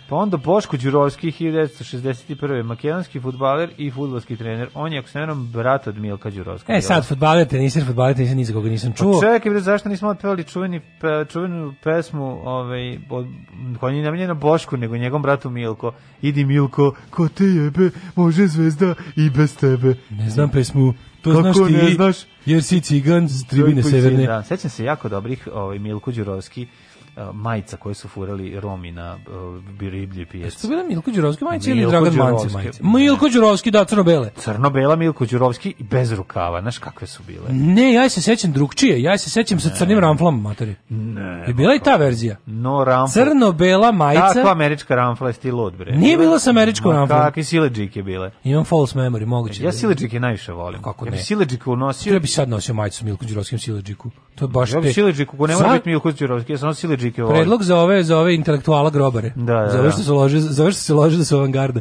S5: Pa onda Boško Đurovski, 1961. Makedonski futbaler i futbolski trener. On je, ako se ne varam, brat od Milka Đurovska.
S6: E sad, fudbaler, tenisir, fudbaler, tenisir, ni za koga nisam čuo.
S5: Čekaj, bre, zašto nismo otpevali čuveni, pe, čuvenu pesmu ovaj, od, koja je namenjena Bošku, nego njegovom bratu Milko. Idi Milko, ko te jebe, može zvezda i bez tebe.
S6: Ne znam pesmu, to
S5: Kako
S6: znaš ti
S5: ne
S6: vi,
S5: znaš?
S6: jer si cigan s tribine
S5: Koji
S6: severne.
S5: si- Da, sećam se jako dobrih ovaj, Milko Đurovski eh, majica koje su furali Romi na uh, riblji
S6: Su
S5: pijaci.
S6: bile Milko Đurovski majice ili
S5: Milko
S6: Dragan Mance
S5: Đurovski.
S6: majice? Milko Đurovski, da, crno-bele.
S5: Crno-bela Milko Đurovski i bez rukava, znaš kakve su bile.
S6: Ne, ja se sećam drugčije, ja se sećam sa crnim ramflom, materi.
S5: Ne.
S6: Je bila i ta verzija?
S5: No ramfla.
S6: Crno-bela
S5: Tako
S6: majica,
S5: američka ramfla je stil od bre.
S6: Nije bila sa američkom
S5: Ma,
S6: ramflom.
S5: Kakvi sileđike bile.
S6: imam false memory, moguće.
S5: Ja
S6: da-
S5: sileđike najviše volim.
S6: Kako
S5: Ja bi
S6: ne?
S5: sileđike unosio.
S6: Ja bi sad nosio majicu s Milko Đurovskim sileđiku. To je baš
S5: Ja bi
S6: te-
S5: sileđiku, ko ne mora
S6: Za-
S5: biti Milko Đurovski, ja sam sileđike volim.
S6: Predlog za ove za ove intelektuala grobare.
S5: Da, da,
S6: za ove što
S5: da.
S6: se lože, za ove što se lože da su avangarda.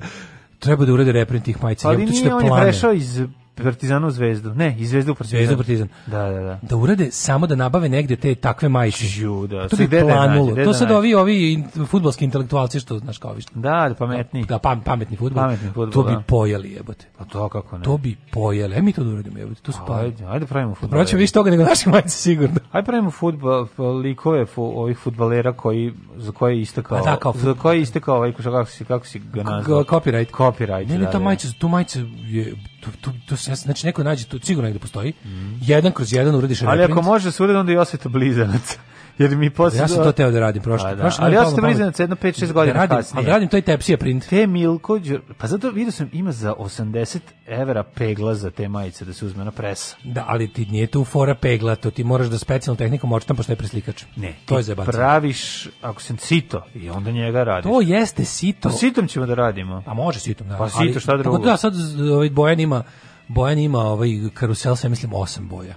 S6: Treba da urede reprint tih majica.
S5: Ali
S6: jebote,
S5: nije,
S6: ćete
S5: on je
S6: plane.
S5: prešao iz Partizanu u Zvezdu. Ne, iz Zvezdu u Partizan.
S6: Zvezdu u Partizan.
S5: Da, da, da.
S6: Da urade samo da nabave negde te takve majice.
S5: Ju, da.
S6: To
S5: Sve
S6: bi
S5: gde da nađe,
S6: planulo.
S5: gde
S6: To
S5: da
S6: sad
S5: nađe.
S6: ovi ovi in- fudbalski intelektualci što znaš kao ovi što.
S5: Da, da pametni.
S6: Da, pam, pametni fudbal.
S5: Pametni fudbal,
S6: To bi
S5: da.
S6: pojeli, jebote.
S5: Pa to kako ne.
S6: To bi pojeli. E mi to da uradimo, jebote. To su pa.
S5: Ajde, ajde pravimo fudbal.
S6: Proćemo više toga nego naše majice sigurno.
S5: Aj pravimo fudbal likove fu, ovih fudbalera koji za koje je istekao
S6: A Pa da, kao
S5: za koje je istekao ovaj kako si kako si ga nazvao
S6: K- copyright.
S5: copyright
S6: Ne,
S5: da,
S6: ne, ta
S5: da.
S6: majica, tu majica je, tu, tu, tu, se- znači neko nađe, tu sigurno negde postoji, jedan kroz jedan uradiš
S5: ali
S6: reprint.
S5: ako može se uredi onda i osveta blizanaca <laughs> jer mi posle
S6: Ja sam to teo da radim prošle.
S5: A, da.
S6: prošle
S5: ali
S6: godine
S5: ja
S6: palo
S5: sam
S6: na pamet.
S5: blizanac jedno 5 6 godina
S6: da radim,
S5: kasnije
S6: Ali radim to i tepsija print.
S5: te Milko Đur... pa zato vidio sam ima za 80 evra pegla za te majice da se uzme na presa
S6: Da, ali ti nije tu fora pegla, to ti moraš da specijalnom tehnikom očitam pošto je preslikač.
S5: ne
S6: to
S5: ti
S6: je zajebacina.
S5: praviš ako sam cito i onda njega radiš
S6: To jeste sito.
S5: Pa sitom ćemo da radimo.
S6: Pa može sitom, da.
S5: Pa
S6: ali-
S5: sito, šta drugo?
S6: Tako da sad z- ovaj Bojan ima Bojan ima ovaj karusel sa mislim osam boja.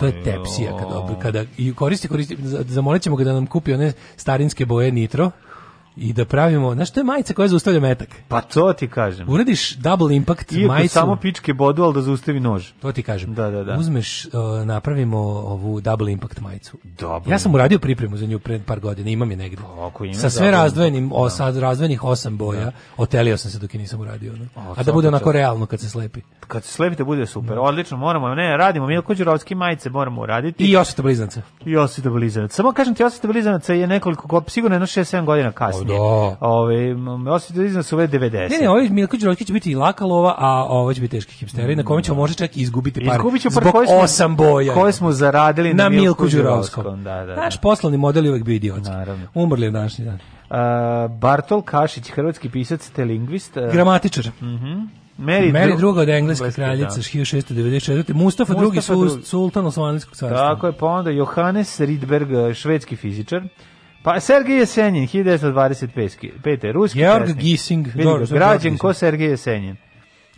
S6: To je tepsija kada obr- kada i koristi koristi za- zamolit ćemo ga da nam kupi one starinske boje nitro i da pravimo, znaš, to je majica koja zaustavlja metak.
S5: Pa to ti kažem.
S6: Uradiš double impact
S5: Iako
S6: majicu.
S5: samo pičke bodu, ali da zaustavi nož.
S6: To ti kažem.
S5: Da, da, da.
S6: Uzmeš, uh, napravimo ovu double impact majicu.
S5: Dobro.
S6: Ja sam uradio pripremu za nju pred par godina, imam je negde.
S5: Ako ima
S6: Sa sve
S5: dobro.
S6: razdvojenim, o, sa razdvojenih osam boja, otelio sam se dok je nisam uradio. ono. A da
S5: svaka
S6: bude onako
S5: čast.
S6: realno kad se slepi.
S5: Kad se slepite, bude super. Odlično, moramo, ne, radimo. Milko Đurovski majice moramo uraditi.
S6: I osveta blizanca.
S5: I Osvita Blizanac. Samo kažem ti, Osvita Blizanaca je nekoliko, go- sigurno jedno 6-7 godina kasnije.
S6: O, da.
S5: Ove, m, Osvita Blizanac su ove 90.
S6: Ne, ne, ovaj Milko Đurović će biti i laka lova, a ovo će biti teški hipsteri, na kome ćemo možda čak i izgubiti par.
S5: Izgubit ću par
S6: zbog
S5: koje smo-
S6: osam boja.
S5: koje smo zaradili na
S6: na
S5: Milku
S6: Milku
S5: Đurovskom.
S6: Đurovskom.
S5: Da, da, da.
S6: Naš poslovni model je uvek bio idiotski.
S5: Naravno.
S6: Umrli je današnji dan.
S5: A, Bartol Kašić, hrvatski pisac, te lingvist. a,
S6: Gramatičar.
S5: Mary,
S6: Mary
S5: Dru-
S6: druga od engleske
S5: Engleske,
S6: kraljice
S5: da.
S6: 1694. Mustafa,
S5: Mustafa
S6: drugi su
S5: drugi.
S6: sultan Osmanlijskog carstva.
S5: Tako je, pa onda Johannes Rydberg, švedski fizičar. Pa Sergej Jesenjin, 1925. Pete, ruski
S6: Georg
S5: pesnik.
S6: Gissing,
S5: Vidi
S6: dobro,
S5: ga,
S6: Georg
S5: građan ko
S6: Gissing.
S5: Sergej Jesenjin.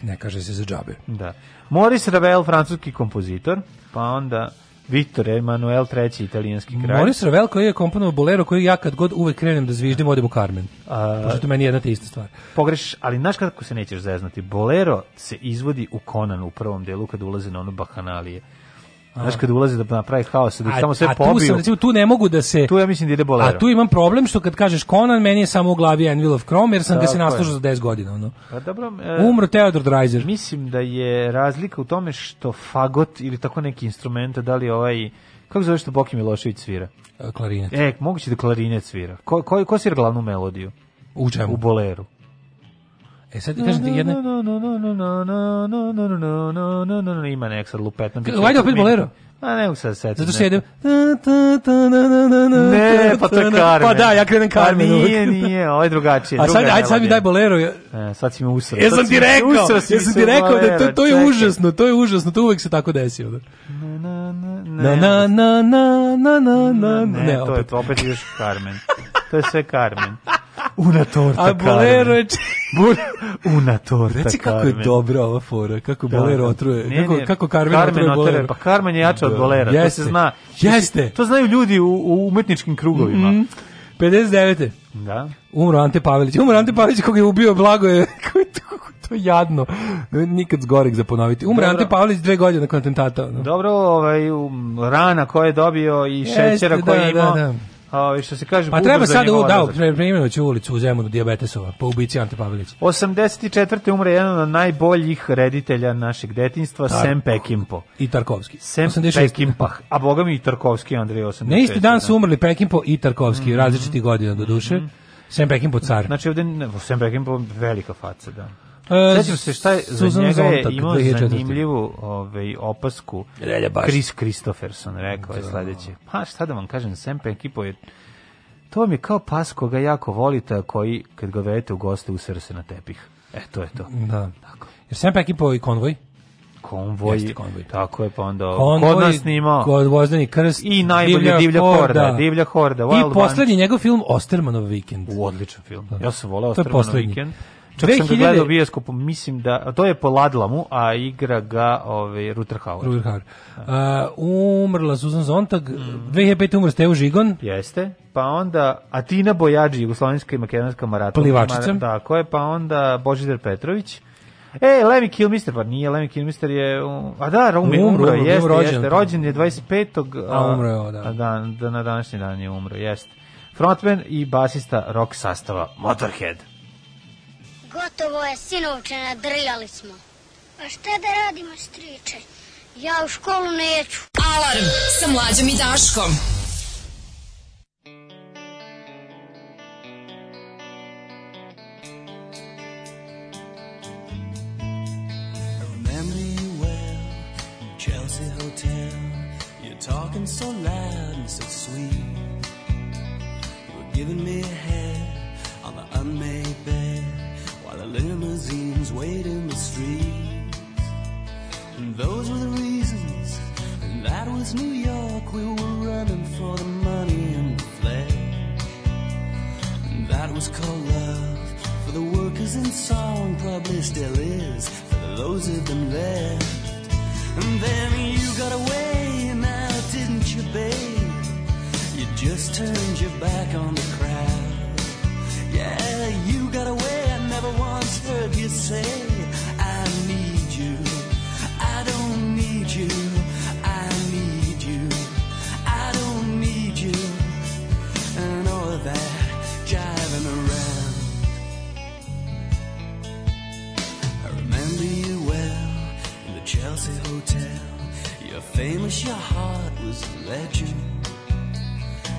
S6: Ne kaže se za džabe.
S5: Da. Maurice Ravel, francuski kompozitor. Pa onda Viktor Emanuel III, italijanski kralj.
S6: Moris Ravel koji je komponovao bolero koji ja kad god uvek krenem da zviždim odem u Carmen.
S5: A-
S6: Pošto to meni je jedna te ista stvar.
S5: Pogreš, ali znaš kako se nećeš zeznati? Bolero se izvodi u Konanu u prvom delu kad ulaze na ono bahanalije. Znaš kad ulaze da napravi haos, da ih samo sve
S6: a tu
S5: pobiju.
S6: sam, recimo, tu ne mogu da se...
S5: Tu ja mislim da ide Bolero.
S6: A tu imam problem što kad kažeš Conan, meni je samo u glavi Anvil of Chrome, jer sam ga se
S5: Tako je.
S6: naslužao za 10 godina. Ono.
S5: Pa dobro, e,
S6: Umro Theodor Dreiser.
S5: Mislim da je razlika u tome što fagot ili tako neki instrument, da li ovaj kako zove što Boki Milošević svira?
S6: E, Klarinet.
S5: E, moguće da klarinet svira. Ko, ko, ko svira glavnu melodiju?
S6: U
S5: U
S6: čemu?
S5: boleru.
S6: E sad ti kažem ti jedna...
S5: Ima nek sad lupetno.
S6: K- ajde opet bolero.
S5: A ne mogu sad setim.
S6: Zato što jedem... <laughs> Ne,
S5: Ne, pa to je Carmen.
S6: Pa da, ja krenem Carmen.
S5: Pa
S6: uvek.
S5: nije, nije, ovo je drugačije.
S6: A
S5: druga
S6: sad,
S5: je
S6: ajde, sad mi
S5: melodija.
S6: daj bolero. Ja
S5: E, sad si mi usrao.
S6: ja
S5: sad
S6: sam
S5: si
S6: ti
S5: mi-
S6: rekao,
S5: usrao si
S6: ja
S5: mi
S6: sam
S5: sa
S6: ti rekao da to,
S5: bolera,
S6: to je
S5: čekaj.
S6: užasno, to je užasno, to uvek se tako desi. ono.
S5: Na, na,
S6: Na,
S5: na,
S6: na, na, na, na, na, na,
S5: Ne,
S6: ne,
S5: to je
S6: opet.
S5: to, opet još Carmen. To je sve
S6: <laughs>
S5: Carmen. Una torta
S6: A bolero
S5: <laughs>
S6: je...
S5: Bur... Una torta
S6: Reci kako je
S5: Carmen.
S6: dobra ova fora, kako
S5: Da,
S6: bolero
S5: da.
S6: otruje,
S5: Ne,
S6: kako,
S5: ne,
S6: kako Carmen, otruje bolero.
S5: Pa Carmen je jača od
S6: Da.
S5: bolera, to
S6: Jeste.
S5: se zna.
S6: Jeste. Mm-hmm.
S5: To znaju ljudi u, u umetničkim krugovima.
S6: 59.
S5: Da.
S6: Umro Ante Pavelić. Umro Ante Pavelić koga je ubio Blago je <laughs> kako je to, kako je to jadno. Nikad zgorek za ponoviti. Umro
S5: Dobro.
S6: Ante Pavelić dve godine nakon atentata. ono.
S5: Dobro, ovaj, um, rana koje je dobio i
S6: Jeste,
S5: šećera koje
S6: da,
S5: je imao.
S6: da,
S5: ovaj, što se kaže,
S6: Pa
S5: budur
S6: treba
S5: za
S6: sad
S5: njegov
S6: u da,
S5: odlazak.
S6: preimenovaću ulicu u Zemunu Dijabetesova, po ubici Ante Pavelić.
S5: 84. umre jedan od najboljih reditelja našeg detinjstva, Sam Peckinpah.
S6: I Tarkovski.
S5: Sem
S6: 86.
S5: Pekinpah, a boga mi i Tarkovski Andrej 86.
S6: Na pa- isti dan su
S5: da.
S6: umrli Pekinpo i Tarkovski,
S5: Mhm.
S6: različitih godina do duše. Sem Pekinpo car.
S5: Znači ovde, ne, Sem Pekinpah velika faca, da.
S6: E,
S5: Sjećam se šta je, za
S6: Suzan
S5: njega je
S6: Zontak,
S5: imao
S6: 2004.
S5: zanimljivu ovaj, opasku
S6: Relja baš.
S5: Chris Christopherson, rekao je sledeće. Pa šta da vam kažem, Sam Pekinpah je to vam je kao pas koga jako volite, a koji kad ga vedete u goste usere se na tepih. E, to je to.
S6: Da. Jer Sem Pekinpo i konvoj.
S5: Konvoj,
S6: Jeste konvoj.
S5: tako je, pa onda kod nas snimao.
S6: Kod Vozdani krst.
S5: I najbolje Divlja horda, Divlja horda, Wild
S6: I poslednji njegov film Ostermanov vikend.
S5: U odličan film.
S6: Da.
S5: Ja sam voleo
S6: To je
S5: Ostrmanov
S6: poslednji.
S5: vikend. Čak sam ga
S6: 2000
S5: gledao u bioskopu, mislim da, to je po Ladlamu, a igra ga ovaj, Ruter Hauer.
S6: Ruger Hauer. Uh, umrla Susan Zontag, 2005. umr Steo Žigon,
S5: Jeste. Pa onda Atina Bojađi, jugoslovenska i makedonska maratonka.
S6: Plivačica.
S5: Mara- Tako je, pa onda Božidar Petrović. E, Lemmy Kilmister, pa nije Lemmy Kilmister je, um, a da, umro, umro, umro, jeste,
S6: bio rođen.
S5: jeste, rođen je 25.
S6: A, umro je, o, da.
S5: a da, da, na današnji dan je umro, jeste. Frontman i basista rock sastava Motorhead.
S14: Gotovo je, sinovče, nadrljali smo. A šta da radimo, striče? Ja u školu neću.
S3: Alarm sa mlađom i Daškom.
S15: remember you well, Chelsea Hotel. You're talking so loud and so sweet. You were giving me a head on the unmade bed while the limousines wait in the streets. And those were the reasons, and that was New York. We were running for the money and the flesh. And that was called love for the workers in song, probably still is for those of them left. And then you got away, now didn't you, babe? You just turned your back on the crowd. Yeah, you got away, I never once heard you say, I need you. I don't need you. I need you. I don't need you. And all of that driving around. I remember you well in the Chelsea Hotel. You're famous, your heart was a legend.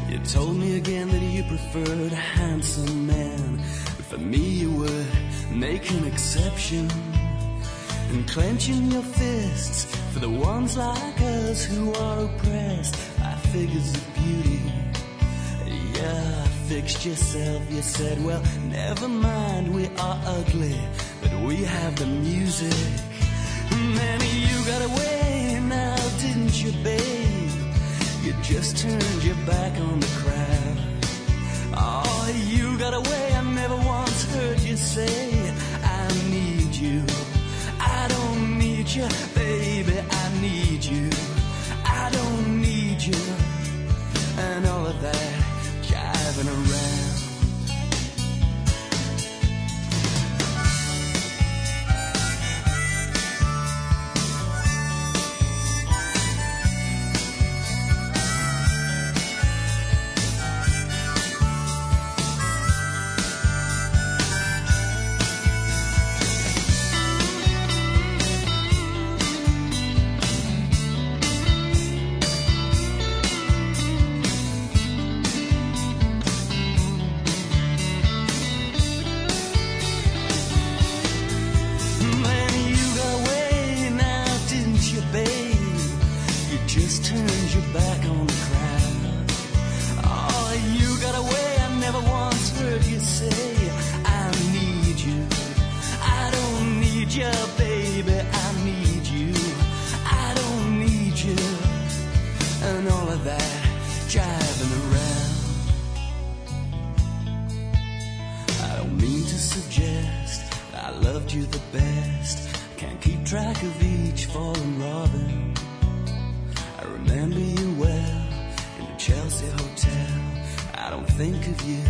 S15: You told me again that you preferred a handsome man. But for me, you would make an exception. And clenching your fists for the ones like us who are oppressed by figures of beauty. Yeah, fixed yourself. You said, well, never mind, we are ugly, but we have the music. And then you got away now, didn't you, babe? You just turned your back on the crowd. Oh, you got away, I never once heard you say, I need you. I don't need you, baby, I need you. I don't need you and all of that jiving around. When you got away now, didn't you, babe? You just turned your back on the crowd. Oh, you got away, I never once heard you say, I need you. I don't need you, baby, I need you. I don't need you. And all of that driving around. I don't mean to suggest I loved you the best. Can't keep track of each fallen robin. I remember you well in the Chelsea Hotel. I don't think of you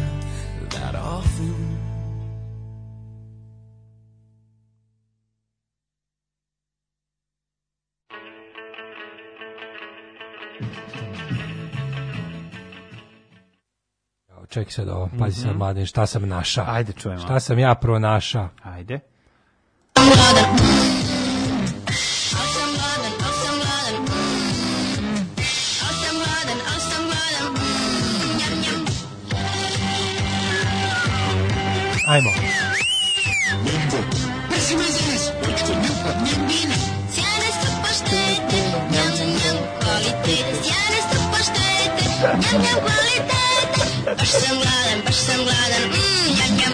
S15: that often.
S6: Evo, Čekaj sad ovo, pazi sad mladen, šta sam naša?
S5: Ajde, čujemo.
S6: Šta sam ja pronaša?
S5: Ajde.
S6: <laughs> Ajmo.
S11: Baš sam gladan, baš sam gladan, mm, jam, jam.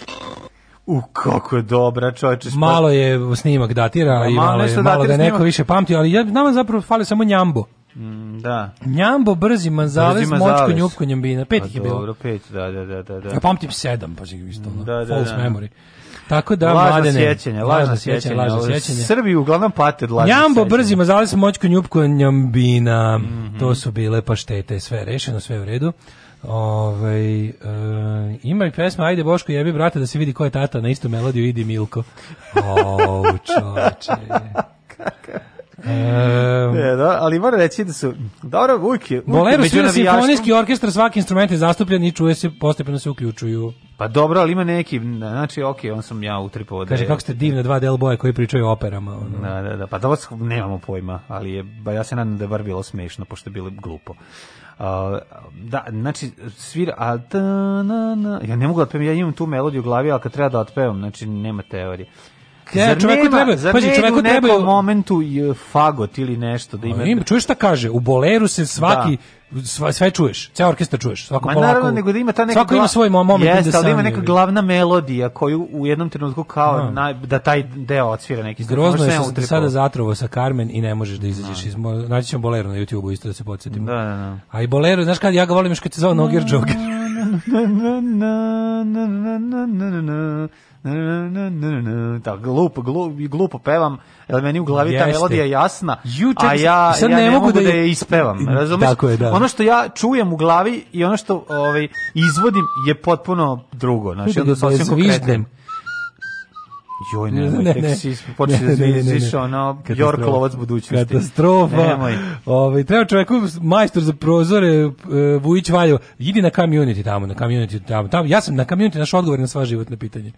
S5: U, kako je dobra, čovječe. šta-
S6: Malo je snimak datira, i
S5: malo
S6: Pa malo, je,
S5: nešto
S6: malo
S5: datira
S6: ga neko
S5: snimak.
S6: više pamti, ali ja, nama zapravo fali samo njambo.
S5: Mm, da.
S6: Njambo, brzi manzavez,
S5: Brzi
S6: močko,
S5: manzavez.
S6: njupko, njambina. Pet
S5: Pa
S6: ih je bilo.
S5: Dobro, pet, da, da, da, da. da.
S6: Ja pamtim sedam, pa isto, ono,
S5: Da, da,
S6: false
S5: da.
S6: memory. Tako da,
S5: lažna
S6: mladene,
S5: sjećanja, lažna sjećanja,
S6: lažna
S5: ovo je-
S6: sjećanja.
S5: Srbi uglavnom pate od lažnih
S6: Njambo
S5: sjećanja.
S6: brzi, mazali smo moćku njupku njambina.
S5: Mhm.
S6: To su bile paštete, sve je rešeno, sve je u redu. Ovaj e, ima i pesma Ajde Boško jebi brate da se vidi ko je tata na istu melodiju idi
S5: <laughs>
S6: Milko. O, čoveče.
S5: E, da, ali moram reći da su dobro uvijek je uvijek
S6: Bolero
S5: među
S6: svira
S5: navijaštvom-
S6: simfonijski orkestar, svaki instrument je zastupljen i čuje se, postepeno se uključuju.
S5: Pa dobro, ali ima neki, znači ok, on sam ja utripovao da
S6: Kaže,
S5: je-
S6: kako ste divne dva del boje koji pričaju o operama. ono.
S5: Da, da, da, pa dobro, nemamo pojma, ali je, ba, ja se nadam da je bar bilo smešno, pošto je bilo glupo. A, da, znači, svira, a ta, na, na, ja ne mogu da otpevam, ja imam tu melodiju u glavi, ali kad treba da otpevam, znači, nema teorije.
S6: Ja, čoveku treba-
S5: zar
S6: pazi,
S5: ne
S6: čoveku
S5: idu u nekom
S6: trebaju-
S5: momentu i, e, fagot ili nešto da ima...
S6: Im, čuješ šta kaže? U boleru se svaki sva, sve čuješ, ceo orkestar čuješ. Svako
S5: Ma
S6: polako-
S5: naravno, nego da ima ta neka...
S6: Svako ima
S5: gla-
S6: svoj mo- moment
S5: Jeste,
S6: da
S5: ali ima
S6: sam-
S5: neka glavna melodija koju u jednom trenutku kao
S6: Da.
S5: na, da taj deo odsvira neki stvar.
S6: Grozno
S5: Možda
S6: je
S5: sam ja
S6: što sam te
S5: utripovao.
S6: sada zatrovao sa Carmen i ne možeš da izađeš iz... mo- Naći ćemo Bolero na YouTube-u isto da se podsjetimo.
S5: Da, da, da.
S6: A i Bolero, znaš kad ja ga volim još kad se zove Nogir <laughs> Joker.
S5: Tako, glupo, glupo, glupo pevam, jer meni u glavi ta
S6: Jeste.
S5: melodija je jasna,
S6: Ju, čak
S5: a
S6: se-
S5: ja,
S6: sad
S5: ja
S6: ne
S5: ne
S6: mogu
S5: mogu
S6: da
S5: da
S6: je-
S5: je ispevam, razumeš?
S6: Tako je, da.
S5: Ono što ja čujem u glavi i ono što ovaj, izvodim je potpuno drugo. Znači,
S6: Da
S5: onda
S6: ga
S5: sasvim konkretno.
S6: zviždem.
S5: Joj, nemoj, ne, tek si počeš da zviždiš, ono, Jork
S6: Katastrofa.
S5: lovac budućnosti.
S6: Katastrofa.
S5: Nemoj.
S6: Ovaj, treba čoveku majstor za prozore, e, Vujić Valjevo, idi na community tamo, na community tamo. tamo. Ja sam na community naš odgovor na sva životna pitanja.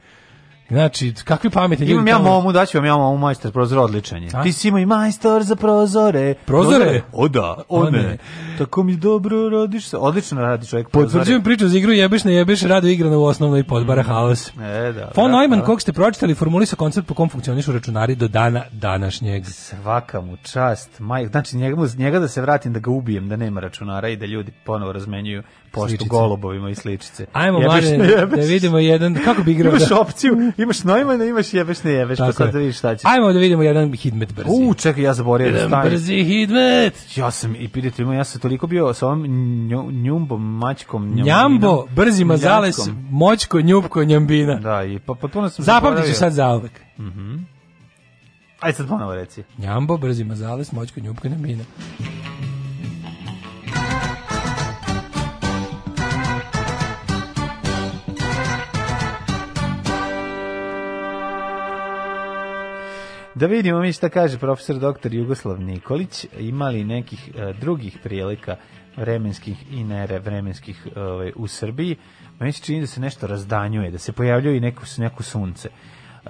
S6: Znači, kakvi pametni ljudi
S5: Imam ja
S6: tamo-
S5: momu, daću vam ja momu majster prozora odličan je.
S6: A?
S5: Ti si imao i majstor za prozore.
S6: Prozore?
S5: O da, o
S6: O ne.
S5: ne. Tako mi dobro radiš se. Odlično radi čovjek prozore.
S6: Potvrđujem priču za igru jebeš ne jebeš, rado igrana u osnovnoj podbara haos.
S5: E, da.
S6: Von
S5: da,
S6: Neumann,
S5: da.
S6: kog ste pročitali, formulisa koncept po kom funkcionišu računari do dana današnjeg.
S5: Svaka mu čast. Maj, znači, njega, mu- njega da se vratim, da ga ubijem, da nema računara i da ljudi ponovo razmenjuju poštu
S6: Sličice.
S5: golubovima i sličice.
S6: Ajmo,
S5: Jebeš,
S6: Mladen,
S5: ne jebeš.
S6: da vidimo jedan, kako bi igrao
S5: Imaš
S6: da...
S5: opciju, imaš Neumana, imaš jebeš, ne jebeš, pa
S6: Tako
S5: sad
S6: je.
S5: da vidiš šta će.
S6: Ajmo da vidimo jedan hidmet brzi.
S5: U, čekaj, ja zaboravio da
S6: jedan
S5: stavim.
S6: brzi hidmet!
S5: Ja sam i pidite ima, ja sam toliko bio sa ovom nju- njumbom, mačkom, njambinom.
S6: Njambo, brzi mazales,
S5: Njačkom.
S6: moćko, njupko, njambina.
S5: Da, i pa potpuno sam
S6: Zapamtit
S5: zaboravio.
S6: ću sad zauvek.
S5: Mhm. Ajde sad ponovo reci.
S6: Njambo, brzi mazales, moćko, njupko, njambina.
S5: Da vidimo mi šta kaže profesor doktor Jugoslav Nikolić, ima li nekih e, drugih prilika vremenskih i nere vremenskih ovaj, u Srbiji. Meni se čini da se nešto razdanjuje, da se pojavljuje i neko, neko sunce. E,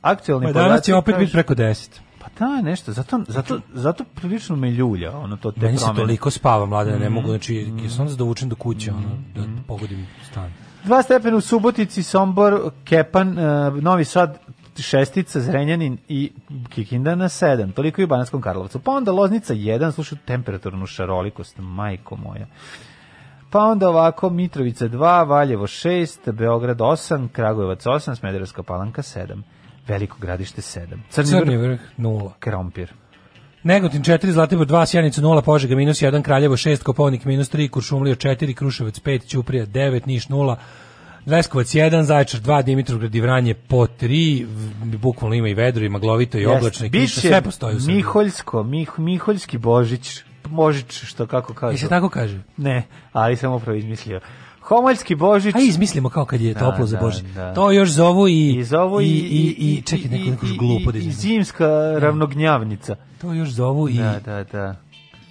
S5: aktualni
S6: Pa danas će
S5: podaci
S6: opet biti
S5: kažu-
S6: preko 10.
S5: Pa da, nešto, zato, zato, zato prilično me ljulja, ono, to te
S6: Meni se
S5: promene. Mhm.
S6: toliko spava, mladene, ne mogu, znači, ja sam onda dovučen do kuće, ono, da pogodim stan.
S5: Dva stepena u Subotici, Sombor, Kepan, eh, Novi Sad, šestica, Zrenjanin i Kikinda na sedam. Toliko i u Bananskom Karlovcu. Pa onda Loznica jedan, slušaj temperaturnu šarolikost, majko moja. Pa onda ovako, Mitrovica 2, Valjevo 6, Beograd 8, Kragujevac 8, Smederevska palanka 7, Veliko gradište 7, Crni,
S6: Crni
S5: vrh,
S6: vrh, nula.
S5: Krompir.
S6: Negotin 4, Zlatibor 2, Sjenica 0, Požega minus 1, Kraljevo 6, Kopovnik minus 3, Kuršumlija 4, Kruševac 5, Ćuprija 9, Niš 0, Leskovac 1, Zaječar 2, Dimitrovgrad i Vranje po 3, v- bukvalno ima i vedro, i maglovito, i oblačno, i kiša,
S5: Biće
S6: sve postoji u Srbiji.
S5: Miholjsko, Mih, Miholjski Božić, Božić, što kako kažu.
S6: I se tako kaže.
S5: Ne, ali sam upravo izmislio. Homoljski Božić.
S6: A izmislimo kao kad je
S5: Da,
S6: toplo za
S5: da,
S6: Božić.
S5: da.
S6: To još zovu i...
S5: I zovu i,
S6: i, i, i čekaj, neko, neko
S5: i-
S6: glupo da
S5: i- i
S6: izmislimo.
S5: zimska ravnognjavnica.
S6: To još zovu i...
S5: Da, da, da.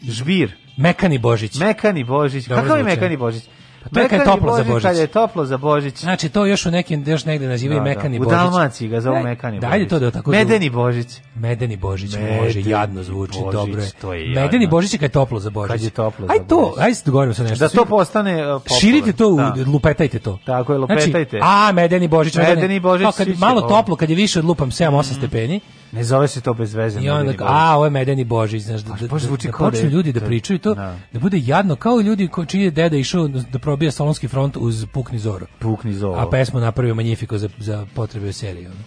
S5: Žbir.
S6: Mekani Božić.
S5: Mekani Božić.
S6: Dobro
S5: Kakav je
S6: zvuči.
S5: mekani Božić?
S6: Pa to je kad je
S5: Mekani
S6: toplo za Božić.
S5: Kad je toplo za Božić.
S6: Znači, to još u nekim, još negde nazivaju
S5: Da, da.
S6: Mekani
S5: U
S6: Božić.
S5: Dalmaciji ga zovu
S6: Daj-
S5: Mekani
S6: da, ajde
S5: Božić.
S6: to da tako...
S5: Medeni Božić.
S6: Medeni Božić
S5: Medeni
S6: može, jadno zvuči,
S5: Božić,
S6: dobro je.
S5: to je jadno.
S6: Medeni Božić je kad je toplo za Božić.
S5: Kad je toplo za
S6: aj to,
S5: Božić.
S6: aj se dogovorimo sa nešto.
S5: Da
S6: Svi-
S5: to postane uh, popularno.
S6: Širite to, u-
S5: Da.
S6: lupetajte to.
S5: Tako je, lupetajte.
S6: Znači, a, Medeni Božić.
S5: Medeni Božić,
S6: Kao kad je
S5: svi će-
S6: malo
S5: o.
S6: toplo, kad je više od lupam 7-8 stepeni.
S5: Ne zove se to bez veze.
S6: I onda,
S5: Medeni Božić.
S6: a, ovo je Medeni Božić, znaš, da, da,
S5: baš
S6: da,
S5: zvuči
S6: da
S5: kao da je-
S6: počnu ljudi da
S5: da-
S6: pričaju to,
S5: da.
S6: da bude jadno, kao ljudi ko, čiji je deda išao da probija Solonski front uz Pukni Zoro.
S5: Pukni Zoro.
S6: A pesmu napravio Magnifiko za, za potrebe serije. ono.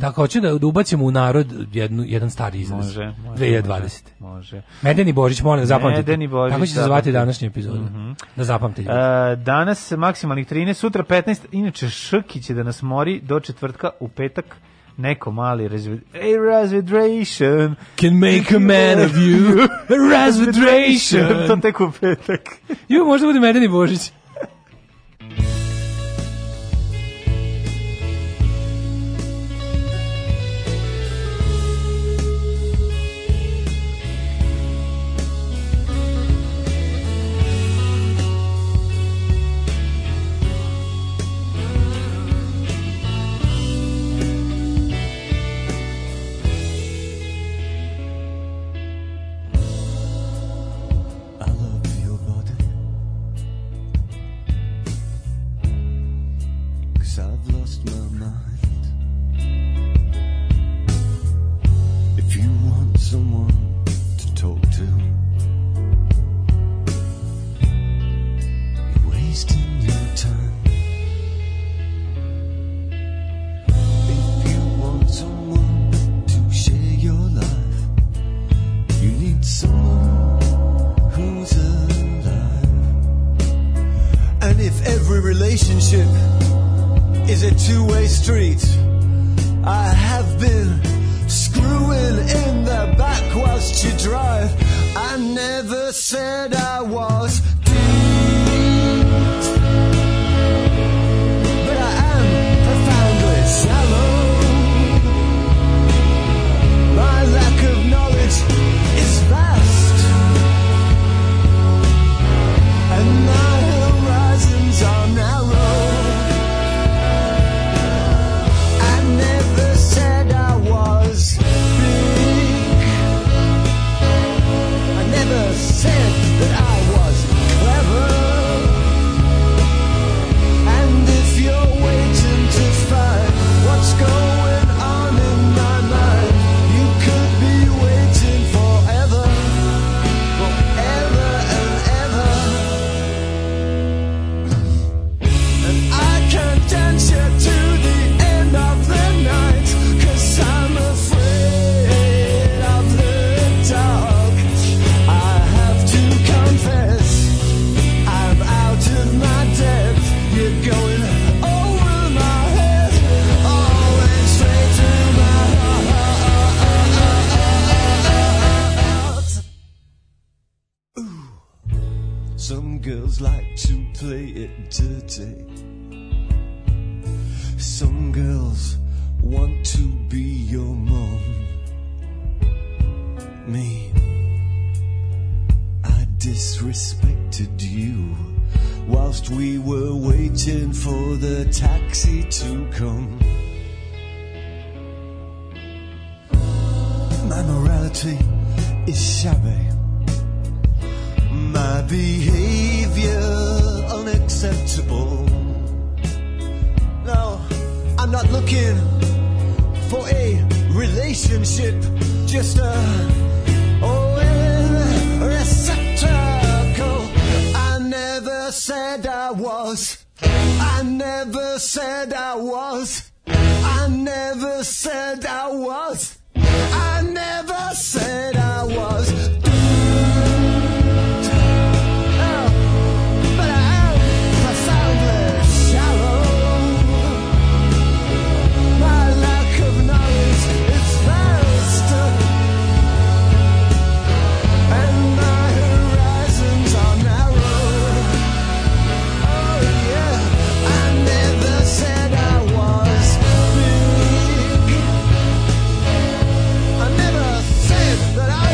S6: Tako, hoću da, da ubacimo u narod jednu, jedan stari izraz.
S5: Može, može,
S6: 2020.
S5: Može.
S6: Medeni Božić, molim, da zapamtite.
S5: Medeni Božić,
S6: Tako će se
S5: zapamtite.
S6: zvati današnja epizoda. Da zapamtite.
S5: E, danas maksimalnih 13, sutra 15, inače Šrki će da nas mori do četvrtka u petak neko mali razvid... Ej, razvidration!
S6: Can make a man of
S5: <laughs>
S6: you. Razvidration. <laughs>
S5: to tek u petak.
S6: Ju, možda bude Medeni Božić.
S1: Cause I've lost my mind. If you want someone to talk to, you're wasting your time. If you want someone to share your life, you need someone who's alive. And if every relationship is a two-way street. I have been screwing in the back whilst you drive. I never said I was deep, but I am profoundly shallow. My lack of knowledge is vast, and my horizons are narrow. I never said I was big. I never said that I was clever. And if you're waiting to find what's going on in my mind, you could be waiting forever, forever and ever. I can dance you to the end of the night Cause I'm afraid of the dark I have to confess I'm out of my depth You're going over my head Always straight to my heart Some girls like to play it dirty. Some girls want to be your mom. Me, I disrespected you whilst we were waiting for the taxi to come. My morality is shabby. My behavior unacceptable. No, I'm not looking for a relationship, just a oh, a receptacle. I never said I was. I never said I was. I never said I was. I never said I was. Oh, but I am profoundly shallow. My lack of knowledge is vast, and my horizons are narrow. Oh yeah, I never said I was big. I never said that I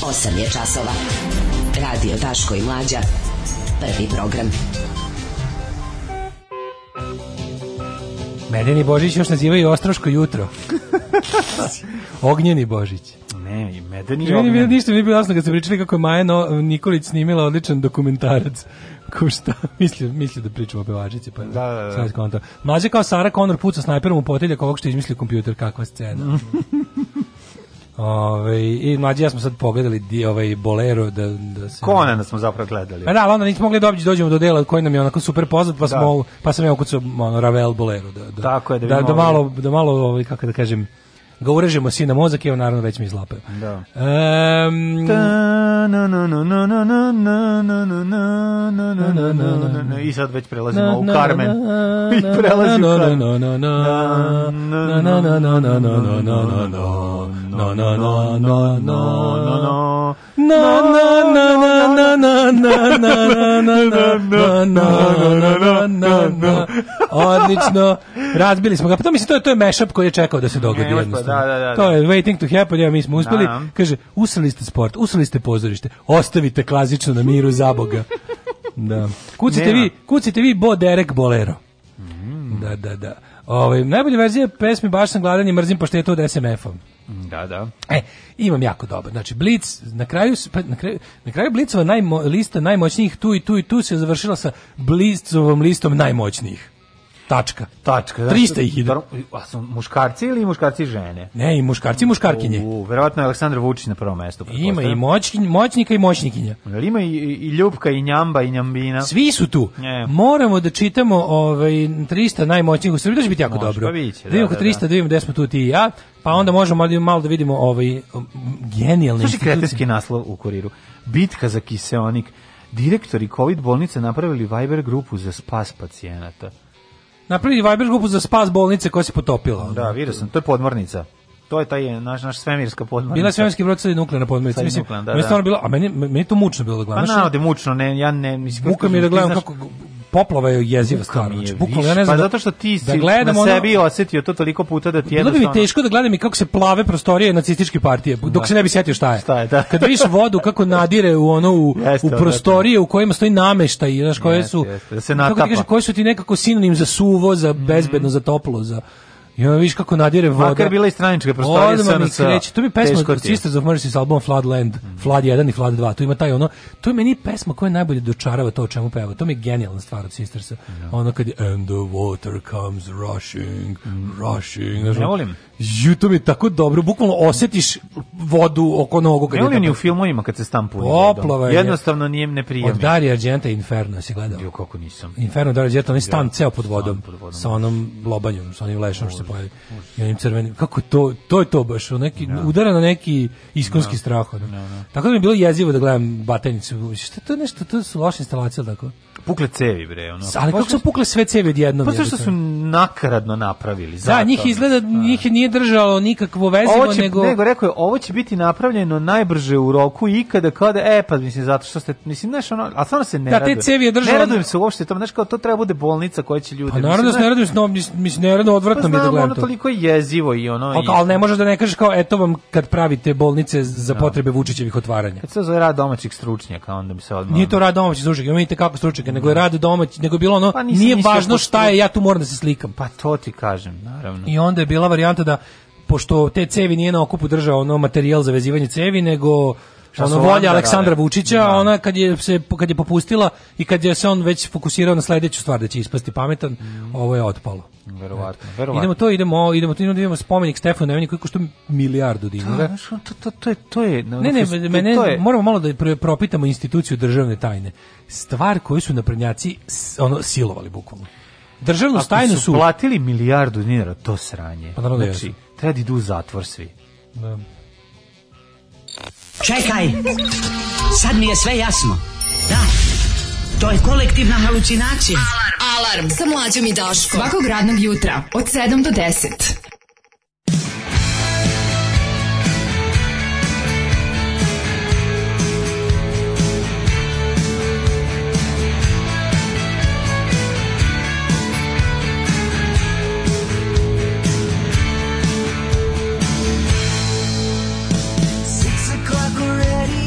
S16: 8 je časova. Radio Daško i Mlađa. Prvi program.
S6: Medeni Božić još nazivaju Ostroško
S5: <laughs>
S6: jutro. Ognjeni Božić.
S5: Ne, i medeni i
S6: Nije mi bilo
S5: ognjeni.
S6: ništa, mi je bilo jasno kad ste pričali kako je Maja No- Nikolić snimila odličan dokumentarac. <laughs> Ko šta? Mislio, mislio da pričamo o pevačici, pa da,
S5: da, da.
S6: sad skonto. Mlađe kao Sara Connor puca snajperom u poteljak ovog što je izmislio kompjuter, kakva
S5: <laughs>
S6: scena. Ove, I mlađi ja smo sad pogledali di, ovaj bolero da, da se...
S5: Konana smo zapravo gledali.
S6: Pa da, ali onda nismo mogli dobići, dođemo do dela koji nam je onako super poznat, pa, smo, pa sam ja ukucao ono, Ravel Bolero. Da, da,
S5: Tako je, da
S6: da,
S5: bi
S6: da,
S5: mogli.
S6: malo, da malo ovaj, kako da kažem, ga urežemo si na mozak i on naravno već mi izlapaju.
S5: Da.
S6: Ehm,
S5: I sad već prelazimo u Carmen. I
S6: prelazi
S5: prelazimo u Carmen.
S6: Odlično. Razbili smo ga. Pa to mislim, to je, to je mashup koji je čekao da se dogodi.
S5: Nemaš pa,
S6: jednostavno.
S5: da, da, da.
S6: To je waiting to happen, ja, mi smo uspeli.
S5: Da.
S6: Kaže, usrali ste sport, usrali ste pozorište, ostavite klasično na miru zaboga. Da. Kucite
S5: Nema.
S6: vi, kucite vi Bo Derek Bolero. Da, da, da. Ovaj najbolja verzija pesme baš sam gladan i mrzim paštetu od SMF-om.
S5: Da, da.
S6: E, imam jako dobar. Znači Blitz na kraju s- pa, na kraju na kraju Blitzova najmo, lista najmoćnijih tu i tu i tu se završila sa Blitzovom listom najmoćnijih. Tačka.
S5: Tačka. da.
S6: 300 ih ide.
S5: A su muškarci ili muškarci i žene?
S6: Ne, i muškarci i muškarkinje.
S5: U, verovatno je Aleksandar Vučić na prvom mestu.
S6: Ima i
S5: pretpostavljam.
S6: moćkin, moćnika i moćnikinja.
S5: Jel Ima i, i- i Ljubka i Njamba i Njambina.
S6: Svi su tu.
S5: Ne.
S6: Moramo da čitamo ovaj 300 najmoćnijih u Srbiji, to će biti jako
S5: Može,
S6: dobro.
S5: pa vidjet će,
S6: da vidimo
S5: da,
S6: oko
S5: da,
S6: 300, da,
S5: da.
S6: vidimo gde smo tu ti i ja, pa onda možemo malo- malo da vidimo ovaj um, genijalne
S5: Slušaj
S6: institucije.
S5: kretenski naslov u kuriru. Bitka za kiseonik. Direktori COVID bolnice napravili Viber grupu za spas pacijenata.
S6: Napravili Viber grupu za spas bolnice koja se potopila.
S5: Da, vidio sam, to je podmornica. To je taj naš, naš svemirska podmornica.
S6: Bila je svemirski brod sad i nuklearna podmornica.
S5: Pa Sad i
S6: Mislim,
S5: nuklearna, da,
S6: meni
S5: da.
S6: stvarno bilo, a meni, meni je to mučno bilo
S5: Pa
S6: da gledam. Znaš,
S5: narode, mučno, ne, ja ne... Mislim,
S6: Muka mi je da
S5: ti
S6: gledam
S5: znaš-
S6: kako poplava je jeziva stvar.
S5: mi je
S6: Znači, bukvalno, ja
S5: više.
S6: ne
S5: pa
S6: znam da-
S5: zato što ti
S6: da
S5: si
S6: gledam
S5: na
S6: ono-
S5: sebi osetio to toliko puta da ti
S6: Bilo bi mi
S5: jednostavno...
S6: teško da gledam i kako se plave prostorije nacističke partije, dok se ne bi sjetio šta je.
S5: Šta je, da.
S6: Kad vidiš vodu kako nadire u ono u,
S5: Jeste,
S6: u prostorije u kojima stoji nameštaj, znaš, koje
S5: Jeste,
S6: su
S5: jeste, da se
S6: kako ti
S5: natapa. Mhm.
S6: kažem, koji su ti nekako sinonim za suvo, za bezbedno, za toplo, za I onda vidiš kako nadire voda.
S5: Makar bila i stranička prostorija
S6: Odmah mi
S5: SNS-a.
S6: kreće. To mi je pesma
S5: Teško
S6: od
S5: ti je.
S6: Sisters of Mercy s album Floodland, Flood 1 i Flood 2. Tu ima taj ono, to je meni pesma koja najbolje dočarava to o čemu peva. To mi je genijalna stvar od Sistersa. Ono kad je And the water comes rushing, rushing. Znaš,
S5: Ne
S6: ono,
S5: volim.
S6: Ju, to mi je tako dobro, bukvalno osjetiš vodu oko nogu. kad
S5: Ne
S6: je
S5: volim ni
S6: tako-
S5: u filmovima kad se stampuje.
S6: Poplava je.
S5: Jednostavno nije ne prijemi.
S6: Od Dario Argenta Inferno si gledao.
S5: Jo, kako nisam.
S6: Inferno Dario Argenta, onaj stan
S5: Ja,
S6: ceo pod vodom,
S5: pod vodom.
S6: sa onom lobanjom, sa onim lešom što se pojavi. I onim crvenim. Kako to, to je to baš, ono neki, udara na neki iskonski strah. ono. Tako da mi je bilo jezivo da gledam batenicu. Šta to je nešto, to su loše instalacije, ili tako?
S5: Pukle cevi, bre. Ono.
S6: Ali kako su pukle sve cevi odjednom?
S5: Pa zato što
S6: jebote?
S5: su nakaradno napravili.
S6: Da,
S5: zato.
S6: njih izgleda, njih nije držalo nikakvo
S5: Ovo
S6: vezivo,
S5: će,
S6: nego...
S5: nego... rekao je, ovo će biti napravljeno najbrže u roku ikada, kada, e, pa mislim, zato što ste, mislim, znaš, ono, a stvarno se ne
S6: Da, te
S5: radujem.
S6: cevi je držala-
S5: Ne radujem se uopšte tome, znaš, kao to treba bude bolnica koja će ljude...
S6: Pa naravno da se ne radim, s njom, mislim, mislim, naravno
S5: pa
S6: odvratno mi je da
S5: znam,
S6: gledam
S5: ono
S6: to.
S5: toliko je jezivo i ono...
S6: Ali,
S5: i-
S6: ali ne možeš da ne kažeš kao, eto vam kad pravite bolnice za potrebe Vučićevih otvaranja.
S5: Kad se zove rad domaćih stručnjaka, onda bi se odmah...
S6: Nije to rad domaćih stručnjaka, imate kako stručnjaka, nego je rad domać, nego je bilo ono,
S5: Pa nisi
S6: nije
S5: mislio
S6: važno
S5: pošto-
S6: šta je, ja tu moram da se slikam.
S5: Pa to ti kažem, naravno.
S6: I onda je bila varijanta da, pošto te cevi nije na okupu držao ono materijal za vezivanje cevi, nego
S5: Šta
S6: ono
S5: su
S6: volja
S5: onda
S6: Aleksandra
S5: radili?
S6: Vučića, a ona kad je, se, kad je popustila i kad je se on već fokusirao na sledeću stvar da će ispasti pametan,
S5: Mm.
S6: ovo je otpalo.
S5: Verovatno, verovatno.
S6: Idemo to, idemo, idemo to, idemo da vidimo spomenik Stefanu Nemanji koji košta milijardu
S5: Da,
S6: dinara.
S5: znaš, ono, to, to, to je, to je...
S6: Ne, ne,
S5: to-
S6: mene,
S5: Ono to je-
S6: moramo malo da pre- propitamo instituciju državne tajne. Stvar koju su naprednjaci s- ono, silovali bukvalno. Državnu
S5: Ako
S6: tajnu su...
S5: platili milijardu dinara, to sranje.
S6: Pa naravno da
S5: znači,
S6: jesu.
S5: treba da idu u zatvor svi.
S6: Da.
S16: Čekaj, sad mi je sve jasno. Da, to je kolektivna halucinacija.
S3: Alarm sa mlađom i Daškom. Svakog radnog jutra od 7 do 10.
S2: Six o'clock already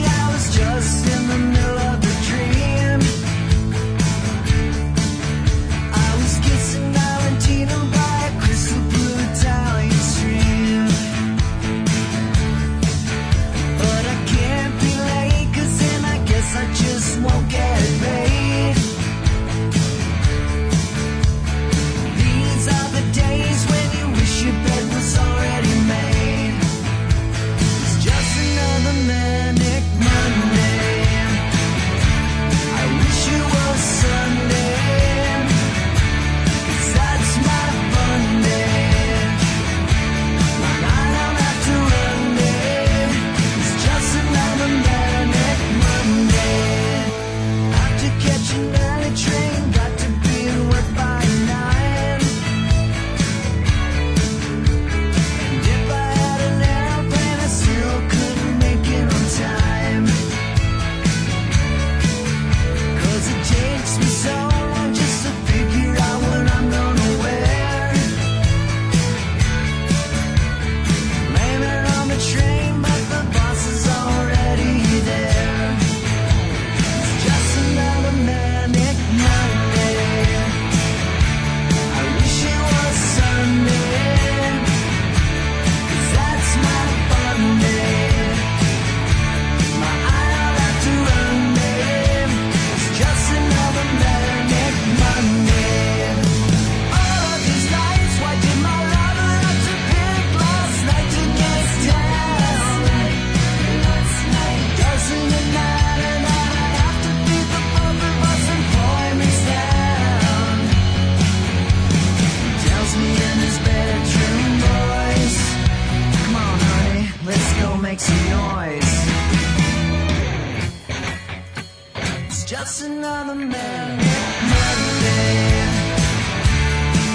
S2: another man. Monday.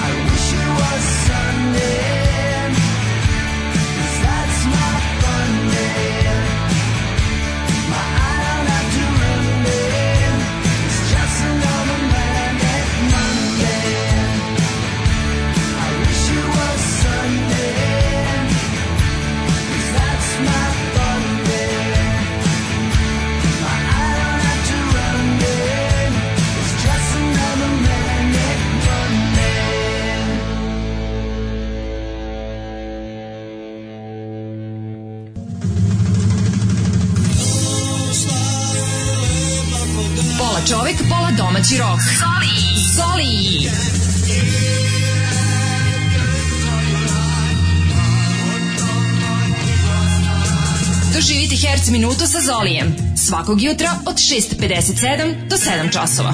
S2: I wish it was Sunday. 'Cause that's my fun day. My eye on after Monday. It's just another manic Monday. I wish it was Sunday. 'Cause that's my fun day.
S3: Pola čovek, pola domaći rok. Zoli! Zoli! Doživite herc minutu sa Zolijem. Svakog jutra od 6.57 do 7 časova.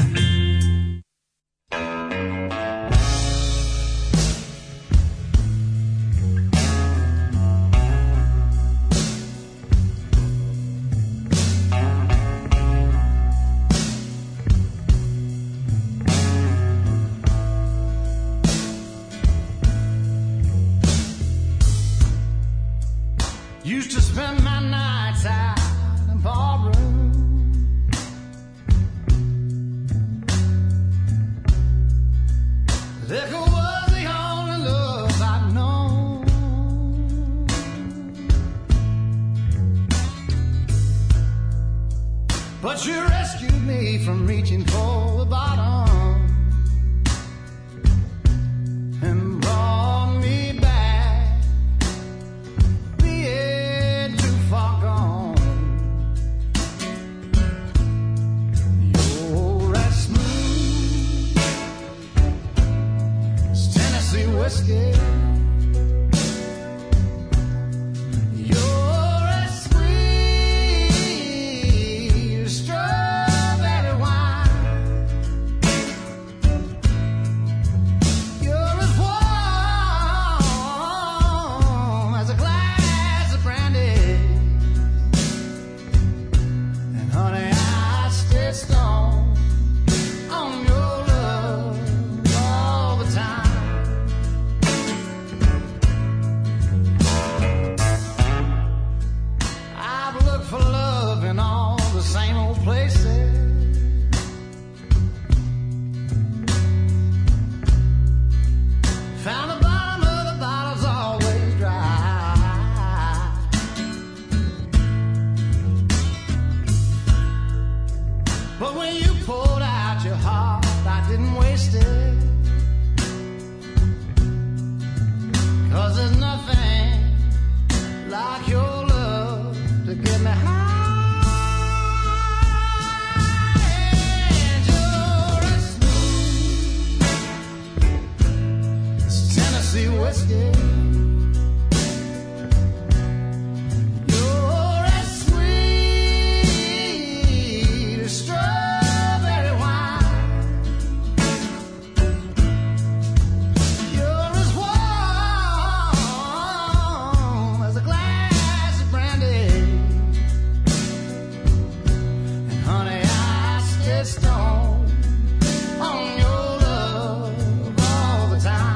S2: Used to spend my nights out in the barroom. Liquor was the only love I'd known. But you rescued me from reaching for the bottom and brought me back. Being too far gone, you're as smooth as Tennessee whiskey. You're as sweet as strawberry wine. You're as warm as a glass of brandy. And honey, I stay strong on your love all the time. I've looked for love in all the same old places. Found the bottom of the bottle's always dry. But when you poured out your heart, I didn't waste it. Cause there's nothing like your love to get me high. And you're as It's Tennessee whiskey. You're as sweet as strawberry wine. You're as warm as a glass of brandy. And honey, I stay strong on your love all the time.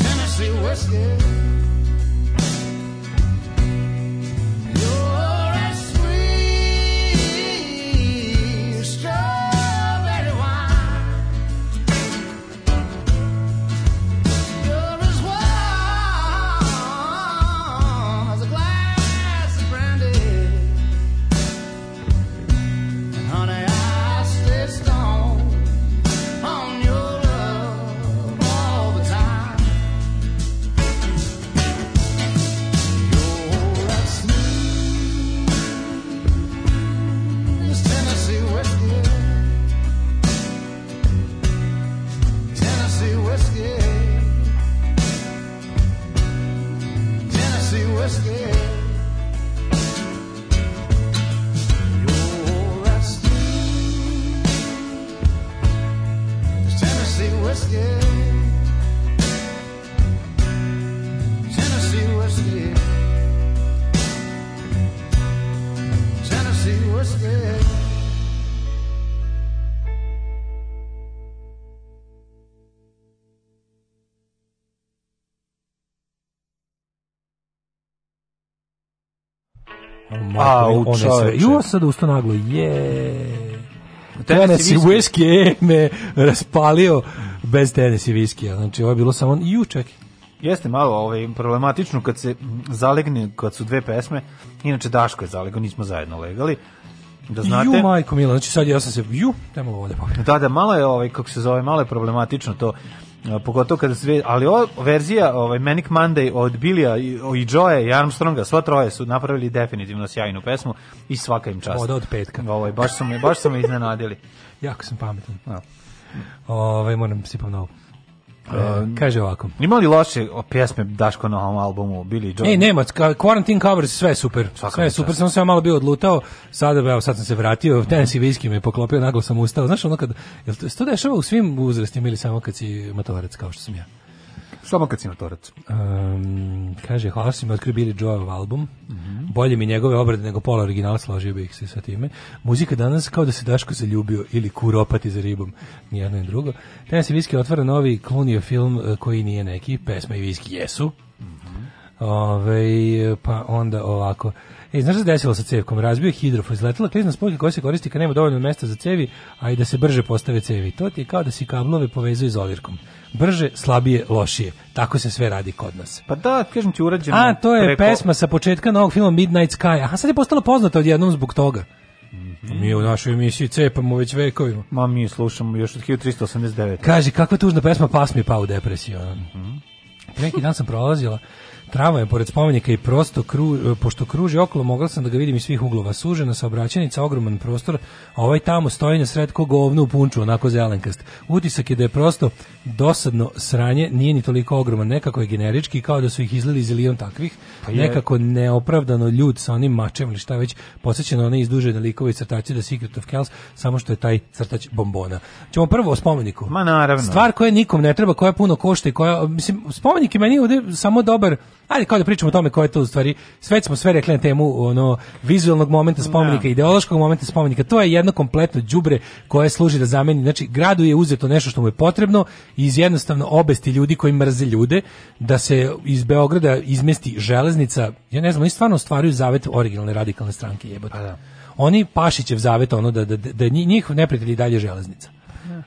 S2: Tennessee whiskey. You're as sweet as strawberry wine. You're as warm as a glass of brandy. And honey, I stay were scared. You're rusty. It's Tennessee whiskey. Tennessee whiskey. Tennessee whiskey.
S5: A,
S6: Au,
S5: u,
S6: one sve.
S5: čoveče.
S6: Ju, sad usto naglo, je. Tennessee
S5: Tennessee whisky.
S6: whisky me raspalio bez Tennessee whisky. Znači, ovo je bilo samo, ju, čekaj.
S5: Jeste malo ovaj, problematično kad se mm, zalegne, kad su dve pesme, inače Daško je zalegao, nismo zajedno legali, da znate.
S6: Ju, majko mila, znači sad ja sam se, ju, nema ovo da pogledam.
S5: Da, da, malo je ovaj kako se zove, malo je problematično to. e, Pogotovo kada sve, ali ova verzija ovaj Manic Monday od Billya i, o- i Joe i Armstronga, sva troje su napravili definitivno sjajnu pesmu i svaka im čast.
S6: Voda od petka.
S5: Ovaj baš su me baš su me iznenadili.
S6: Jako sam pametan.
S5: Da.
S6: Ove, moram sipam novu.
S5: E,
S6: kaže ovako.
S5: Ima li loše o, pjesme Daško na ovom albumu Billy i Joe?
S6: Ej, nema, ka- Quarantine Covers, sve je super. sve je
S5: čast.
S6: super, samo sam ja malo bio odlutao. Sada, evo, sad sam se vratio, Tennessee Whiskey me poklopio, naglo sam ustao. Znaš, ono kad, jel to, se to dešava u svim uzrastima ili samo kad si matorac, kao što sam ja?
S5: Samo kad si na torac.
S6: Um, kaže, hvala što si mi otkrio Billy Joelov album. Bolje mi njegove obrade nego pola originala, složio bih se sa time. Muzika danas kao da se Daško zaljubio ili kuropati za ribom. Nijedno i drugo. Tennessee Whiskey otvara novi klunio film eh, koji nije neki. Pesma i Whiskey jesu. Ove, pa onda ovako. E, znaš šta se desilo sa cevkom? Razbio je hidrofo, izletela klizna s poljke koja se koristi kad nema dovoljno mesta za cevi, a i da se brže postave cevi. To ti je kao da si kablove povezuje izolirkom. Brže, slabije, lošije. Tako se sve radi kod nas.
S5: Pa da, kažem ti urađeno.
S6: A, to je
S5: preko-
S6: pesma sa početka novog filma Midnight Sky. Aha, sad je postala poznata odjednom zbog toga. Mi u našoj emisiji cepamo već vekovima.
S5: Ma mi je slušamo još od 1389.
S6: Kaže, kakva tužna pesma, pas mi je pao u depresiju. ono. Pre neki dan sam prolazila tramvajem pored spomenika i prosto kru, pošto kruži okolo, mogla sam da ga vidim iz svih uglova. Sužena saobraćenica, ogroman prostor, a ovaj tamo stoji na sred ko govno u punču, onako zelenkast. Utisak je da je prosto dosadno sranje, nije ni toliko ogroman, nekako je generički, kao da su ih izlili zilion takvih,
S5: Pa je.
S6: nekako neopravdano ljud sa onim mačem ili šta već, podsjeća na one izdužene likove i crtače da Secret of Kells, samo što je taj crtač bombona. Ćemo prvo o spomeniku.
S5: Ma naravno.
S6: Stvar koja nikom ne treba, koja puno košta i koja, mislim, spomenik je meni ovde samo dobar, ali kao da pričamo o tome koja je to u stvari, sve smo sve rekli na temu ono, vizualnog momenta spomenika,
S5: Da.
S6: ideološkog momenta spomenika, to je jedno kompletno đubre koje služi da zameni, znači gradu je uzeto nešto što mu je potrebno iz jednostavno obesti ljudi koji mrze ljude, da se iz Beograda izmesti železnica, ja ne znam, oni stvarno ostvaruju zavet originalne radikalne stranke
S5: Pa
S6: jebote. Oni Pašićev zavet ono da, da, da nji- njihov neprijatelj i dalje je železnica.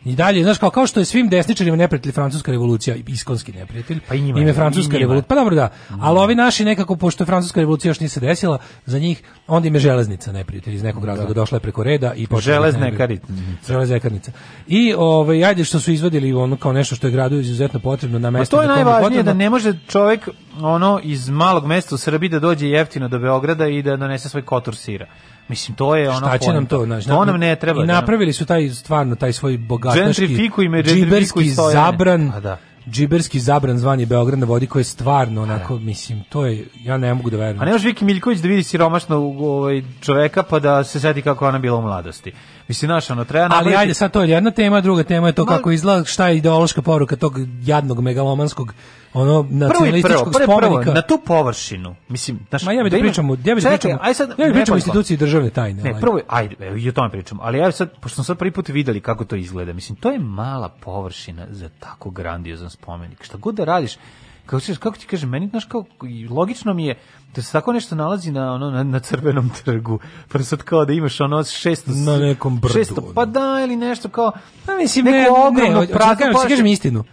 S6: I dalje, znaš, kao, kao što je svim desničarima neprijatelj francuska revolucija, iskonski neprijatelj,
S5: Pa i njima
S6: im je
S5: je,
S6: francuska
S5: i njima. Mm.
S6: revolucija, pa dobro da, ali ovi naši nekako, pošto francuska revolucija još nije se desila, za njih, onda im je železnica neprijatelj iz nekog razloga, došla je preko reda i počela da ih
S5: Železne
S6: nervira.
S5: karite.
S6: Železne karnica. I ovaj, ajde što su izvadili ono kao nešto što je gradu izuzetno potrebno na
S5: Ma Pa
S6: mesto.
S5: to je
S6: na kom
S5: najvažnije
S6: potrebno.
S5: da ne može čovjek ono iz malog mesta u Srbiji da dođe jeftino do Beograda i da donese svoj kotor sira. Mislim to je ono
S6: Šta će nam to, znaš,
S5: to nam ne treba.
S6: I
S5: da nam-
S6: napravili su taj stvarno taj svoj bogataški
S5: Gentrifikuj me, gentrifikuj
S6: džiberski
S5: Stojane.
S6: zabran.
S5: A da.
S6: Džiberski zabran zvani Beograd na vodi koji je stvarno onako mislim to je ja ne mogu da verujem.
S5: A ne može Viki Miljković da vidi siromašno ovaj čoveka pa da se seti kako je ona bila u mladosti. Mislim naš ono treba
S6: Ali
S5: napraviti-
S6: ajde, sad to je jedna tema, druga tema je to
S5: Ma-
S6: kako izgleda, šta je ideološka poruka tog jadnog megalomanskog ono
S5: prvo i prvo,
S6: nacionalističkog
S5: prvo, i prvo,
S6: spomenika.
S5: na tu površinu. Mislim, znaš,
S6: Ma ja bih da
S5: ima-
S6: pričamo, ja bih da
S5: Čekaj,
S6: pričamo,
S5: aj sad,
S6: ja bih da
S5: nekoliko.
S6: pričamo o instituciji državne tajne.
S5: Ne,
S6: ovaj.
S5: prvo, ajde, evo, i o tome pričam, ali ja sad, pošto smo sad prvi put videli kako to izgleda, mislim, to je mala površina za tako grandiozan spomenik. Šta god da radiš, kako, se, kako ti kažem, meni, znaš, kao, i logično mi je da se tako nešto nalazi na, ono, na, na crvenom trgu, pa sad kao da imaš ono 600...
S6: Na nekom brdu, ono.
S5: 600, pa da, ili nešto kao, pa mislim,
S6: Ne,
S5: neku
S6: ne,
S5: ogromnu
S6: hoću da
S5: praznu
S6: kažem- hoću da
S5: površinu.
S6: kažem istinu.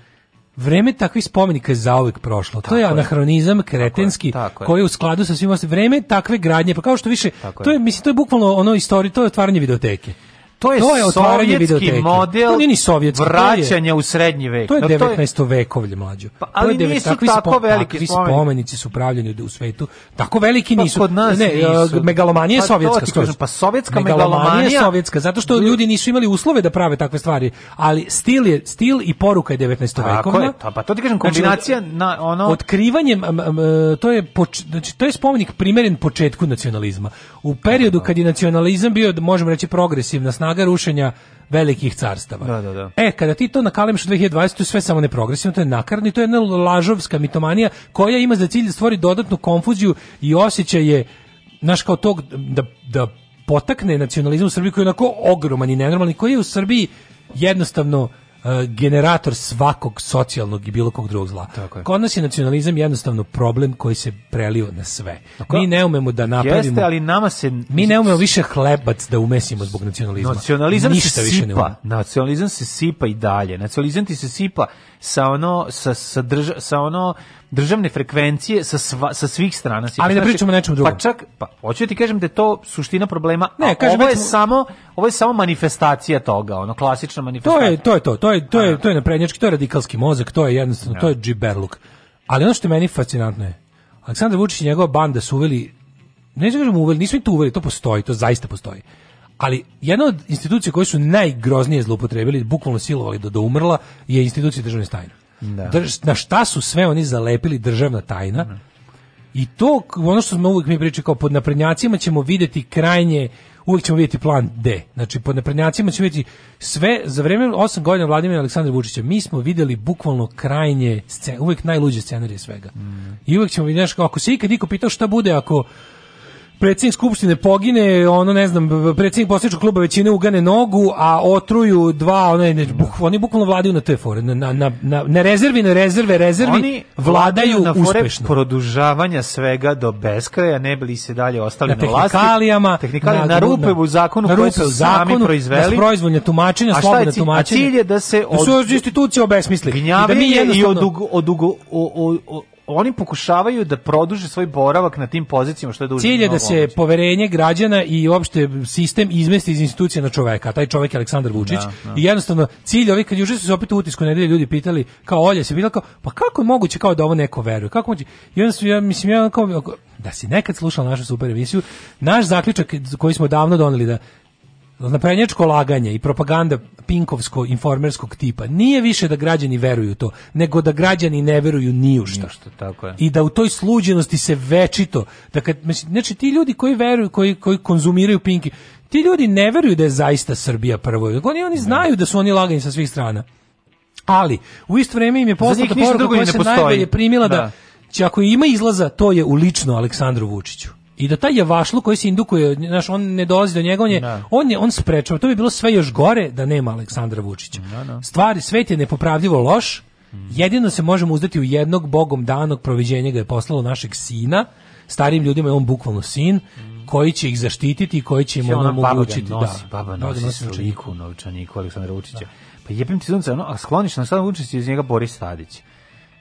S6: Vreme takvih spomenika je zauvek prošlo. to je
S5: je.
S6: anahronizam kretenski
S5: tako je.
S6: koji je u skladu sa svim ostalim. Vreme takve gradnje, pa kao što više,
S5: Tako
S6: to
S5: je.
S6: je, mislim, to je bukvalno ono istorije, to je otvaranje videoteke.
S5: to je,
S6: to je otvaranje
S5: sovjetski
S6: videoteke.
S5: model
S6: To nije ni sovjetski, to je-
S5: vraćanja u srednji vek.
S6: To je
S5: No,
S6: 19. vekovlje mlađo.
S5: Pa,
S6: To je
S5: ali
S6: devet-
S5: nisu
S6: takvi
S5: tako veliki
S6: takvi
S5: spomenici.
S6: spomenici su pravljeni u svetu. Tako veliki
S5: Pa
S6: nisu.
S5: kod nas
S6: ne,
S5: nisu.
S6: e, megalomanija je
S5: Pa to
S6: sovjetska.
S5: ti
S6: skroz.
S5: kažem, pa sovjetska
S6: je
S5: megalomanija-
S6: sovjetska, zato što ljudi nisu imali uslove da prave takve stvari, ali stil je stil i poruka je 19.
S5: Tako
S6: vekovna.
S5: je, to- pa to ti kažem,
S6: Znači,
S5: kombinacija na ono...
S6: otkrivanjem m, m, to je poč- znači to je spomenik primeren početku nacionalizma. U periodu kad je nacionalizam bio možemo reći progresivna snaga rušenja velikih carstava.
S5: Da, da, da.
S6: E, kada ti to nakalemiš u 2020, to je sve samo neprogresivno, to je nakarni, to je jedna lažovska mitomanija koja ima za cilj da stvori dodatnu konfuziju i osjećaj je, znaš, kao tog, da, da potakne nacionalizam u Srbiji koji je onako ogroman i nenormalan i koji je u Srbiji jednostavno e, generator svakog socijalnog i bilo kog drugog zla.
S5: Tako je.
S6: Kod nas je nacionalizam jednostavno problem koji se prelio na sve. Mi ne umemo da napravimo...
S5: Jeste, ali nama se...
S6: Mi ne umemo više hlebac da umesimo zbog nacionalizma.
S5: Nacionalizam
S6: Ništa
S5: se
S6: više ne
S5: sipa.
S6: umemo.
S5: Nacionalizam se sipa i dalje. Nacionalizam ti se sipa sa ono sa sa, drža- sa ono državne frekvencije sa sva- sa svih strana. sipa.
S6: Ali ne
S5: Znači,
S6: pričamo o nečemu drugom.
S5: Pa čak pa hoću ti kažem da je to suština problema.
S6: Ne,
S5: Ne,
S6: kažem,
S5: ovo je
S6: recimo-
S5: samo ovo je samo manifestacija toga, ono klasična
S6: To
S5: manifestacija.
S6: je to je to, to je to je to je naprednjački, to je radikalski mozak, to je jednostavno, to je džiberluk. Ali ono što je meni fascinantno je Aleksandar Vučić i njegova banda su uveli ne znam kažem uveli, nisu im to uveli, to postoji, to zaista postoji. Ali jedna od institucija koje su najgroznije zloupotrebili, bukvalno silovali do, do umrla, je institucija državne tajne. Drž- na šta su sve oni zalepili državna tajna? I to, k- ono što smo uvijek mi pričali, kao pod naprednjacima ćemo vidjeti krajnje, uvijek ćemo vidjeti plan D. Znači, pod naprednjacima ćemo vidjeti sve, za vrijeme 8 godina Vladimira Aleksandra Vučića, mi smo vidjeli bukvalno krajnje, scen, uvijek najluđe scenarije svega.
S5: Mm.
S6: I uvijek ćemo vidjeti, znaš, kao, ako se ikad niko pitao šta bude ako predsjednik skupštine pogine, ono ne znam, b- b- predsjednik posljednog kluba većine ugane nogu, a otruju dva, one, ne, buk, oni bukvalno vladaju na te fore, na, na, na, na, na rezervi, na rezerve, rezervi,
S5: Oni
S6: vladaju
S5: na fore
S6: uspešno.
S5: produžavanja svega do beskraja, ne bili se dalje ostali
S6: na
S5: na, vlasti.
S6: tehnikalijama,
S5: Tehnikalijama, na rupe u zakonu
S6: na
S5: koje
S6: rupe
S5: su
S6: u
S5: sami
S6: zakonu,
S5: proizveli.
S6: na proizvoljne tumačenja,
S5: A šta je
S6: slobodne
S5: cilj? A
S6: tumačenja.
S5: cilj je da se
S6: da su
S5: od-
S6: institucije obesmisli. I da mi
S5: gnjavljenje i
S6: jednostavno-
S5: odugo, odugo, o, o, o, oni pokušavaju da produže svoj boravak na tim pozicijama što je duže.
S6: Cilj je da
S5: mnogo
S6: se poverenje građana i uopšte sistem izmesti iz institucije na čoveka. a Taj čovek je Aleksandar Vučić.
S5: Da, da.
S6: I jednostavno, cilj ovih, kad juče su se opet u utisku nedelje ljudi pitali, kao Olja se pitala, kao, pa kako je moguće kao da ovo neko veruje? Kako je moguće? I onda su, ja, mislim, ja kao, ako- da si nekad slušao našu super emisiju, naš zaključak koji smo davno doneli da naprednjačko laganje i propaganda pinkovsko informerskog tipa nije više da građani veruju u to, nego da građani ne veruju ni u šta.
S5: Tako je.
S6: I da u toj sluđenosti se večito, da kad, mislim, znači ti ljudi koji veruju, koji, koji konzumiraju Pinki, ti ljudi ne veruju da je zaista Srbija prvo. Oni, oni znaju da su oni lagani sa svih strana. Ali, u isto vrijeme im je poslata
S5: njih ništa
S6: poruka
S5: drugo i
S6: koja
S5: ne
S6: se
S5: postoji.
S6: najbolje primila da,
S5: Da.
S6: će ako ima izlaza, to je u lično Aleksandru Vučiću. I da taj javašlu koji se indukuje, znaš, on ne dolazi do njega, on je, on, je, on sprečava. To bi bilo sve još gore da nema Aleksandra Vučića. Stvari, svet je nepopravljivo loš, jedino se možemo uzdati u jednog bogom danog proviđenja ga je poslalo našeg sina, starim ljudima je on bukvalno sin, koji će ih zaštititi i koji će im
S5: Ona
S6: ono
S5: baba ga
S6: omogućiti.
S5: nosi,
S6: da,
S5: baba
S6: Da, da
S5: nosi
S6: nosi novčanik.
S5: sliku u novčaniku Aleksandra Vučića. Pa jebim ti sunce, ono, a skloniš na Aleksandra Vučića iz njega Boris Tadić.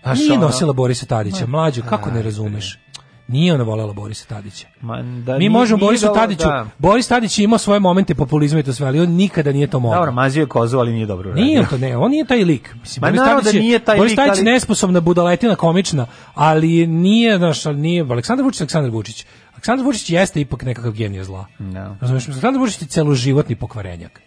S5: Znaš,
S6: Nije
S5: ono,
S6: nosila Borisa Tadića,
S5: Ma, pa
S6: mlađo, kako ne
S5: ajde.
S6: razumeš? Nije ona volela Borisa Tadića.
S5: Ma, da
S6: Mi
S5: Pa nije-
S6: možemo
S5: nije
S6: Borisu
S5: dala-
S6: Tadiću,
S5: da.
S6: Boris Tadić je imao svoje momente populizma i to sve, ali on nikada nije to mogao.
S5: Dobro, mazio je kozu, ali nije dobro
S6: Ono. Nije on
S5: radio.
S6: to, ne, on nije taj lik. Mislim,
S5: Ma
S6: Boris
S5: naravno
S6: Tadić
S5: da
S6: je-
S5: nije taj
S6: Boris
S5: lik,
S6: Tadić
S5: ali-
S6: nesposobna budaletina, komična, ali nije, znaš, ali nije, Aleksandar Vučić, je Aleksandar Vučić. Aleksandar Vučić jeste ipak nekakav genije zla.
S5: No.
S6: Razumeš, Aleksandar Vučić je celoživotni pokvarenjak.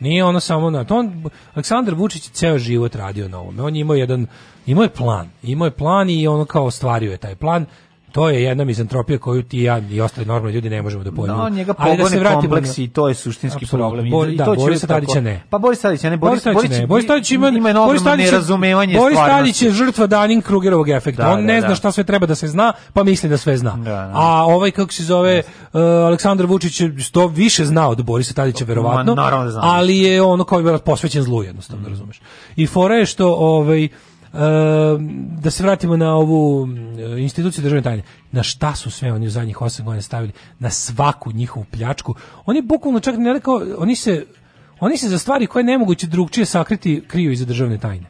S6: Nije ono samo na to. On, Aleksandar Vučić je ceo život radio na ovome. On je imao jedan, imao je plan. Imao je plan i ono kao ostvario je taj plan. To je jedna mizantropija koju ti i ja i ostali normalni ljudi ne možemo da pojmemo.
S5: No, njega
S6: Ali da
S5: pogone
S6: se vratimo na-
S5: kompleks i to je suštinski
S6: Apsolutno.
S5: problem. I-
S6: Bor-
S5: i
S6: da,
S5: to će
S6: Borisa
S5: biti tako.
S6: Tadića ne.
S5: Pa Boris Tadić, ja ne,
S6: Boris
S5: Boris,
S6: Tadić ne. Boris Tadić ima,
S5: enormno
S6: Boris Tadić je-
S5: nerazumevanje
S6: Boris
S5: stvarnosti.
S6: Tadić je žrtva da Krugerovog efekta.
S5: Da,
S6: on
S5: da,
S6: ne zna
S5: da.
S6: šta sve treba da se zna, pa misli da sve zna.
S5: da.
S6: A ovaj kako se zove uh, Aleksandar Vučić je sto više zna od Borisa Tadića verovatno.
S5: Ma, naravno da Mhm. zna.
S6: ali je ono kao je posvećen zlu jednostavno, razumeš. I fora je što ovaj uh, da se vratimo na ovu uh, instituciju državne tajne. Na šta su sve oni u zadnjih 8 godina stavili? Na svaku njihovu pljačku. Oni bukvalno čak ne rekao, oni se oni se za stvari koje je nemoguće
S5: Pa
S6: drugčije sakriti kriju iza državne tajne.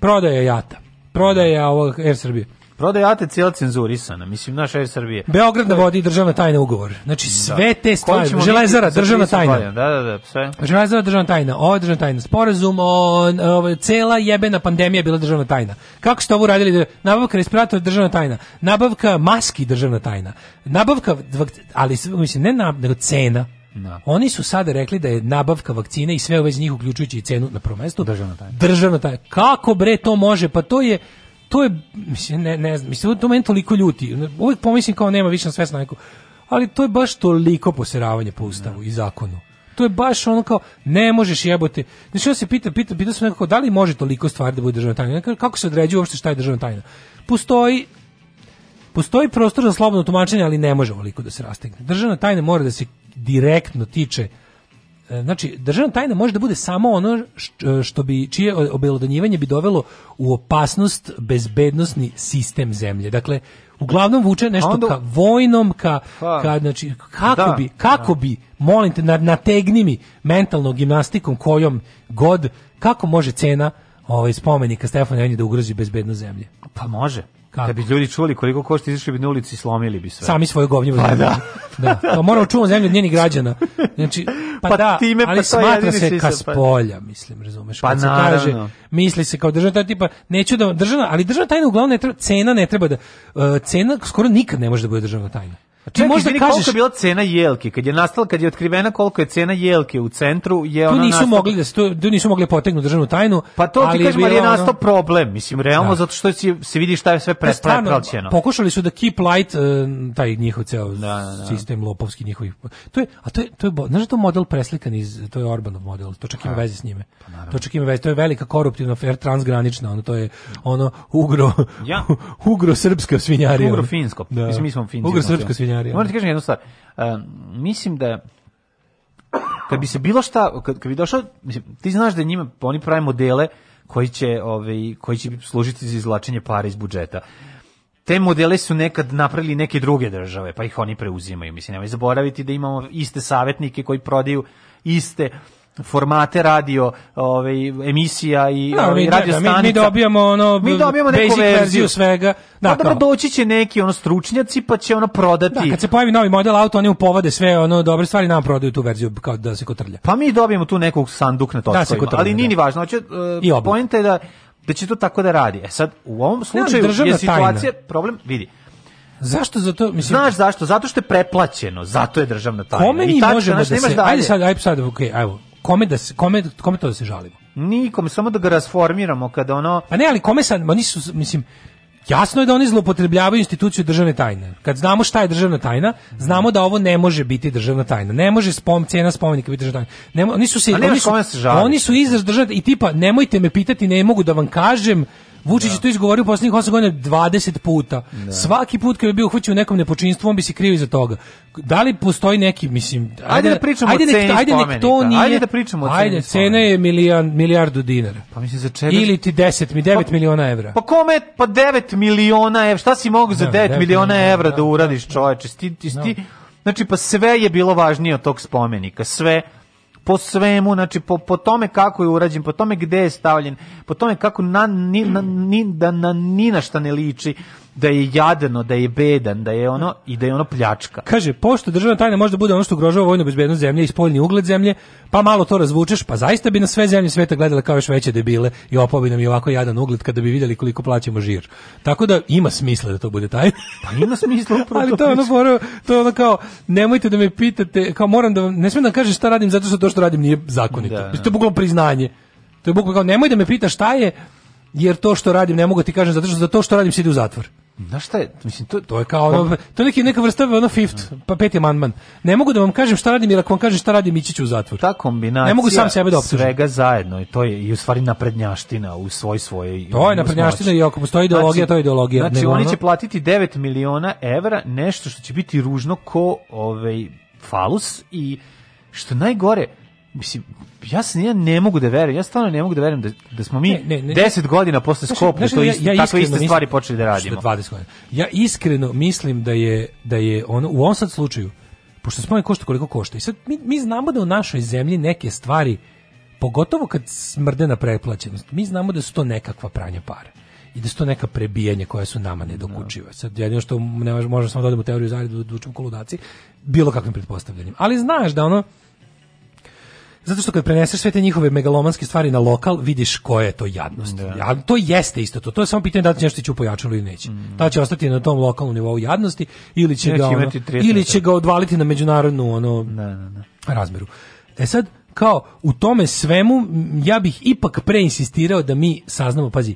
S6: Prodaja jata, prodaja ovog Air Srbije.
S5: Prodaje ATC je cenzurisana, mislim, naš Air Srbije.
S6: Beograd na vodi državna tajna ugovor. Znači sve te
S5: Koji
S6: stvari,
S5: ćemo
S6: železara,
S5: biti za
S6: državna
S5: 30
S6: tajna.
S5: godina, Da, da, da, sve.
S6: Železara državna tajna, ovo Znači, je državna tajna, sporazum o, o- cela jebena pandemija je bila državna tajna. Kako ste ovo uradili? Nabavka respiratora državna tajna, nabavka maski državna tajna, nabavka, vak- ali sve- mislim, ne nab, nego cena. Oni su sada rekli da je nabavka vakcine i sve u vezi njih uključujući i cenu na prvom mestu državna tajna. Državna tajna. Kako bre to može? Pa to je to je mislim ne ne znam, mislim to meni toliko ljuti. Uvijek pomislim kao nema više na sve snajku. Ali to je baš toliko poseravanje po ustavu i zakonu. To je baš ono kao ne možeš jebote. Znači ja se pita, pita, pita sam nekako da li može toliko stvari da bude državna tajna. Kako- Kako se određuje uopšte šta je državna tajna? Postoji Postoji prostor za slobodno tumačenje, ali ne može ovoliko da se rastegne. Državna tajna mora da se direktno tiče E, znači državna tajna može da bude samo ono š- što bi čije obelodanjivanje bi dovelo u opasnost bezbednosni sistem zemlje. Dakle, uglavnom vuče nešto
S5: onda-
S6: ka vojnom, ka,
S5: Pa,
S6: ka znači kako
S5: da,
S6: bi kako bi molim te na- nategni mi mentalnom gimnastikom kojom god kako može cena ovaj spomenika Stefana Nemanje da ugrozi bezbednost zemlje.
S5: Pa može.
S6: Kako?
S5: Da bi ljudi čuli koliko košta, izašli bi na ulici i slomili bi sve.
S6: Sami svoje govnjivo
S5: Pa da.
S6: da. To moramo čuvati zemlju od njenih građana. Znači, pa,
S5: Pa
S6: da,
S5: time,
S6: ali
S5: pa to
S6: smatra
S5: jedini
S6: se
S5: sistem,
S6: ka
S5: pa-
S6: s polja, mislim, razumeš.
S5: Pa
S6: Kad se
S5: naravno.
S6: kaže, misli se kao državna tajna, tipa, neću da, državna, ali državna tajna uglavnom ne treba, cena ne treba da, uh, cena skoro nikad ne može da bude državna tajna. Ti
S5: Čekaj,
S6: možda
S5: izvini,
S6: kažeš,
S5: koliko je bila cena jelke? Kad je nastala, kad je otkrivena koliko je cena jelke u centru, je
S6: tu
S5: ona
S6: nisu
S5: nastala-
S6: mogli da se- tu, tu nisu mogli potegnuti državnu tajnu.
S5: Pa to
S6: ali
S5: ti
S6: je
S5: kažem, ali je
S6: bilo ono-
S5: nastao problem. Mislim, realno,
S6: Da.
S5: zato što si- se vidi šta je sve pre,
S6: Pa stvarno,
S5: prepraćeno.
S6: Pokušali su da keep light e, taj njihov ceo sistem lopovski njihovih. To je a to je to je bo- znaš da je to model preslikan iz to je Orbanov model. To
S5: Pa,
S6: čak ima veze s njime. to čak ima veze, to je velika koruptivna afer transgranična, ono to je ono ugro
S5: Ja.
S6: <laughs> ugro srpska svinjarija.
S5: Ugro finsko.
S6: Da.
S5: Mislim, mi smo finci.
S6: Ugro srpska svinjarija.
S5: Moram ti kažem jednu stvar. Um, mislim da kad bi se bilo šta, kad, kad bi došao, mislim, ti znaš da njima, oni prave modele koji će, ovaj, koji će služiti za izvlačenje para iz budžeta. Te modele su nekad napravili neke druge države, pa ih oni preuzimaju. Mislim, nemoj zaboraviti da imamo iste savjetnike koji prodaju iste formate radio, ovaj, emisija i
S6: Da,
S5: ovaj,
S6: mi,
S5: radio
S6: da, mi, mi
S5: stanica.
S6: dobijamo ono
S5: Mi dobijemo
S6: basic
S5: neku verziju.
S6: verziju svega.
S5: Da,
S6: Da,
S5: pa dobro,
S6: kao-
S5: doći će neki ono stručnjaci pa će ono prodati.
S6: Da, kad se pojavi novi model auto, oni upovode sve ono dobre stvari, nam prodaju tu verziju kao da se kotrlja.
S5: Pa mi dobijemo tu nekog sanduk na
S6: Da, se
S5: tockovima,
S6: kotrlja,
S5: ali nije
S6: da.
S5: ni važno. Hoće, uh,
S6: I oblak.
S5: poenta je da, da će to tako da radi. E sad, u ovom slučaju
S6: državna
S5: je situacija,
S6: tajna.
S5: problem, vidi,
S6: Zašto za to, mislim,
S5: Znaš zašto? Zato što je preplaćeno, zato je državna tajna.
S6: Kome mi
S5: I tačno,
S6: možemo
S5: znaš,
S6: da
S5: nemaš
S6: se...
S5: dalje.
S6: Ajde sad, ajde sad, okej, evo. Kome, da se, kome, kome to da se žalimo?
S5: Nikom, samo da ga rasformiramo kada ono...
S6: Pa ne, ali kome sad, ma nisu, mislim, jasno je da oni zloupotrebljavaju instituciju državne tajne. Kad znamo šta je državna tajna, znamo da ovo ne može biti državna tajna. Ne može spom, cijena spomenika biti državna tajna. Ne, mo- oni su se,
S5: Pa A nemaš
S6: oni su,
S5: kome se žaliti.
S6: oni su izraz državne, i tipa, nemojte me pitati, ne mogu da vam kažem, Vučić je to izgovorio u poslednjih 8 godina 20 puta. Svaki put kad bi bio uhvaćen u nekom nepočinstvu, on bi se krio iza toga. Da li postoji neki, mislim,
S5: Ajde da pričamo
S6: ajde
S5: o
S6: nek-
S5: ceni
S6: ajde nek to
S5: spomenika.
S6: nije,
S5: Ajde da pričamo o ceni
S6: Ajde, cena je milijan, milijardu dinara.
S5: Pa mislim, za čega...
S6: Ili ti 10, mi 9 miliona evra.
S5: Pa kome, pa 9 miliona evra, šta si mogu za
S6: Da,
S5: 9
S6: devet
S5: miliona
S6: miliona,
S5: evra
S6: da,
S5: da uradiš čoveče, sti, ti, sti, znači pa sve je bilo važnije od tog spomenika, sve, po svemu, znači po, po tome kako je urađen, po tome gde je stavljen, po tome kako na, ni, na, ni, da, na, ni na šta ne liči, da je jadno, da je bedan, da je ono, i da je ono pljačka.
S6: Kaže, pošto državna tajna može da bude ono što ugrožava vojnu bezbednost zemlje i spoljni ugled zemlje, pa malo to razvučeš, pa zaista bi na sve zemlje sveta gledale kao još veće debile i opao bi nam i ovako jadan ugled kada bi vidjeli koliko plaćamo žir. Tako da ima smisla da to bude
S5: <laughs>
S6: tajna.
S5: Pa ima smisla upravo
S6: Ali to je ono fora, to je ono kao nemojte da me pitate, kao moram da vam- ne smem da kažem šta radim zato što to što radim nije zakonito.
S5: Da, da.
S6: Mislim, To je bukvalno priznanje. To je bukvalno kao nemoj da me pitaš šta je jer to što radim ne mogu ti kažem zato što za to što radim se ide u zatvor.
S5: Znaš šta je, mislim, to,
S6: To je kao ono, to je neki neka vrsta ono fifth, pa peti amandman. Ne mogu da vam kažem šta radim, jer ako vam kažem šta radim, ići ću u zatvor.
S5: ta kombinacija
S6: Ne mogu sam sebe da optužim.
S5: svega zajedno i to je i u stvari naprednjaština u svoj svojoj
S6: To je naprednjaština i ako postoji ideologija, to je ideologija.
S5: Znači,
S6: Nego
S5: oni
S6: ono-
S5: će platiti 9 miliona evra, nešto što će biti ružno ko ovaj, falus i što je najgore, mislim, ja, se, ja ne mogu da verujem, ja stvarno ne mogu da verujem da, da smo mi
S6: Ne, ne, ne.
S5: 10 godina posle
S6: Znaš,
S5: Skoplja
S6: znaš,
S5: to
S6: ja-
S5: isto,
S6: ja
S5: takve
S6: iskreno
S5: iste
S6: mislim-
S5: stvari počeli da radimo.
S6: Što je 20 godina. Ja iskreno mislim da je, da je ono, u ovom sad slučaju, pošto spomenik košta koliko košta, i sad mi, mi znamo da u našoj zemlji neke stvari, pogotovo kad smrde na preplaćenost, mi znamo da su to nekakva pranja para. i da su to neka prebijanja koja su nama nedokučiva. Sad jedino što ne može- možemo samo da odemo teoriju zaredu da učimo koludaci, bilo kakvim pretpostavljanjem. Ali znaš da ono zato što kad preneseš sve te njihove megalomanske stvari na lokal, vidiš koja je to jadnost. Ali to jeste isto to. To je samo pitanje da li će nešto ići u pojačalo ili neće. Da li će ostati na tom lokalnom nivou jadnosti ili će,
S5: Mm. Neće
S6: ga, ono-
S5: imati tretman.
S6: ili će ga odvaliti na međunarodnu ono, razmeru. E sad, kao u tome svemu, m, ja bih ipak preinsistirao da mi saznamo, pazi,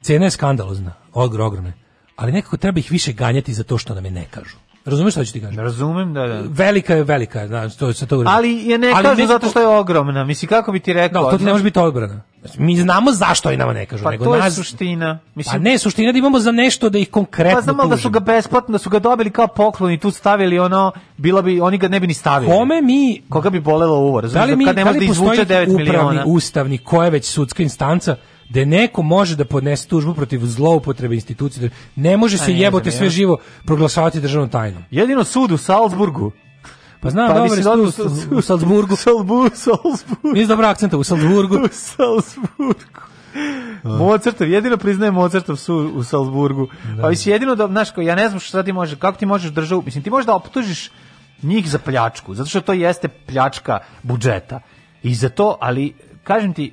S6: cena je skandalozna, ogr, ogromna, je, ali nekako treba ih više ganjati za to što nam je ne kažu. Razumeš šta ću ti kažem?
S5: Razumem, da, da.
S6: Velika je velika, znači to se to uradi.
S5: Ali je ne kažu
S6: nekako-
S5: zato što je ogromna. Misli, kako bi ti rekao?
S6: Da, to ti ne može biti odbrana. Znači, Mi znamo zašto i nama ne kažu,
S5: Pa
S6: nego
S5: to je
S6: nas-
S5: suština. Mislim,
S6: Pa ne, suština je da imamo za nešto da ih konkretno
S5: Pa znam ali da su
S6: tužimo.
S5: ga besplatno, da su ga dobili kao poklon i tu stavili ono, bilo bi, oni ga ne bi ni stavili.
S6: Kome mi...
S5: Koga bi bolelo uvo, razumiješ?
S6: Da li mi
S5: kad ne
S6: da
S5: može da
S6: li postoji
S5: izvuče 9
S6: upravni,
S5: miliona.
S6: ustavni, koja je već sudska instanca, da neko može da podnese tužbu protiv zloupotrebe institucije. Ne može
S5: A,
S6: se
S5: ne
S6: jebote
S5: znam,
S6: sve
S5: ja.
S6: živo proglašavati državnom tajnom.
S5: Jedino sud u Salzburgu.
S6: Pa znam,
S5: Pa
S6: dobro,
S5: mislim,
S6: jesi tu
S5: odmah
S6: u
S5: su-
S6: Sal- u
S5: <laughs>
S6: Salzburgu.
S5: Salzburgu, Salzburgu.
S6: Nisi dobro akcenta, u Salzburgu.
S5: U Salzburgu. Mozartov, jedino priznaje Mozartov sud u Salzburgu. Pa mislim, jedino da, znaš, kao, ja ne znam šta ti može, kako ti možeš državu, mislim, ti možeš da optužiš njih za pljačku, zato što to jeste pljačka budžeta. I za to, ali, kažem ti,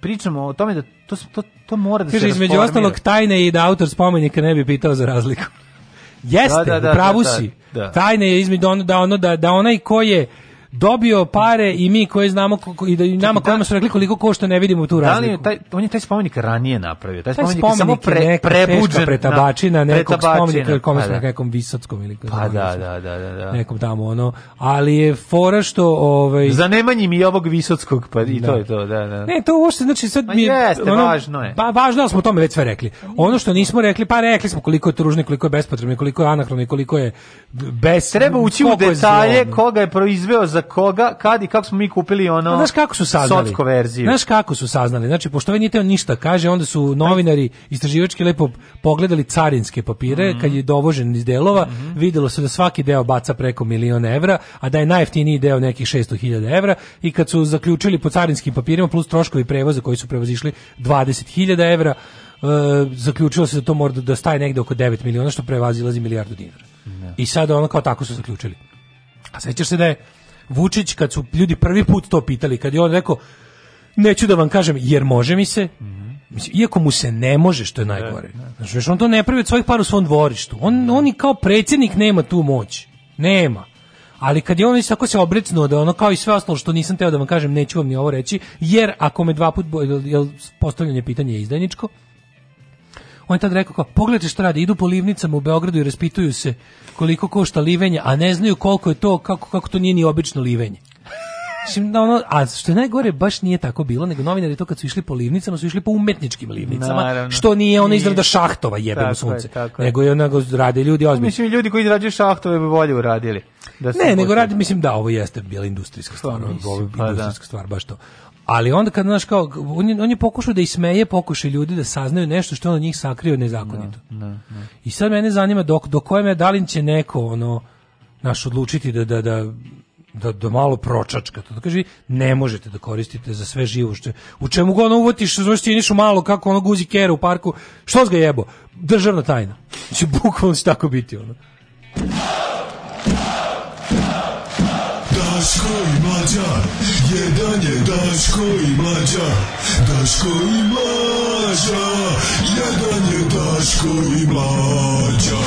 S5: pričamo o tome da to, to, to mora da se
S6: Kaže, između
S5: rasformira.
S6: ostalog, tajne i da autor spomenika ne bi pitao za razliku. <laughs>
S5: Da,
S6: Jeste,
S5: da, da,
S6: u pravu
S5: da, da,
S6: si.
S5: da.
S6: Tajna je između ono, da, ono, da, da onaj ko je dobio pare i mi koji znamo ko- ko- i da i nama kojima su rekli koliko košta ne vidimo tu
S5: Da li je
S6: razliku.
S5: taj, on je taj spomenik ranije napravio. Taj,
S6: Taj
S5: spomenik, je samo pre,
S6: je neka
S5: prebuđen.
S6: teška
S5: na-
S6: pretabačina nekog
S5: pretabačina.
S6: spomenika kome
S5: Pa
S6: su
S5: da.
S6: na nekom visockom ili
S5: Pa da, da, da, da, da.
S6: nekom tamo ono, ali je fora što ovaj
S5: Zanemanji mi je ovog visockog, pa i
S6: Da.
S5: to je to, da, da.
S6: Ne, to uopšte znači sad
S5: Ma
S6: mi je,
S5: jeste, važno je.
S6: Pa važno, ali smo o tome već sve rekli. Ono što nismo rekli, pa rekli smo koliko je tužno, koliko je bespotrebno, koliko je anahrono i koliko je bez
S5: Treba ući u
S6: koliko je
S5: detalje
S6: zlobno.
S5: koga je proizveo za koga, kad i kako smo mi kupili ono...
S6: A znaš kako su saznali?
S5: Socko verziju.
S6: Znaš kako su saznali? Znači, pošto ovaj nije teo ništa kaže, onda su novinari istraživački lepo pogledali carinske papire,
S5: Mhm.
S6: kad je dovožen iz delova, videlo se da svaki deo baca preko milion evra, a da je najjeftiniji deo nekih 600.000 evra, i kad su zaključili po carinskim papirima, plus troškovi prevoza koji su prevozišli 20.000 evra, e, zaključilo se da to mora da- da staje negde oko 9 miliona, što prevazilazi milijardu dinara. I sad ono kao tako su zaključili. A sećaš se da je Vučić, kad su ljudi prvi put to pitali, kad je on rekao, neću da vam kažem, jer može mi se, Mislim, iako mu se Mhm. ne može, što je najgore. Znači, još on to ne pravi od svojih para u svom dvorištu. On, on i kao predsjednik nema tu moć. Nema. Ali kad je on već tako se obrecnuo da ono kao i sve ostalo što nisam teo da vam kažem, neću vam ni ovo reći, jer ako me dva put, bo- jel, jel postavljanje pitanja je izdajničko, on je tad rekao kao, pogledajte šta radi, idu po livnicama u Beogradu i raspituju se koliko košta livenje, a ne znaju koliko je to, kako, kako to nije ni obično livenje. Mislim, da ono, a što je najgore, baš nije tako bilo, nego novinari to kad su išli po livnicama, su išli po umetničkim livnicama,
S5: Naravno.
S6: što nije ona
S5: Nije.
S6: izrada šahtova jebe
S5: Tako
S6: mu
S5: je,
S6: sunce,
S5: tako je.
S6: nego je onago rade ljudi ozbiljno.
S5: Mislim, ljudi koji izrađuju šahtove bi bolje uradili. Da su-
S6: Ne, nego radi, mislim da ovo jeste bila industrijska stvar,
S5: mislim,
S6: ovo je
S5: pa da.
S6: industrijska stvar, baš to. Ali onda kad, znaš, kao, on je, on je pokušao da ismeje pokušaj ljudi da saznaju nešto što je on od njih sakrio nezakonito. I sad mene zanima dok, do koje me, da li će neko, ono, naš odlučiti da, da, da, da, da malo pročačka to da kaže ne možete da koristite za sve živo što je- u čemu god ono uvotiš zoveš ti nišu malo kako ono guzi kera u parku što ga jebo državna tajna će bukvalno će tako biti ono
S10: Daško i Mlađa, jedan je Daško i Mlađa, Daško i Mlađa, jedan je Daško i Mlađa.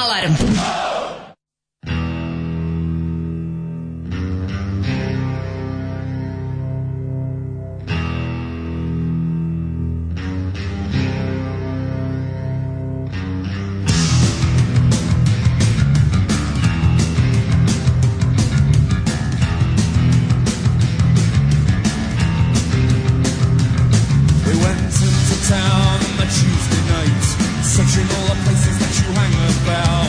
S3: Alarm.
S8: We went into town on a Tuesday night, searching all the places that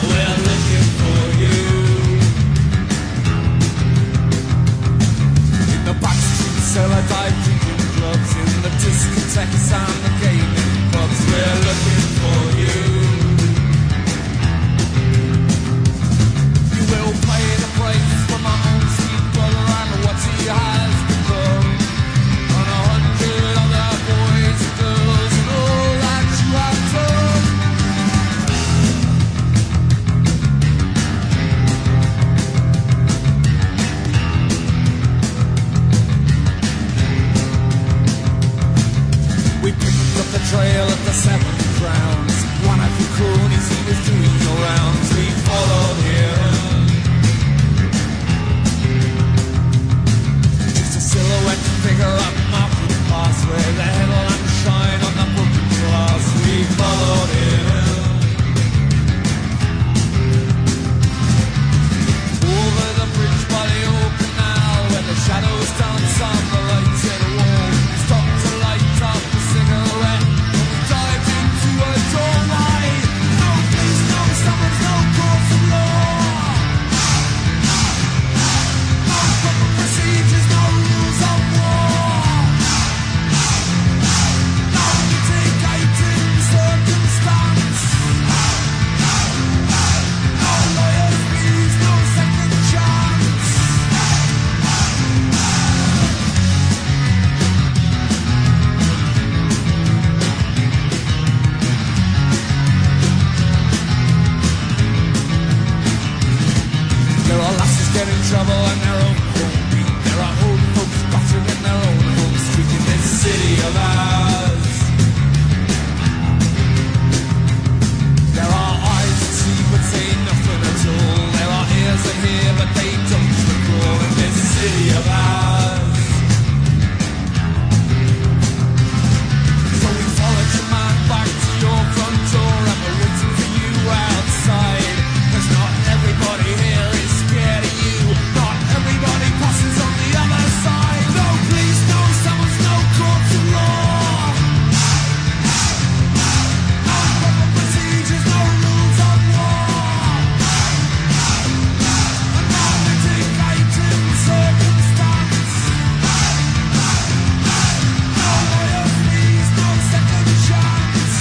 S1: trouble in their own home. There are old folks battering in their own home street in this city of ours. There are eyes that see but say nothing at all. There are ears that hear but they don't recall in this city of ours. So we followed your man back to your front door and we're waiting for you outside. 'Cause not everybody here is scared of you. Not everybody passes on the other side. No, please, no, someone's no court to law. No proper procedures, no rules of war. A non-mitigated circumstance. No loyal fees, no second chance.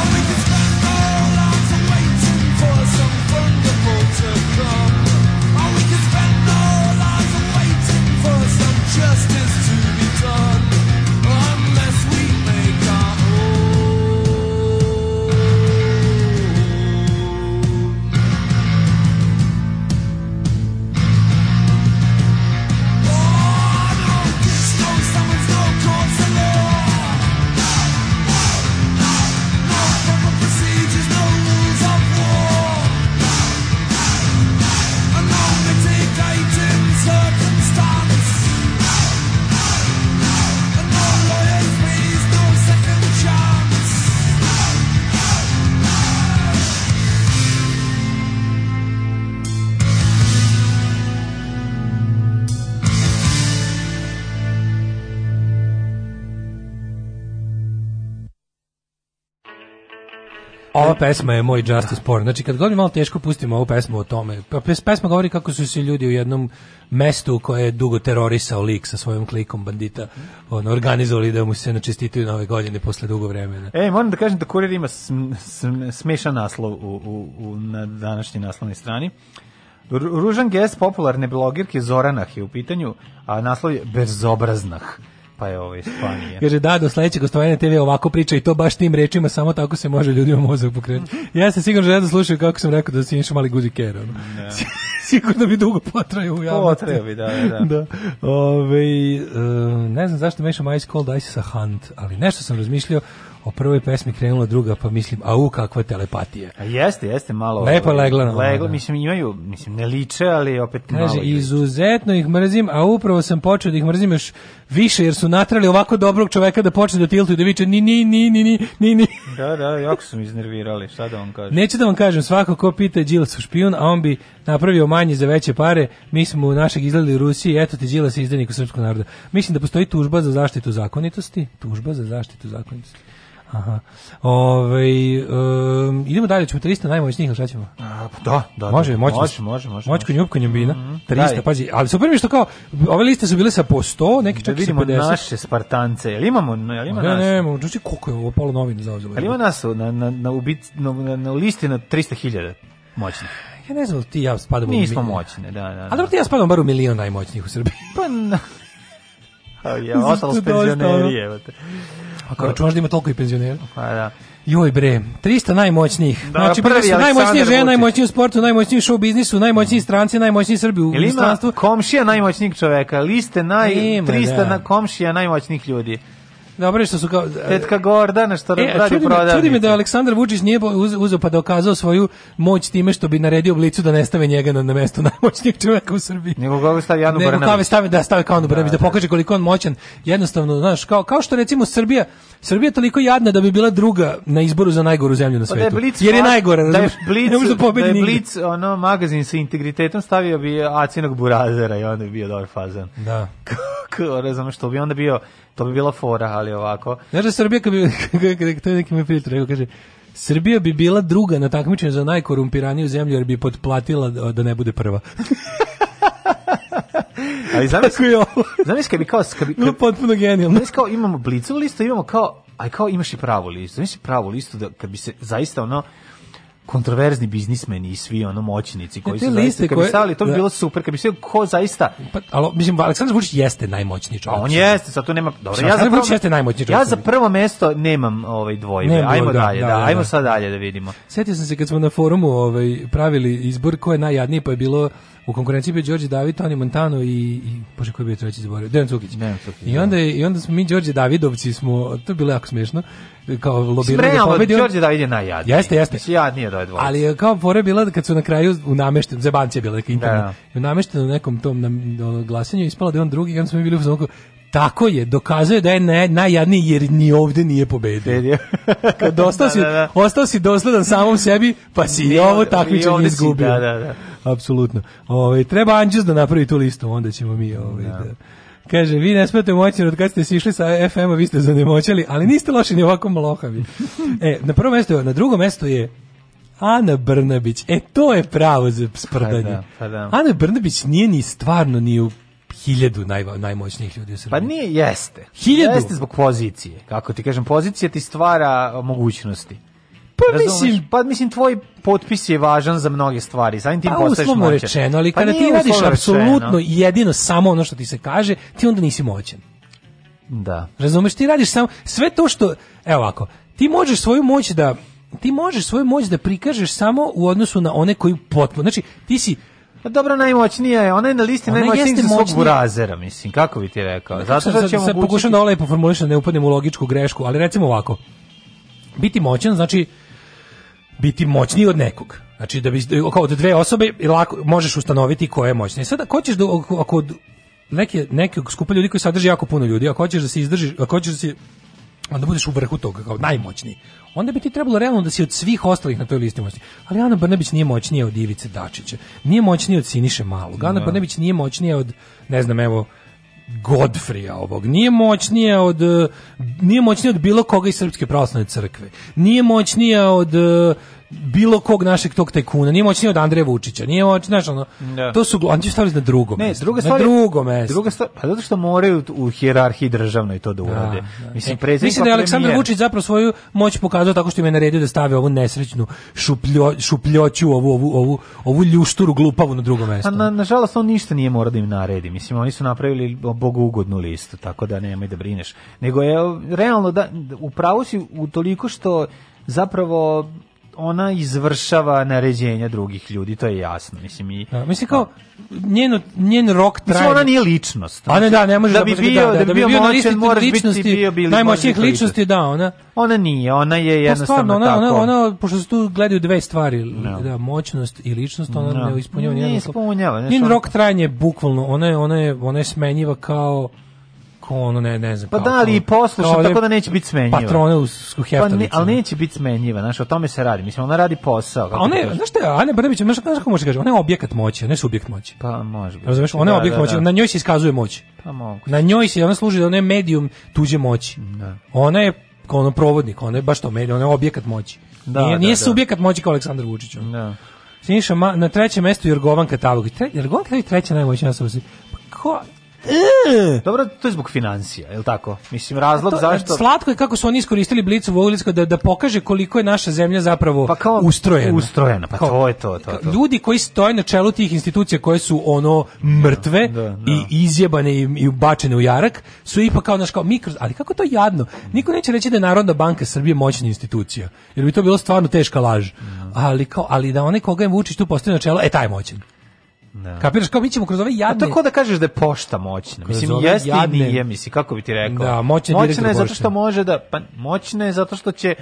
S1: Only can spend our lives waiting for some wonderful to come. Oh, we can spend our lives waiting for some justice to be done. Unless we make our
S6: Ova pesma je moj Justice Porn. Znači, kad god je malo teško, pustimo ovu pesmu o tome. Pa pes- Pesma govori kako su se ljudi u jednom mestu koje je dugo terorisao lik sa svojom klikom bandita ono, organizovali da mu se načestitaju nove godine posle dugo vremena.
S5: E, moram da kažem da kurir ima sm, sm- smešan naslov u, u, u, na današnjoj naslovnoj strani. Ru- Ružan gest popularne blogirke Zoranah je u pitanju, a naslov je Bezobraznah. Pa je ovo Ispanija.
S6: Kaže, da, do sledećeg gostovanja TV ovako priča i to baš tim rečima, samo tako se može ljudima mozak pokrenuti. Ja sam sigurno želeo da slušaju kako sam rekao da si inša mali guzi kero. ono. <laughs> sigurno bi dugo potrajao u javnosti.
S5: Potrajao bi, da, da, da.
S6: <laughs> da. Ove, e, ne znam zašto mešam Ice Cold Ice sa Hunt, ali nešto sam razmišljao o prvoj pesmi krenula druga, pa mislim, au, kakva telepatija.
S5: A jeste, jeste malo.
S6: Lepo je legla na
S5: Leglo,
S6: ono, da.
S5: mislim imaju, mislim ne liče, ali opet malo.
S6: Kaže,
S5: ih-
S6: izuzetno ih mrzim, a upravo sam počeo da ih mrzim još više, jer su natrali ovako dobrog čoveka da počne da tiltuje, da viče ni, ni, ni, ni, ni, ni, ni.
S5: Da, da, jako su mi iznervirali, šta da vam kažem.
S6: Neću da vam kažem, svako ko pita je Đilas u špijun, a on bi napravio manje za veće pare, mi smo u našeg izgledali u Rusiji, eto ti Đilas je izdenik srpskog naroda. Mislim da postoji tužba za zaštitu zakonitosti, tužba za zaštitu zakonitosti. Aha. Ove, um, idemo dalje, ćemo 300 najmoćnijih, ili šta ćemo?
S5: A, pa da, da,
S6: može,
S5: da,
S6: moći,
S5: može, može, može,
S6: Moći konjup konjumbina,
S5: Mhm.
S6: 300,
S5: Daj.
S6: pazi, ali super mi je što kao, ove liste su bile sa po 100, neki
S5: Da
S6: čak i sa
S5: vidimo
S6: 50.
S5: naše Spartance. Jel imamo, jel ima
S6: ne,
S5: nas?
S6: ne, ne, znači koliko je ovo palo novine zauzelo.
S5: Jel ima nas na, na, na, ubic, na, na, na listi na 300.000 moćnih?
S6: Ja ne znam, ti i ja spadamo. u
S5: Nismo
S6: milion.
S5: moćne, da, da. da.
S6: A dobro ti i ja spadamo bar u milion najmoćnijih u Srbiji.
S5: Pa na... A Ja,
S6: Zato
S5: ostalo s
S6: dosta, ono.
S5: penzioneri, evo te.
S6: A kao čuvaš da ima toliko i penzionera?
S5: Pa da.
S6: Joj bre, 300 najmoćnijih.
S5: Da,
S6: znači,
S5: prvi
S6: prvi su najmoćnije
S5: Aleksandar
S6: žene,
S5: Vučić.
S6: najmoćniji u sportu, najmoćniji u show biznisu, najmoćniji stranci, najmoćniji Srbi u
S5: Jel ima
S6: inostranstvu.
S5: komšija najmoćnijeg čoveka? Liste naj...
S6: Ima,
S5: 300
S6: da.
S5: na komšija najmoćnijih ljudi.
S6: Dobro je što su kao...
S5: Tetka Gordana što
S6: E, a
S5: radi
S6: čudi, me,
S5: prodavnice.
S6: čudi me da Aleksandar Vučić nije bo- uz- uzeo pa dokazao svoju moć time što bi naredio blicu da ne stave njega na, na mesto <laughs> najmoćnijeg čoveka u Srbiji.
S5: Nego kako stavi Janu
S6: Nego
S5: Brnabić.
S6: kave stave da stave kao na Brnabić, da pokaže koliko je on moćan. Jednostavno, znaš, kao kao što recimo Srbija, Srbija je toliko jadna da bi bila druga na izboru za najgoru zemlju na
S5: Pa da je
S6: svetu.
S5: Blic,
S6: jer je
S5: ma-
S6: najgora,
S5: da je
S6: razumeš?
S5: Blic,
S6: ne može da
S5: da
S6: pobedi
S5: je
S6: nigde.
S5: Blic, ono, magazin sa integritetom stavio bi Acinog Burazera i onda bi bio dobar fazan.
S6: Da.
S5: <laughs> Kako, razumem što bi onda bio, to bi bila fora, ali ovako.
S6: Znaš da Srbija, kad bi, <laughs> to je neki moj prijatelj rekao, kaže, Srbija bi bila druga na takmičenju za najkorumpiraniju zemlju jer bi potplatila da da ne bude prva. <laughs>
S5: Ali
S6: Tako je pa- ovo. <laughs>
S5: Zamisli kad bi kao... Kad bi,
S6: Bilo
S5: kad,
S6: potpuno genijalno.
S5: zamisli kao imamo blicovu listu, imamo kao... Aj kao imaš i pravu listu. Zamisli pravu listu da kad bi se zaista ono kontroverzni biznismeni i svi ono moćnici koji
S6: te
S5: su
S6: liste
S5: zaista, kad bi
S6: koje-
S5: stavili, to bi
S6: da.
S5: bilo super, kad bi sve ko zaista...
S6: Pa, alo, mislim, Aleksandar Vučić jeste najmoćniji čovjek.
S5: A on jeste, sad tu nema... Dobro,
S6: Aleksandar Vučić jeste najmoćniji čovjek.
S5: Ja za prvo mesto nemam ovaj dvojbe.
S6: Nemam
S5: ajmo
S6: dvojbe,
S5: dalje,
S6: da,
S5: da,
S6: da,
S5: ajmo
S6: da.
S5: sad dalje da vidimo.
S6: Sjetio sam se kad smo na forumu ovaj, pravili izbor ko je najjadniji, pa je bilo u konkurenciji bio Đorđe David, Toni Montano i, i bože koji je bio treći zaboravio, Dejan Cukić. I onda je- i onda smo mi Đorđe Davidovci smo, to je bilo jako smešno, kao lobirali da
S5: Spremamo,
S6: pobedi. on-
S5: Đorđe David je najjadniji.
S6: Jeste, jeste.
S5: Mislim, jadnije da je dvojbe.
S6: Ali je kao fora bila da kad su na kraju u nameštenom, zebanci je bila neka interna,
S5: Da.
S6: i u nameštenom nekom tom nam, ono, glasanju ispalo da je on drugi, i onda smo mi bili u fazonu kao, tako je, dokazuje da je naj, najjadniji jer ni ovde nije pobedio. <laughs> Kad ostao si,
S5: Da, da, da.
S6: ostao si dosledan samom sebi, pa si i
S5: Nije
S6: ovo
S5: ovde- i
S6: takmičenje
S5: ovde si,
S6: izgubio.
S5: da, da, da.
S6: Apsolutno. Ovaj, treba Anđus da napravi tu listu, onda ćemo mi ovaj, da. Kaže, vi ne smete moći, jer od kad ste sišli sa FM-a, vi ste zanemoćali, ali niste loši ni
S5: <laughs>
S6: ovako malohavi. E, na prvo mesto, na drugo mesto je Ana Brnabić. E, to je pravo za sprdanje.
S5: Pa da, pa da.
S6: Ana Brnabić nije ni stvarno ni u hiljadu najva- najmoćnijih ljudi u Srbiji.
S5: Pa nije, jeste.
S6: Hiljadu?
S5: Jeste zbog pozicije. Kako ti kažem, pozicija ti stvara uh, mogućnosti.
S6: Pa
S5: Razumeš?
S6: mislim-
S5: pa mislim tvoj potpis je važan za mnoge stvari. Samim tim
S6: Pa
S5: postaješ
S6: uslovno
S5: moćan.
S6: rečeno, ali
S5: Pa
S6: kada
S5: nije
S6: ti radiš
S5: uslovno rečeno.
S6: apsolutno i jedino samo ono što ti se kaže, ti onda nisi moćan.
S5: Da.
S6: Razumeš, ti radiš samo sve to što, evo ovako, ti možeš svoju moć da ti možeš svoju moć da prikažeš samo u odnosu na one koji potpuno, znači ti si
S5: Pa dobro, najmoćnija je. Ona je na listi
S6: Ona
S5: najmoćnijih
S6: jeste
S5: za svog
S6: moćnija.
S5: burazera, mislim. Kako bi ti rekao? Zato što
S6: sad-
S5: će
S6: sad
S5: omogućiti-
S6: pokušam da ovo lepo formulišem, da ne upadnem u logičku grešku, ali recimo ovako. Biti moćan znači biti moćniji od nekog. Znači da bi kao od dve osobe lako možeš ustanoviti ko je moćniji. Sada ako hoćeš da ako, ako od neke nekog skupa ljudi koji sadrži jako puno ljudi, ako hoćeš da se izdržiš, ako hoćeš da si onda budeš u vrhu toga kao najmoćniji. Onda bi ti trebalo realno da si od svih ostalih na toj listi moćniji. Ali Ana Brnabić nije moćnija od Ivice Dačića. Nije moćnija od Siniše Malog. Ana
S5: Da.
S6: Brnabić nije moćnija od ne znam evo Godfrija ovog. Nije moćnija od eh, nije moćnija od bilo koga iz Srpske pravoslavne crkve. Nije moćnija od eh, bilo kog našeg tog tajkuna. Nije moćnija od Andreja Vučića. Nije moćnija, znaš, ono,
S5: Da.
S6: to su gl- oni će staviti na drugo
S5: Ne,
S6: mesto.
S5: druga
S6: Na
S5: stvar je-
S6: drugo mesto.
S5: Druga stvar, pa zato što moraju u hijerarhiji državnoj to da urade. Mislim,
S6: E,
S5: predsjednik
S6: mislim da
S5: pa
S6: je Aleksandar
S5: premijer.
S6: Vučić zapravo svoju moć pokazao tako što im je naredio da stave ovu nesrećnu šupljo, šupljoću, ovu, ovu, ovu, ovu ljušturu glupavu na drugo mesto.
S5: A Pa na, nažalost, on ništa nije morao da im naredi. Mislim, oni su napravili bogougodnu listu, tako da nemoj da brineš. Nego je, realno, da, u pravu si u toliko što zapravo ona izvršava naređenja drugih ljudi, to je jasno. Mislim, i,
S6: Da, mislim kao njeno, njen rok traje.
S5: mislim ona nije ličnost.
S6: A ne, da, ne može
S5: da bi bio, da, bi bio,
S6: na listi
S5: moćan, moraš
S6: ličnosti,
S5: biti bio, bili,
S6: najmoćnijih
S5: možda i
S6: ličnosti, da, ona.
S5: Ona nije, ona je
S6: Pa
S5: jednostavno
S6: stvarno, ona,
S5: tako.
S6: ona, ona, pošto se tu gledaju dve stvari,
S5: No.
S6: da, moćnost i ličnost, ona
S5: No.
S6: ne ispunjava
S5: Nije
S6: nijedan
S5: ispunjava, znaš,
S6: Njen
S5: ona-
S6: rok trajanja je bukvalno, ona je, ona je, ona je smenjiva kao, kao ono, ne, ne znam.
S5: Pa
S6: kao-
S5: da, ali i
S6: kao-
S5: poslušan,
S6: kao one
S5: tako da neće biti smenjiva.
S6: Patrone u skuheftavicu.
S5: Pa ne, ali neće biti smenjiva, znaš, o tome se radi. Mislim, ona radi posao.
S6: A
S5: kako
S6: ona
S5: ti
S6: je,
S5: kažem.
S6: znaš šta je, Ana Brnabić, znaš znaš kako može kaže, ona je objekat moći, a ne subjekt moći.
S5: Pa može biti.
S6: Razumeš, ona je
S5: Da,
S6: objekt
S5: da,
S6: moći,
S5: da.
S6: na njoj se iskazuje moć.
S5: Pa mogu.
S6: Na njoj se ona služi da ona je medijum tuđe moći. Ona je ono provodnik, ona je baš to medij, ona je objekat moći.
S5: Da,
S6: nije
S5: da,
S6: nije
S5: da.
S6: subjekat moći kao Aleksandar Vučić. ono.
S5: Da.
S6: Siniša Ma- na trećem mestu Jorgovan Katalogić. Tre, Jorgovan Katalogić je treća najmoćnija osoba. u Srbiji. Pa ko?
S5: Dobro, to je zbog financija, je li tako? Mislim, razlog
S6: To-
S5: zašto...
S6: Slatko je kako su oni iskoristili blicu Vojvodinsko da, da pokaže koliko je naša zemlja zapravo
S5: Pa kao
S6: ustrojena.
S5: Ustrojena, pa
S6: Kao-
S5: to je to, to, to.
S6: ljudi koji stoje na čelu tih institucija koje su ono mrtve i izjebane i, i bačene u jarak su ipak kao naš kao mikro ali kako to jadno niko neće reći da je Narodna banka Srbije moćna institucija jer bi to bilo stvarno teška laž ali kao ali da onaj koga je Vučić tu postavio na čelo e taj je moćan kapiraš kao mi ćemo kroz ove
S5: A Pa to
S6: jadne
S5: je kao da kažeš da je pošta moćna. Mislim,
S6: Kroz ove
S5: jeste i
S6: jadne-
S5: nije, mislim, kako bi ti rekao?
S6: Da, moćna je direktor
S5: je zato
S6: pošte.
S5: što može da... Pa, moćna je zato što će...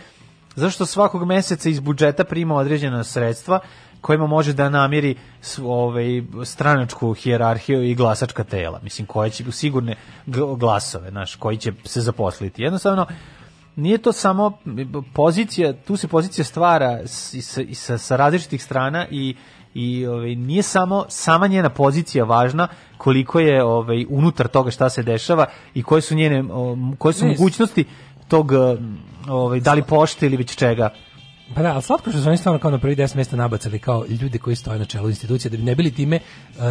S5: Zato što svakog meseca iz budžeta prima određena sredstva kojima može da namiri sv- ovaj, stranačku hijerarhiju i glasačka tela, mislim, koje će sigurne gl- glasove, znaš, koji će se zaposliti. Jednostavno, nije to samo pozicija, tu se pozicija stvara s- i sa, i sa, sa različitih strana i i ovaj, nije samo sama njena pozicija važna koliko je ovaj unutar toga šta se dešava i koje su njene o, koje su
S6: Ne,
S5: mogućnosti tog m, ovaj da li pošte ili već čega.
S6: Pa da, ali slatko što su oni stvarno kao na prvi 10 mjesta nabacali kao ljude koji stoje na čelu institucije, da bi ne bili time uh,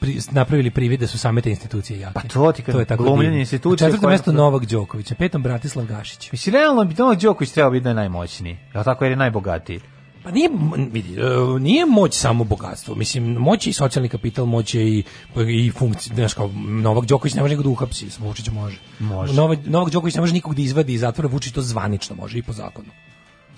S6: pri- napravili privid da su same te institucije jake.
S5: Pa to ti kad glumljenje
S6: divno.
S5: institucija
S6: Na četvrtom
S5: koja-
S6: mjestu Novak Đoković, na petom Bratislav Gašić.
S5: Mislim realno bi Novak Đoković trebao biti da je najmoćniji. Je li tako jer je najbogatiji.
S6: Pa nije, m- vidi, e, nije moć samo bogatstvo. Mislim, moć je i socijalni kapital, moć je i, i funkcija. Znaš, kao, Novak Đoković ne može nikog da uhapsi, samo Vučić može.
S5: Može.
S6: Novak, Novak Đoković ne može nikog da izvadi iz zatvora, Vučić to zvanično može i po zakonu.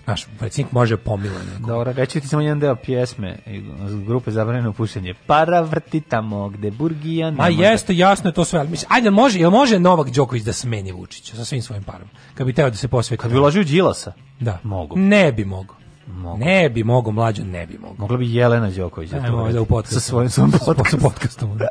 S6: Znaš, predsjednik može pomilati.
S5: Dobro, reći ti samo jedan deo pjesme iz grupe Zabranjeno pušenje. Para vrti tamo gde burgija... ne
S6: Ma
S5: može-
S6: Pa jeste, jasno je to sve. ali Mislim, ajde, jel može, jel može Novak Đoković da smeni Vučića sa svim svojim parom? Kad bi teo da se posveti. Kad
S5: bi uložio Đilasa?
S6: Da.
S5: Mogu.
S6: Ne bi mogao. Ne bi mogao, mlađo, ne bi mogao.
S5: Mogla bi Jelena Đoković. da to
S6: Ajmo
S5: uradi.
S6: da u
S5: Sa
S6: podcastu.
S5: svojim svojim
S6: Sa svojim
S5: podcastom.
S6: podcastom, da.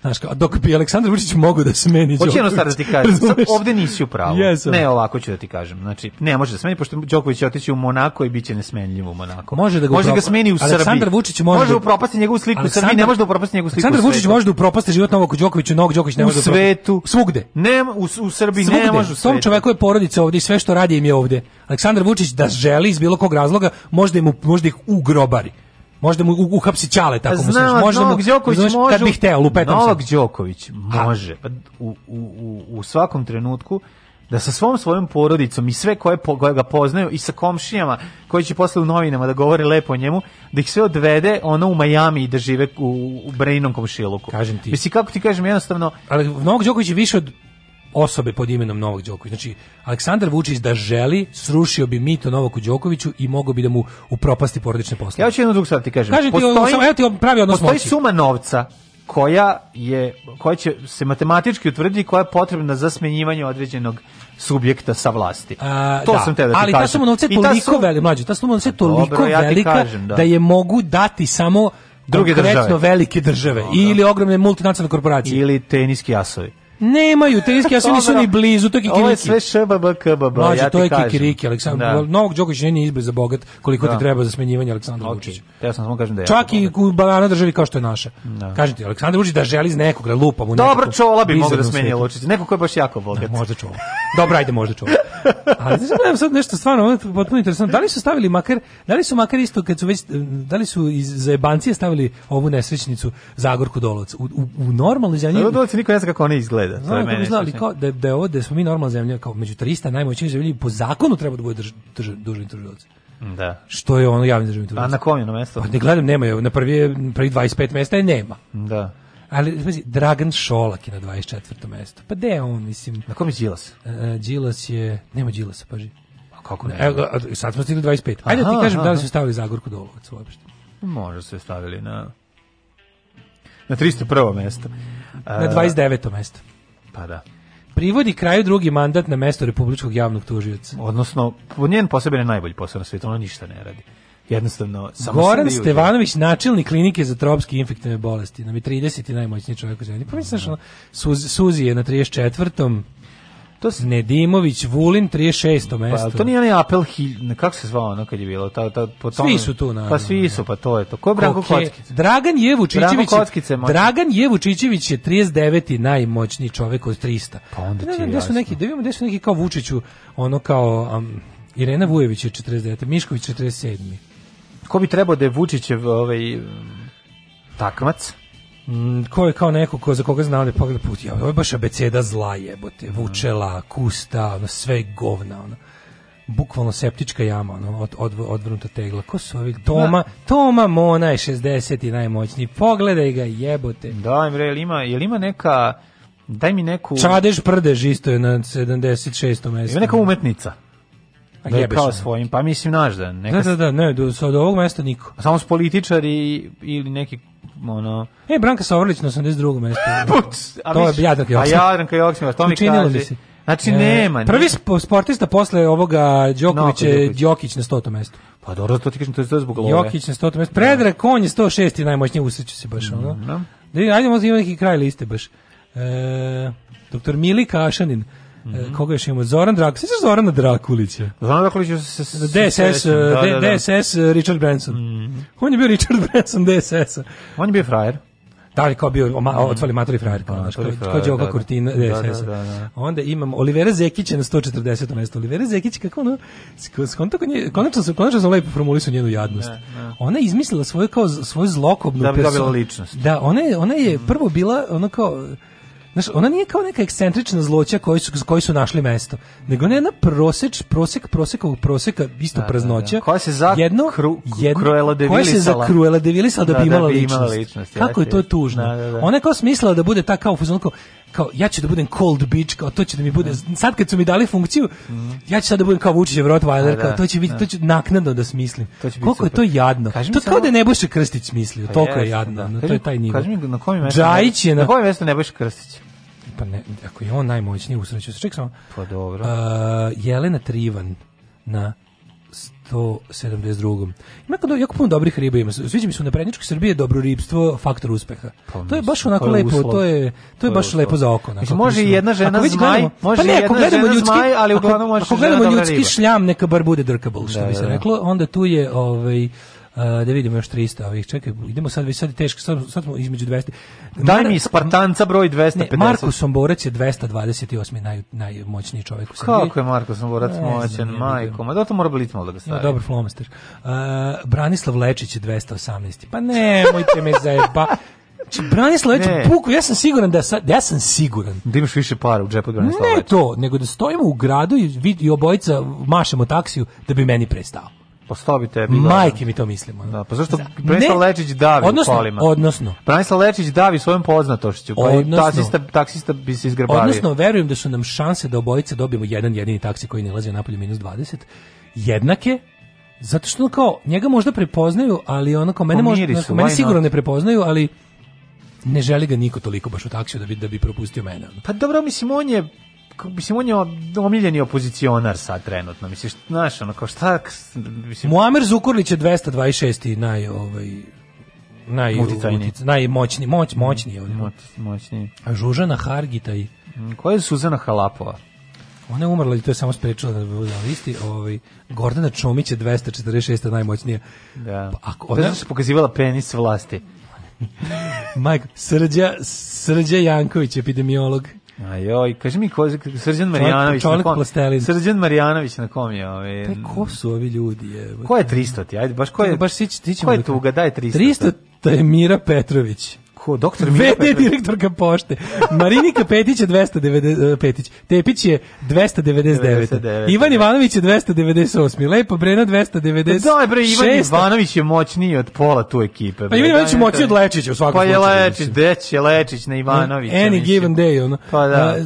S6: Znaš, kao, dok bi Aleksandar Vučić mogao da smeni
S5: Hoće jedno stvar da ti kažem, sad
S6: Razumeš?
S5: ovde nisi u pravu.
S6: Jesam.
S5: Ne, ovako ću da ti kažem. Znači, ne može da smeni, pošto Đoković će otići u Monako i bit će nesmenljiv u Monako.
S6: Može da ga,
S5: može da ga
S6: upropa-
S5: smeni u Srbiji.
S6: Aleksandar Vučić može,
S5: može
S6: da-
S5: upropasti njegovu sliku u Srbiji,
S6: Aleksandar-
S5: ne može da upropasti njegovu sliku
S6: Aleksandar
S5: u
S6: Vučić
S5: svetu.
S6: može da upropasti život Novaku Đokoviću, Novak Đoković ne
S5: u
S6: može da upropasti-
S5: svetu.
S6: Svugde.
S5: Ne, u, u Srbiji ne
S6: Svugde.
S5: može u
S6: Tom
S5: svetu.
S6: čoveku je porodica ovdje i sve što radi im je ovdje. Aleksandar Vučić da želi iz bilo kog razloga, možda, im, možda ih ugrobari. Možda mu u- uhapsi ćale, tako mu se
S5: Znam,
S6: reče. Možda mu-
S5: Novak Đoković
S6: razumeš,
S5: može.
S6: Kad bih hteo, lupetam se.
S5: Novak Đoković može. Pa U, u, u, u svakom trenutku da sa svom svojom porodicom i sve koje, po, koje ga poznaju i sa komšijama koji će posle u novinama da govore lepo o njemu, da ih sve odvede ono u Majami i da žive u, u Brejnom komšiluku. Kažem ti. Mislim, kako ti kažem, jednostavno...
S6: Ali Novak Đoković je više od osobe pod imenom Novak Đoković. Znači, Aleksandar Vučić da želi, srušio bi mito Novaku Đokoviću i mogao bi da mu upropasti porodične poslove.
S5: Ja hoću jednu drugu stvar ti kažem.
S6: Kažem ti, ovo samo- evo ti pravi odnos
S5: postoji
S6: moći.
S5: suma novca koja je koja će se matematički utvrditi koja je potrebna za smenjivanje određenog subjekta sa vlasti.
S6: A,
S5: to sam te da ti
S6: ali
S5: kažem.
S6: ta suma novca je
S5: I ta
S6: toliko
S5: suma-
S6: velika, mlađe, ta suma novca je
S5: dobro,
S6: toliko
S5: ja ti
S6: velika
S5: kažem, da.
S6: da. je mogu dati samo
S5: Druge
S6: konkretno
S5: države.
S6: velike države ili ogromne multinacionalne korporacije.
S5: Ili teniski jasovi.
S6: Nemaju, te
S5: <laughs>
S6: riske, ja se nisu
S5: Dobro.
S6: ni blizu, to je kikiriki.
S5: Ovo je sve šbb, kbb,
S6: Mlađe,
S5: ja ti
S6: to je
S5: kažem.
S6: kikiriki, Aleksandar.
S5: Da.
S6: Novak Đoković nije ni izbliza bogat koliko
S5: Da.
S6: ti treba za smenjivanje Aleksandra Vučića.
S5: Ja sam samo kažem da je.
S6: Čak i u banana državi kao što je naša. Kažem ti, Aleksandar Vučić da želi iz nekog, da lupa mu nekog.
S5: Dobro, čola bi mogao da smenje Lučić. Neko ko je baš jako bogat.
S6: možda čola. Dobro, ajde, možda čola. Ali znaš, gledam sad nešto stvarno ovo je potpuno interesantno. Da li su stavili makar, da li su makar isto kad su već, eh, da li su iz zajebancije stavili ovu nesrećnicu Zagorku Dolovac? U, u, u normalnoj zemlji...
S5: Dobro, dolazi niko ne zna kako ona izgleda. To je
S6: Znam kako
S5: meni.
S6: bi znali
S5: strašno.
S6: kao da, da je ovo, da smo mi normalna zemlja, kao među 300 najmoćnijih zemlji, po zakonu treba da bude drž, drž, dužni tužilac.
S5: Da.
S6: Što je ono javni državni tužilac?
S5: A na kom je na mesto?
S6: Pa ne gledam, nema je, na prvi, je- prvi 25 mesta je nema.
S5: Da.
S6: Ali, znači, Dragan Šolak je na 24. mesto. Pa gde je on, mislim?
S5: Na kom je Đilas?
S6: E, Đilas je, nema Đilasa, paži.
S5: A kako ne?
S6: Evo, a- sad smo stigli 25. Ajde da ti
S5: Aha,
S6: kažem da li
S5: aha.
S6: su stavili Zagorku Dolovac uopšte.
S5: Možda su je stavili na na 301. mesto. E.
S6: Na 29. mesto.
S5: Pa da.
S6: Privodi kraju drugi mandat na mesto republičkog javnog tužioca.
S5: Odnosno, po njen posebno je najbolji posao na svijetu, ona ništa ne radi. Jednostavno, samo
S6: Goran
S5: sedi i uživa.
S6: Stevanović, načelnik klinike za tropske infektivne bolesti, nam je 30. najmoćniji čovjek u zemlji. Pa misliš, ono, Suz, Suzi je na 34.
S5: To
S6: Nedimović, Vulin, 36.
S5: Pa,
S6: mesto.
S5: ali to nije onaj apel, hi- kako se zvao ono kad je bilo? Ta, ta, po tome-
S6: Svi su tu, naravno.
S5: Pa svi su, pa to je to. Ko je Branko
S6: Koke-
S5: Kocki?
S6: Dragan je Vučićević.
S5: Branko Kockice, možda.
S6: Dragan je Vučićević je 39. najmoćniji čovjek od 300. Pa onda
S5: ti je
S6: su
S5: jasno.
S6: neki, da vidimo gde su neki kao Vučiću, ono kao am, Irena Vujević je 49. Mišković 47.
S5: Ko bi trebao da je Vučićev ovaj, mm, takmac?
S6: Mm, ko je kao neko ko, za koga znao da je pogled put, ja, ovo je baš abeceda zla
S5: Mm.
S6: jebote, vučela, kusta, ono, sve je govna, ono. Bukvalno septička jama, ono, od, od, odvrnuta tegla. Ko su ovi? Toma, Toma Mona je 60. i najmoćniji. Pogledaj ga, jebote.
S5: Da, bre, jel ima, jel ima neka... Daj mi neku...
S6: Čadež Prdež isto je na 76. mestu.
S5: Ima neka umetnica.
S6: A
S5: Da je
S6: jebe
S5: kao
S6: se.
S5: svojim, pa mislim naš da. Neka,
S6: Da, da, da, ne, do, sa- od ovog mesta niko.
S5: Samo s političari ili neki ono...
S6: E, Branka Sovrlić na 82.
S5: <laughs>
S6: mestu.
S5: Znači, A
S6: to je
S5: misliš-
S6: Jadranka
S5: A
S6: Joksimović.
S5: Jadranka Joksimović, to mi
S6: Učinilo
S5: kaže.
S6: mi se.
S5: Znači,
S6: E,
S5: nema.
S6: Prvi sp- sportista posle ovoga Đoković
S5: Novak
S6: je
S5: Đoković.
S6: Đokić na 100. mestu.
S5: Pa dobro, to ti kažem, to je to zbog love.
S6: Jokić na 100. mestu. Predrag Konj je 106. i najmoćnije usreću se baš ono. Da. vidim, Ajde, možda ima neki kraj liste baš. E, doktor Mili Kašanin.
S5: Mhm.
S6: E, koga još imamo? Zoran Drakulić. Sjećaš Zorana Drakulića?
S5: Zoran Drakulić je se... se-
S6: DSS,
S5: se- da,
S6: D-
S5: da, Mhm. da.
S6: DSS Richard Branson. On je bio Richard Branson DSS-a.
S5: On je bio frajer.
S6: Da li kao bio oma, otvali matori frajer, kao, znaš, kao,
S5: Matori
S6: kao
S5: Mhm. frajer,
S6: Đoka
S5: da, da.
S6: Kurtina,
S5: Da,
S6: DSS.
S5: da, da, da.
S6: Onda imam Olivera Zekića na 140. mesto. Olivera Zekić, kako ono, sk- skonto kod nje, konačno, sam, konačno sam lepo formulisao njenu jadnost. Ona je izmislila svoju, kao, z- svoju zlokobnu
S5: Da bi
S6: perso-
S5: dobila ličnost. Mhm.
S6: Da, ona je, ona je prvo bila, ono kao, Znaš, ona nije kao neka ekscentrična zloća koji su, koji su našli mesto, nego ona je jedna proseč, prosek, prosekovog proseka, isto praznoća.
S5: Koja se za
S6: jedno,
S5: kru-
S6: jedno,
S5: Cruella
S6: koja se za
S5: Devilisala.
S6: Cruella Devilisala da,
S5: Da,
S6: bi
S5: da,
S6: imala
S5: bi imala
S6: ličnost.
S5: ličnost,
S6: Kako je
S5: jeste,
S6: to tužno.
S5: jeste. Da, da, da.
S6: Ona je kao smislila da bude ta kao fuzon kao, kao, ja ću da budem cold bitch, kao to će da mi bude, sad kad su mi dali funkciju, ja ću sad da budem kao Vučićev Rottweiler,
S5: Mhm. Da,
S6: kao, to će biti,
S5: da.
S6: to ću naknadno da smislim.
S5: će biti
S6: Koliko je to
S5: super.
S6: jadno.
S5: Kaži mi
S6: to kao
S5: samo-
S6: da je Nebojša Krstić smislio,
S5: Pa
S6: toliko je
S5: jeste,
S6: jadno.
S5: da.
S6: no, to
S5: Kaži
S6: je
S5: mi-
S6: taj nivo.
S5: Kaži mi na kojem mestu?
S6: Džajić je
S5: na,
S6: na...
S5: kojem mestu Nebojša Krstić?
S6: Pa ne, ako je on najmoćniji, usreću se. Ček samo.
S5: Pa dobro.
S6: A, Jelena Trivan na 172. Ima kod jako puno dobrih riba ima. Sviđa mi se u naprednjačkoj Srbiji je dobro ribstvo faktor uspeha. to je baš
S5: Pa mislim,
S6: onako
S5: to je
S6: lepo,
S5: uslov.
S6: to je to
S5: To
S6: je
S5: je
S6: baš
S5: uslov.
S6: lepo za oko. onako,
S5: Mislim, može i
S6: prilično.
S5: jedna žena
S6: Ako već
S5: zmaj,
S6: gledamo- pa
S5: može i
S6: ako
S5: jedna
S6: gledamo
S5: žena zmaj, ali
S6: ako-
S5: uglavnom može
S6: ako
S5: žena
S6: gledamo
S5: dobra
S6: ljudski
S5: riba.
S6: šljam neka bar bude drkable, što
S5: Da,
S6: bi se
S5: da, da.
S6: reklo, onda tu je ovaj a, da vidimo još 300 ovih. Čekaj, idemo sad, već sad je teško, sad, sad smo između 200.
S5: Daj
S6: Mar-
S5: mi Spartanca broj 250.
S6: ne, Marko Somborac je 228. Naj, najmoćniji čovjek u Srbiji.
S5: Kako je Marko Somborac
S6: Ne znam,
S5: moćan,
S6: ne vidim.
S5: majko? Ma to mora biti malo da ga
S6: Ima
S5: stavi.
S6: dobar flomaster. Uh, Branislav Lečić je 218. Pa nemojte me zajeba. Znači, Branislav Lečić,
S5: Ne.
S6: puku, ja sam siguran da sad, ja sam siguran.
S5: Da imaš više para u džepu od Branislava
S6: Ne
S5: Lečića.
S6: to, nego da stojimo u gradu i, vid, i obojica mašemo taksiju da bi meni prestao.
S5: Pa sto bi tebi. da.
S6: Majke mi to mislimo. ono.
S5: Da, pa zašto
S6: Za-
S5: Branislav
S6: ne.
S5: Lečić davi
S6: odnosno,
S5: u kolima?
S6: Odnosno,
S5: Branislav Lečić davi svojom poznatošću, pa i
S6: Odnosno-
S5: taksista, taksista bi se izgrabavio.
S6: Odnosno, verujem da su nam šanse da obojica dobijemo jedan jedini taksi koji ne lazi napolje minus 20, jednake, zato što ono kao, njega možda prepoznaju, ali ono kao, mene, možda,
S5: Pomiri Pa su,
S6: onako, mene
S5: why
S6: sigurno
S5: not?
S6: ne prepoznaju, ali ne želi ga niko toliko baš u taksiju da bi, da bi propustio mene. ono.
S5: Pa dobro, mislim, on je k- mislim, on je omiljeni opozicionar sad trenutno, misliš, znaš, ono, kao šta, k- mislim,
S6: Muamer Zukorlić je 226. naj, ovaj, naj,
S5: Uticajniji.
S6: utic- najmoćni, moć, moćni. Ovaj.
S5: Mm, moć- moćniji.
S6: A Žužana Hargita i
S5: Mm, Koja je Suzana Halapova?
S6: Ona je umrla i to je samo sprečila da bude na listi. Ovaj, Gordana Čomić je 246. najmoćnija.
S5: Da.
S6: Pa ako
S5: ona...
S6: ona-
S5: se pokazivala penis vlasti.
S6: Majko, Srđa, Srđa Janković, epidemiolog.
S5: A joj, kaži mi, ko, je- k- Srđan Marjanović
S6: čovjek
S5: na kom?
S6: plastelin.
S5: Srđan Marjanović na kom je? Ovaj,
S6: E, ko su ovi ljudi? Je,
S5: ko je 300 ti? Ajde, baš ko je,
S6: baš sići, ti ćemo
S5: ko je
S6: do kraja.
S5: tuga? Daj 300.
S6: 300 to je Mira Petrović.
S5: Ko, doktor Mira
S6: VD
S5: Petrović?
S6: direktorka pošte. Marinika Petić je 290, Petić. Tepić je 299.
S5: 99.
S6: Ivan Ivanović je 298. Lepo Brena 296.
S5: Da, Pa bre, Ivan Ivanović je moćniji od pola tu ekipe. bre.
S6: Pa Ivan Ivanović je
S5: Daj,
S6: moćniji
S5: to-
S6: od Lečića u svakom
S5: Pa je
S6: slučaju,
S5: Lečić,
S6: mislim.
S5: deć je Lečić na Ivanovića.
S6: Any
S5: mislim.
S6: given day, ono.
S5: Pa da.
S6: A,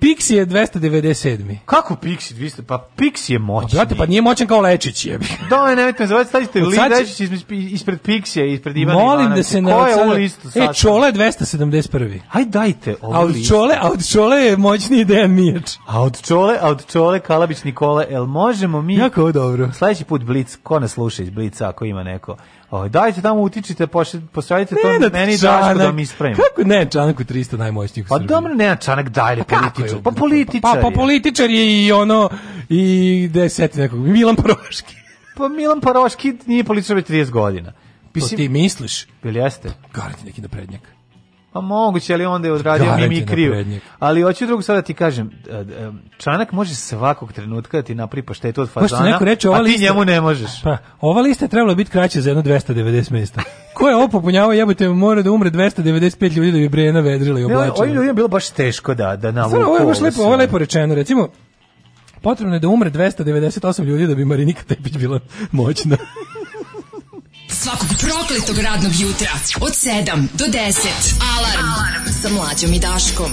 S6: Pixi je 297.
S5: Kako Pixi 200? Pa Pixi je
S6: A,
S5: moćni.
S6: brate, pa nije moćan kao Lečić, jebi.
S5: Da, ne, nemojte me zavati, stavite
S6: Od
S5: li
S6: sad će-
S5: Lečić ispred, ispred Pixija, ispred Ivana
S6: Molim
S5: Ivanovića.
S6: da se ne...
S5: Ko je u listu sad?
S6: E, Čola je 271.
S5: Aj dajte
S6: A
S5: ovu
S6: od
S5: listu.
S6: Čole, a od Čole je moćniji Dejan Mijač.
S5: A od čole, a od čole Kalabić Nikola, el možemo mi...
S6: Jako je ovo dobro.
S5: Sledeći put Blic, ko nas sluša iz Blica, ako ima neko. O, dajte tamo utičite, pošalj- pošaljite to
S6: Nenad
S5: meni
S6: Čanak.
S5: Daško da mi ispravimo.
S6: Kako ne, Čanak u 300 najmoćnijih u
S5: Pa
S6: Srbiji.
S5: dobro, ne, Čanak dalje
S6: Kako je?
S5: političar. Pa političar
S6: Pa, pa
S5: je.
S6: političar je i ono, i deseti nekog, Milan Proški.
S5: Pa Milan Paroški nije političar već 30 godina.
S6: To Pa ti misliš?
S5: Ili jeste?
S6: Garant je neki naprednjak.
S5: Pa moguće, ali onda je odradio
S6: Garant je
S5: mimikriju.
S6: naprednjak.
S5: Ali hoću drugo sada ti kažem, e, e, Čanak može svakog trenutka da ti napravi paštetu od
S6: Ko Pa što
S5: fazana,
S6: neko reče, ova
S5: a ti
S6: lista-
S5: njemu ne možeš.
S6: Pa, ova lista je trebala biti kraća za jedno 290 mesta. Ko je ovo popunjavao, jebote, mora da umre 295 ljudi da bi Brena vedrila i
S5: Ne, Ovim
S6: oblačila.
S5: ljudima je bilo baš teško da, da navuku.
S6: Stvarno, ovo je baš
S5: ovo
S6: lepo,
S5: sve.
S6: ovo je lepo rečeno. Recimo, potrebno je da umre 298 ljudi da bi Marinika Tepić bila
S5: <laughs>
S6: moćna.
S3: Svakog prokletog radnog jutra od 7 do 10. Alarm, Alarm. sa mlađom i Daškom.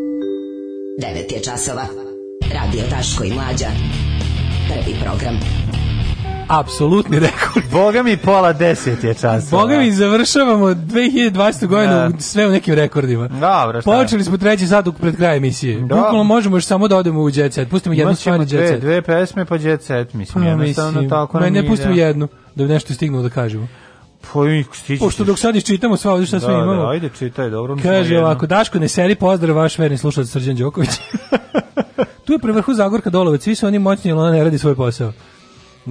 S3: 9 je časova. Radio Daško i Mlađa. Prvi program.
S6: Apsolutni rekord.
S5: Boga mi pola deset je čas.
S6: Boga mi završavamo 2020. godinu sve u nekim rekordima.
S5: Dobro, šta je?
S6: Počeli smo treći sat u- pred kraj emisije.
S5: Da.
S6: Bukvalno možemo još samo da odemo u jet set. Pustimo jednu
S5: Imat
S6: stvar
S5: ćemo
S6: i jet
S5: dve,
S6: set.
S5: dve pesme pa jet set, mislim,
S6: Pa,
S5: jednostavno
S6: mislim,
S5: tako
S6: ma
S5: nam
S6: ne
S5: ide.
S6: pustimo jednu da bi nešto stignu da kažemo.
S5: Pa i stići
S6: Pošto
S5: ćeš.
S6: dok sad iščitamo sva ovdje šta sve
S5: Da, da,
S6: imamo.
S5: ajde, čitaj, dobro. mi smo
S6: Kaže
S5: jedno.
S6: ovako, Daško, ne seri, pozdrav, vaš verni slušalac Srđan Đoković. <laughs> tu je prevrhu Zagorka Dolovac, svi su oni moćni, ali ona ne radi svoj posao.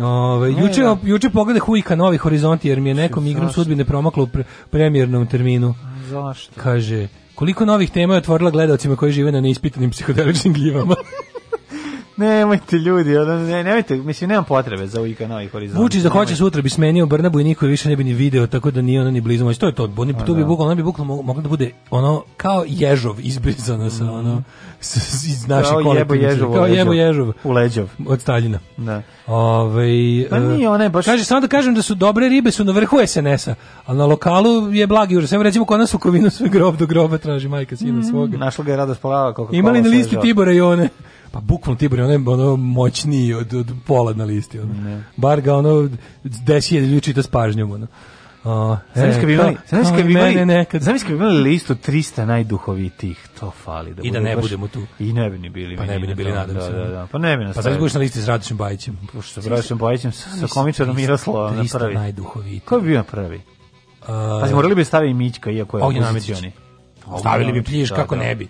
S6: Ove,
S5: Ne,
S6: juče,
S5: da.
S6: juče pogleda Huika Novi horizonti, jer mi je nekom igrom
S5: zašto?
S6: sudbine promaklo u pre- premijernom terminu.
S5: Zašto?
S6: Kaže, koliko novih tema je otvorila gledalcima koji žive na neispitanim psihodeličnim gljivama.
S5: Nemojte ljudi, ono, ne, nemojte, mislim, nemam potrebe za uvijek novi horizont.
S6: Vučić da hoće sutra bi smenio Brnabu i niko je više ne bi ni video, tako da nije ona ni blizu moći. To je to, bo- tu bi
S5: Pa da.
S6: bukvalno, ona bi bukvalno mogla- mogla da bude ono kao ježov izbrizana sa ono s- s- iz naše
S5: Mm. Kao jebo
S6: kolektivne
S5: ježov u
S6: Kao jebo
S5: leđov.
S6: ježov.
S5: U leđov.
S6: Od Staljina.
S5: Da.
S6: Ovaj,
S5: Pa nije ona je baš-
S6: Kaže, samo da kažem da su dobre ribe su na vrhu SNS-a, ali na lokalu je blagi užas. Evo recimo kod nas u Kovinu sve grob do groba traži majka
S5: Mm.
S6: sina svoga.
S5: Našla ga je radost polava koliko
S6: Imali na listi Tibora i one. Pa bukvalno Tibor je onaj ono moćniji od, od pola na listi. Ono. Bar ga ono desi je ljudi čita s pažnjom. Ono. O,
S5: Znaš kad bi imali,
S6: kao-
S5: znaš
S6: kao
S5: kad bi
S6: i
S5: imali,
S6: E, mene nekad.
S5: znaš kad bi imali listu 300 najduhovitijih, to fali. Da
S6: I da
S5: bude
S6: ne
S5: baš-
S6: budemo tu.
S5: I ne bi ni bili.
S6: Pa ne
S5: mi ni
S6: bi ni bili,
S5: to,
S6: nadam
S5: da,
S6: se.
S5: Da, da, pa ne bi nas.
S6: Pa znaš budeš na listi s Radošem Bajićem.
S5: Pošto sa Brašom Bojićem, sa, sa komičarom Miroslavom na
S6: 300
S5: prvi.
S6: najduhovitiji.
S5: Ko bi bio na prvi?
S6: A,
S5: Pazi, morali bi staviti Mićka, iako je
S6: Ognjen Amidžić.
S5: opozicioni.
S6: Stavili bi pliješ,
S5: Da,
S6: kako
S5: da.
S6: ne bi.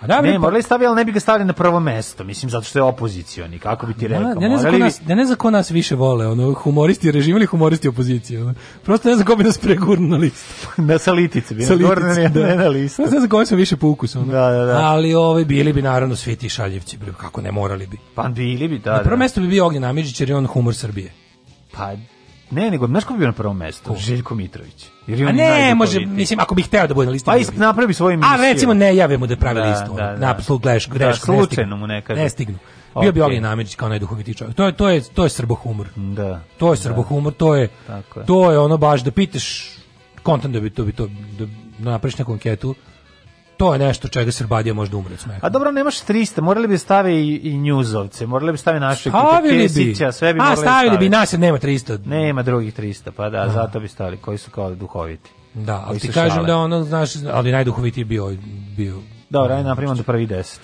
S6: A da,
S5: ne,
S6: bre, pa-
S5: morali stavili, ali ne bi ga stavili na prvo mesto, mislim, zato što je opozicioni, kako bi ti
S6: Ja,
S5: rekao.
S6: ja ne znam ko
S5: morali bi-
S6: nas, ja ne znam ko nas više vole, ono, humoristi režima ili humoristi opozicije. Ono. Prosto ne znam ko bi nas pregurno na listu.
S5: na salitice bi,
S6: Sa
S5: na gore,
S6: litica,
S5: ne,
S6: da.
S5: ne na
S6: <laughs>
S5: listu.
S6: Prosto ne znam ko sam više po ukusu. Ono.
S5: da, da.
S6: Ali ovaj, bili bi naravno svi ti šaljivci, bre, kako ne morali bi.
S5: Pa bili bi, da,
S6: na prvo
S5: da.
S6: mesto bi bio Ognjen Amidžić jer je on humor Srbije.
S5: Pa, ne, nego, znaš ko bi bio na prvom mestu? Željko Mitrović. Jer je
S6: A
S5: on
S6: ne,
S5: najduhovitiji.
S6: može, mislim, ako bih hteo da bude na listi.
S5: Pa
S6: bio
S5: isp,
S6: bi.
S5: napravi svoju emisiju.
S6: A recimo ne jave mu da pravi
S5: Da,
S6: listu. ono,
S5: da,
S6: Da,
S5: da.
S6: da. Napslu gleš,
S5: Da,
S6: greška,
S5: slučajno
S6: ne stignu.
S5: mu ne kaže.
S6: Ne stignu. Bio bi
S5: Ok.
S6: Ognjen Amidžić kao najduhovitiji čovjek. To je, to je, to je srbohumor.
S5: Da.
S6: To je srbohumor, to je,
S5: Tako je.
S6: to je ono baš da pitaš kontent da bi to bi to da napraviš neku anketu. To je nešto čega Srbadija može da umre od smeha.
S5: A dobro, nemaš 300, morali bi stavi i, i njuzovce, morali bi stavi naše
S6: Stavili bi.
S5: Kesića, sve bi
S6: A
S5: morali
S6: stavili bi
S5: staviti.
S6: nas, jer nema 300.
S5: Nema drugih 300, pa da, zato bi stali, koji su kao duhoviti.
S6: Da,
S5: Koji
S6: ali ti
S5: se
S6: kažem
S5: šale.
S6: da ono, znaš, ali najduhovitiji je bio, ovaj, bio
S5: Dobro, ajde napravimo do prvi 10.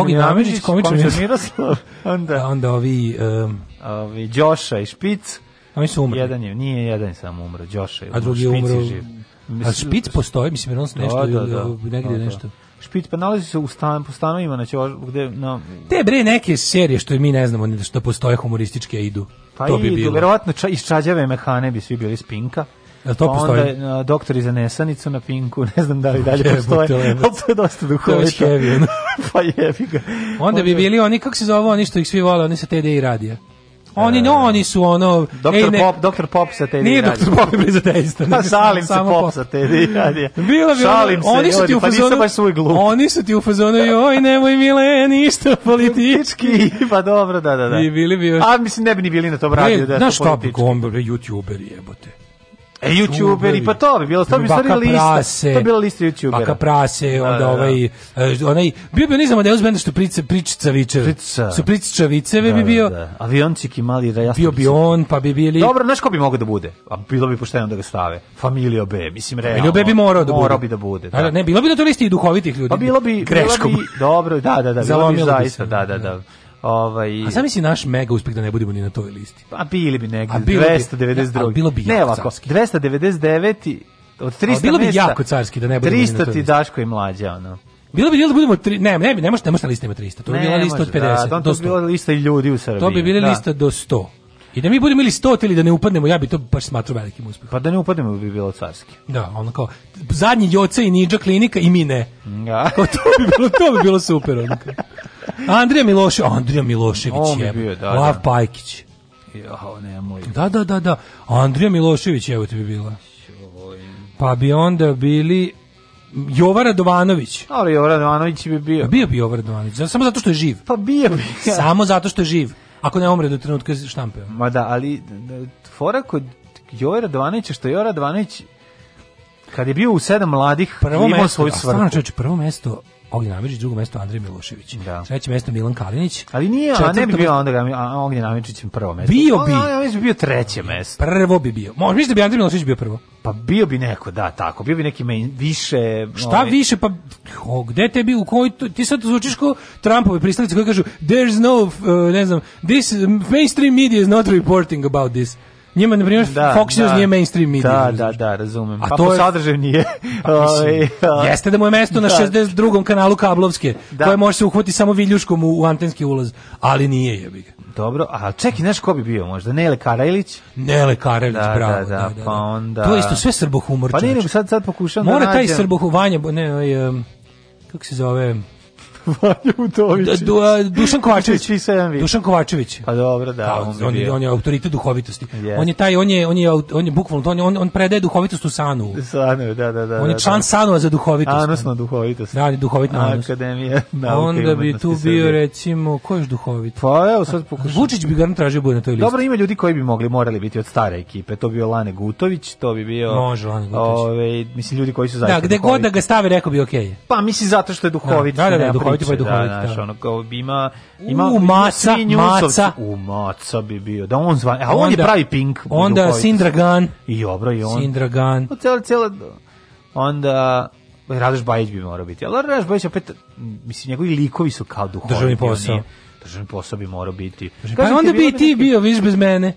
S6: Ognjen Amidžić, komičar
S5: Miroslav,
S6: A
S5: onda
S6: onda ovi, um,
S5: ovi, Đoša i Špic.
S6: oni su umrli.
S5: Jedan je, nije jedan je samo umro, Đoša je
S6: a drugi je
S5: umro, Špic
S6: umro.
S5: živ.
S6: A špic postoji, mislim, jer on se
S5: Da,
S6: nešto,
S5: da, da.
S6: negdje
S5: Da, da.
S6: nešto.
S5: Špic pa nalazi se u stan, po stanovima na Ćoš, gde, no,
S6: Te bre neke serije što i mi ne znamo ni što postoje humorističke idu.
S5: pa
S6: to
S5: i
S6: bi bilo.
S5: verovatno ča, iz Čađave mehane bi svi bili spinka.
S6: Jel to
S5: pa
S6: postoji?
S5: Onda uh, doktori za nesanicu na Pinku, ne znam da
S6: <laughs>
S5: li dalje
S6: Jebote,
S5: postoje,
S6: lebac.
S5: ali to je dosta
S6: To je
S5: duhovito.
S6: već heavy, ono.
S5: <laughs> pa jebi ga.
S6: Onda bi
S5: Može-
S6: bili oni, kako se zove, oni što ih svi vole, oni sa TDI radija. Oni, no, oni su ono...
S5: E, Doktor
S6: ej, ne-
S5: Pop, doktor Pop sa TD
S6: Nije
S5: radija.
S6: Dr. <laughs> Pop je blizateista.
S5: Pa šalim se
S6: Samo
S5: Pop sa TD radija.
S6: Bilo bi ono-
S5: Šalim se,
S6: oni su ti
S5: ljudi,
S6: u
S5: pa nisam
S6: fazonu,
S5: baš svoj glup.
S6: Oni su ti u fazonu, joj, nemoj mile, ništa politički.
S5: pa dobro, da, da, da.
S6: I bili bi još...
S5: A mislim ne bi ni bili na tom radiju
S6: Ej,
S5: da
S6: znaš
S5: su
S6: šta bi
S5: politički.
S6: gombe, YouTuberi jebote.
S5: E, youtuberi, pa to bi bilo, to bi
S6: Baka
S5: stvari lista,
S6: Prase,
S5: to bi bila lista youtubera.
S6: Baka Prase, onda
S5: da, da.
S6: ovaj, eh, onaj, bio bi onaj za Amadeus Benda što prica, pričica vičeve.
S5: Pričica.
S6: Su pričica viceve bi bio.
S5: Da, da. Aviončik i mali jasno.
S6: Bio bi on, pa bi bili...
S5: Dobro, znaš ko bi mogao da bude? A bilo bi pošteno da ga stave. Familio B, mislim realno.
S6: Ili E, bi morao da bude.
S5: Morao bi da bude.
S6: Da, da, ne, bilo bi na toj listi i duhovitih ljudi.
S5: Pa bilo bi
S6: greškom.
S5: Bilo bi, dobro, da, da, da, bilo bi
S6: Zalomilo bi
S5: zaista,
S6: se.
S5: da, da, da. Ovaj
S6: A sam misli naš mega uspeh da ne budemo ni na toj listi.
S5: pa bili bi negde
S6: A bilo bi-
S5: 292.
S6: ali bilo bi
S5: ne
S6: jako
S5: ovako,
S6: carski.
S5: 299 od 300
S6: bilo bi
S5: mesta,
S6: jako carski da ne budemo ni na
S5: 300
S6: toj
S5: ti
S6: listi.
S5: Daško i mlađe ono.
S6: Bilo bi bilo da budemo tri, ne, ne, bi- ne možete, ne možete na listi ima 300. To bi
S5: Ne
S6: bila lista od
S5: može,
S6: 50
S5: Da,
S6: do
S5: to bi
S6: 100.
S5: bila lista ljudi u Srbiji.
S6: To bi bila
S5: da.
S6: lista do 100. I da mi budemo ili 100 ili da ne upadnemo, ja bi to baš smatrao velikim uspehom.
S5: Pa da ne upadnemo bi bilo carski.
S6: Da, ono kao zadnji Joce i Niđa klinika i mi ne.
S5: Da.
S6: Kao to bi bilo, to bi bilo super. Ono kao. Andrija Milošević, Andrija Milošević
S5: On bi
S6: je.
S5: bio, da,
S6: Lav
S5: da.
S6: Pajkić.
S5: <laughs> Jao, nemoj.
S6: Da, da, da, da. Andrija Milošević evo ti bi bila. Pa bi onda bili Jova Radovanović.
S5: Ali Jovan Ivanović bi bio.
S6: Bio bi Jova Radovanović, za- samo zato što je živ.
S5: Pa bio bi.
S6: Samo zato što je živ. Ako ne umre do trenutka štampe.
S5: <laughs> Ma da, ali d- d- fora kod Joje Radovanovića, što Joje Radovanović kad je bio u sedam mladih
S6: Prvo
S5: imao
S6: mesto,
S5: svoju
S6: a stvarno
S5: svrhu.
S6: čovječe, prvo mesto Ognjen Amidžić, drugo mesto Andrija Milošević.
S5: Da.
S6: Treće mesto Milan Kalinić.
S5: Ali nije, a
S6: Četvrto
S5: ne bi
S6: mesto-
S5: bio onda ga- a- Ognjen Amičićem prvo mesto. Pa,
S6: Bio bi.
S5: Ognjen Amičić bi bio treće mesto.
S6: Prvo bi bio. Možda mislim da bi Andrija Milošević bio prvo.
S5: Pa bio bi neko, da, tako. Bio bi neki main, više...
S6: Šta
S5: ovaj,
S6: više, pa o, gde tebi, u koji, to- ti sad zvučiš kao Trumpove pristalice koji kažu there's no, uh, ne znam, this mainstream media is not reporting about this. Njima, na primjer,
S5: Da,
S6: Fox News
S5: da.
S6: nije mainstream media.
S5: Da, da,
S6: razumiješ?
S5: da, razumem.
S6: A
S5: pa
S6: to
S5: po
S6: je-
S5: sadržaju
S6: <laughs>
S5: nije. Ovaj, a-
S6: Jeste da mu je mesto na
S5: Da.
S6: 62. kanalu kablovske,
S5: Da.
S6: koje može se uhvati samo viljuškom u, u antenski ulaz, ali nije jebi ga.
S5: Dobro, a čekaj, znaš ko bi bio možda? Nele Karajlić? Pa
S6: Nele Karelić,
S5: Da,
S6: bravo.
S5: da, da, pa onda-
S6: To je isto sve srbohumor.
S5: Pa nije,
S6: čoveče.
S5: nego sad, sad pokušam da
S6: Mora taj
S5: nađem-
S6: srbohuvanje, ne, ovaj, em, kako se zove,
S5: <laughs> Vanja Udović.
S6: Da, du, a, Dušan
S5: <laughs>
S6: Kovačević.
S5: Svi sedam vi.
S6: Dušan Kovačević.
S5: Pa dobro, da,
S6: Kao,
S5: on bi
S6: on, je,
S5: bio.
S6: on je autoritet duhovitosti.
S5: Jeste.
S6: On je taj, on je, on je, aut- on je bukvalno, to, on, je- on, on predaje duhovitost u sanu.
S5: Sanu, da, da, da.
S6: On
S5: da,
S6: je
S5: da.
S6: član sanova za duhovitost.
S5: Anusna duhovitost.
S6: Da, on je duhovit na anus.
S5: Akademija nauke
S6: Onda bi tu bio,
S5: reći.
S6: recimo, ko je još duhovit?
S5: Pa evo sad pokušam.
S6: Vučić bi garant tražio da bude na toj listi.
S5: Dobro, ima ljudi koji bi mogli, morali biti od stare ekipe. To bi bio Lane Gutović, to bi bio...
S6: Može, Lane Gutović.
S5: Ove, mislim, ljudi koji su zaista
S6: da, gde god
S5: duhoviti.
S6: da ga stave, rekao bi okej. Okay.
S5: Pa mislim zato što je duhovit.
S6: Da, da, da,
S5: nema
S6: duhovit,
S5: priče,
S6: pa je duhovit,
S5: Da, znaš,
S6: da.
S5: ono, kao, ima, ima,
S6: U,
S5: ima
S6: Maca,
S5: svi njusovci.
S6: Maca.
S5: U, maca bi bio. Da, on zvan, a on je pravi pink.
S6: Onda
S5: duhovit.
S6: Sindragan.
S5: I dobro, i on.
S6: Sindragan.
S5: Pa cela, cela, onda Radoš Bajić bi morao biti. Ali Radoš Bajić opet, m, mislim, njegovi likovi su kao duhovni.
S6: Državni
S5: on
S6: posao.
S5: nije- Državni posao bi morao biti.
S6: Pa
S5: Kažem ti,
S6: onda bi
S5: bilo
S6: i ti
S5: neki-
S6: bio, viš, bez mene.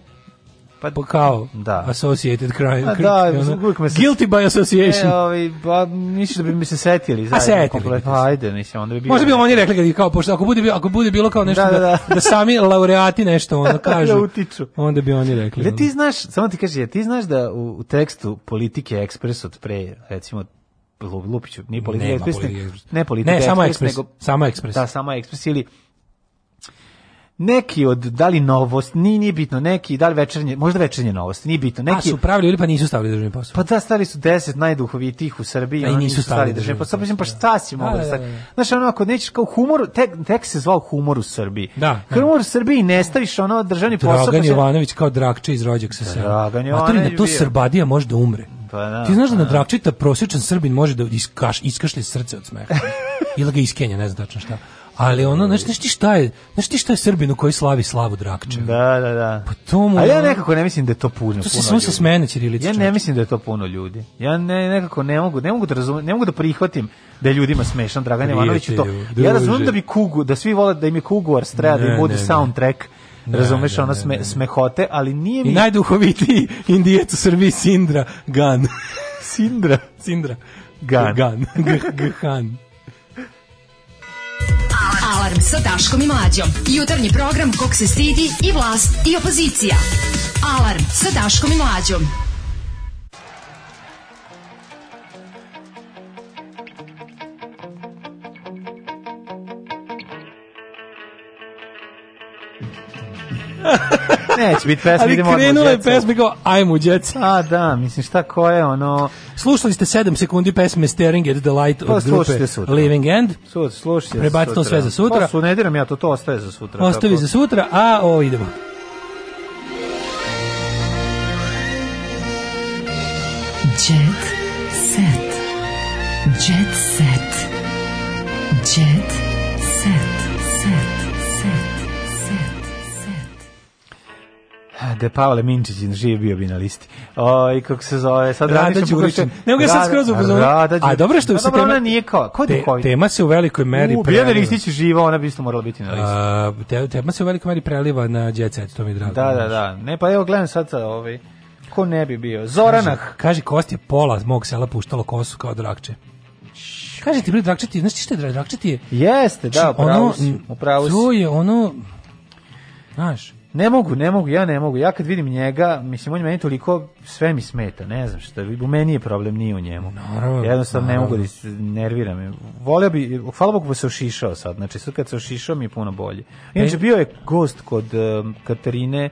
S5: Pa-
S6: Pa kao,
S5: Da.
S6: associated crime.
S5: A da,
S6: ono,
S5: uvijek me se-
S6: Guilty by association.
S5: E, ovaj, ba, mislim da bi mi se setili.
S6: A
S5: zajedno
S6: setili
S5: kompletno.
S6: bi se.
S5: Pa, ajde, mislim, onda bi bio...
S6: Možda bi
S5: <laughs>
S6: oni rekli kad je kao pošto ako bude bilo ako bude bilo kao nešto
S5: Da,
S6: da,
S5: da, da.
S6: da sami laureati nešto ono kažu.
S5: <laughs> Da dakle, utiču.
S6: Onda bi oni rekli.
S5: Jel
S6: ono.
S5: ti znaš, samo ti kaži, jel ti znaš da u, u tekstu Politike Ekspres od pre, recimo, Lu- Lupiću, nije Politika
S6: Nema
S5: Ekspres,
S6: Politike
S5: ne,
S6: Ekspres.
S5: ne Politika
S6: Ne, samo
S5: Ekspres,
S6: Ekspres, samo Ekspres.
S5: Da, samo Ekspres ili neki od, da li novost, nije, nije bitno, neki, da li večernje, možda večernje novosti, nije bitno,
S6: A
S5: neki,
S6: su pravili ili pa nisu stavili državni posao.
S5: pa da, stari su 10 najduhovitijih u Srbiji,
S6: Da, i
S5: oni
S6: nisu
S5: nisu stali
S6: stavili
S5: države. Pa
S6: državni
S5: sad mislim, pa
S6: posao,
S5: šta si
S6: da.
S5: mogu
S6: Da,
S5: da
S6: da,
S5: stavi?
S6: da, da.
S5: Znaš, ono, ako nećeš kao humor, tek, tek se zvao humor u Srbiji.
S6: Da, da.
S5: Humor u Srbiji ne staviš ono državni posao.
S6: Dragan
S5: pa se-
S6: Jovanović kao Drakče iz rođak sa
S5: Dragan
S6: sela. A to ni na
S5: Jovanović
S6: to
S5: bio.
S6: Srbadija može da umre.
S5: Pa da,
S6: ti znaš da na
S5: pa da.
S6: Drakčita prosječan Srbin može da iskaš, iskašlje srce od
S5: <laughs>
S6: smeha. ili ga iskenja, ne znam tačno šta. Ali ono, znaš, znaš ti šta je, znaš ti šta je Srbin u koji slavi slavu Drakče?
S5: Da, da, da.
S6: Pa to mu-
S5: Ali ja nekako ne mislim da je to puno.
S6: To se
S5: puno
S6: samo sa
S5: ljudi.
S6: smene ćirilica.
S5: Ja ne
S6: čoveče.
S5: mislim da je to puno ljudi. Ja ne, nekako ne mogu, ne mogu da razumem, ne mogu da prihvatim da je ljudima smešan Dragan Jovanović i to.
S6: Prijatelju,
S5: Ja razumem
S6: druže.
S5: da bi kugu, da svi vole da im je kuguar strela, da
S6: Ne,
S5: im bude
S6: ne, ne.
S5: soundtrack.
S6: Ne,
S5: razumeš
S6: ne,
S5: ona
S6: ne,
S5: sme,
S6: ne.
S5: smehote, ali nije mi
S6: I najduhovitiji indijec u Srbiji Sindra Gan.
S5: <laughs> Sindra.
S6: Sindra
S5: Gan.
S6: Gan. G- Ghan.
S3: Alarm sa Daškom i Mlađom. Jutarnji program kog se stidi i vlast i opozicija. Alarm sa Daškom i Mlađom.
S5: Neće biti pesma,
S6: Ali
S5: idemo odmah u
S6: krenula je
S5: Jet Set.
S6: pesma i kao, ajmo u Jet Set.
S5: A da, mislim šta ko je ono...
S6: Slušali ste 7 sekundi pesme Staring at the Light
S5: Pa
S6: od grupe
S5: slušajte sutra.
S6: Living End.
S5: Sud, slušajte
S6: Prebaci to sve za sutra.
S5: Pa su, ne diram ja to, to ostaje za sutra.
S6: Ostavi
S5: tako.
S6: za sutra, a ovo idemo.
S10: Jet set. Jet set. Jet set. Set. Set. Set. Set.
S5: E, De Pavle Minčić živi bio bi na listi. O, i kako se zove, sad
S6: Rada
S5: razmišljam kako
S6: Đurić.
S5: se-
S6: Ne mogu ja sad
S5: Rada-
S6: skroz upozoriti.
S5: Rada
S6: A
S5: Đurić.
S6: dobro što
S5: Pa
S6: se
S5: dobro,
S6: tema...
S5: ona nije kao, ko je
S6: Te-
S5: duhovita?
S6: tema se u velikoj meri
S5: U, Biljana
S6: preliva.
S5: Ristić je živa, ona bi isto morala biti na listi.
S6: A, te, tema se u velikoj meri preliva na Jet Set, to mi je drago.
S5: Da, da, da. Ne, pa evo gledam sad sa ovaj. Ko ne bi bio? Zoranah.
S6: Kaže, kaže Kosti je pola mog sela puštalo kosu kao drakče. Kaže ti bre drakče ti, znaš ti šta je drakče ti je?
S5: Jeste, da,
S6: Znači,
S5: upravo
S6: ono,
S5: si, upravo si.
S6: To je ono, znaš,
S5: Ne mogu, ne mogu, ja ne mogu. Ja kad vidim njega, mislim, on je meni toliko, sve mi smeta, ne znam šta, u meni je problem, nije u njemu.
S6: Naravno,
S5: Jednostavno ne
S6: naravno.
S5: mogu da se nerviram. Voleo bi, hvala Bogu da se ošišao sad, znači sad kad se ošišao mi je puno bolje. Inače,
S6: E.
S5: bio je gost kod em, Katarine,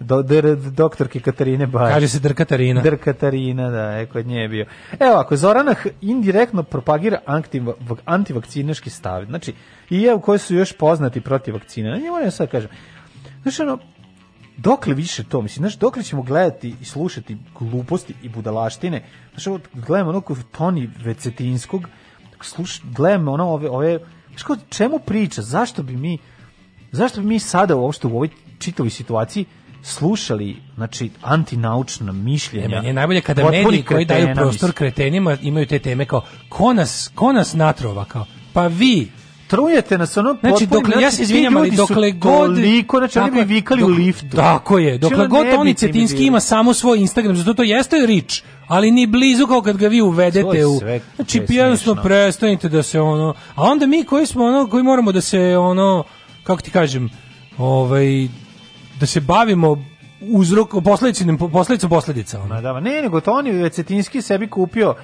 S5: do, dr, doktorke Katarine Bajić.
S6: Kaže se Dr. Katarina.
S5: Dr. Katarina, da, e, kod nje je bio. Evo, ako Zoranah indirektno propagira antiv- vak- antivakcinaški stav, znači, i evo koji su još poznati protiv vakcina, ne moram sad kažem, znaš, ono, dokle više to, mislim, znaš, dokle ćemo gledati i slušati gluposti i budalaštine, znaš, ovo, gledamo ono kod Toni Vecetinskog, sluš, gledamo ono ove, ove, znaš, kao, čemu priča, zašto bi mi, zašto bi mi sada uopšte u ovoj čitavoj situaciji slušali, znači, antinaučna mišljenja.
S6: E, meni je najbolje kada
S5: potpunih
S6: mediji koji daju
S5: kretena,
S6: prostor
S5: mislim.
S6: kretenima imaju te teme kao, ko nas, ko nas natrova, kao, pa vi,
S5: Trujete nas ono
S6: Znači,
S5: potpunim,
S6: dokle, ja se
S5: ti
S6: izvinjam, ali
S5: ljudi su
S6: dokle god...
S5: Toliko, znači, oni
S6: Tako je,
S5: bi vikali u
S6: dok-
S5: liftu.
S6: Tako je,
S5: Znači,
S6: dokle
S5: ono,
S6: god
S5: ne bi
S6: Toni
S5: ti mi
S6: Cetinski
S5: bilo.
S6: ima samo svoj Instagram, zato to jeste rič, ali ni blizu kao kad ga vi
S5: To
S6: uvedete
S5: je
S6: u...
S5: sve
S6: Znači,
S5: presmiješno.
S6: jednostavno prestanite da se ono... A onda mi koji smo ono, koji moramo da se ono, kako ti kažem, ovaj, da se bavimo uzrok, posledicom, posledicom posledica. Ono.
S5: Ma da, ma ne, nego Toni Vecetinski sebi kupio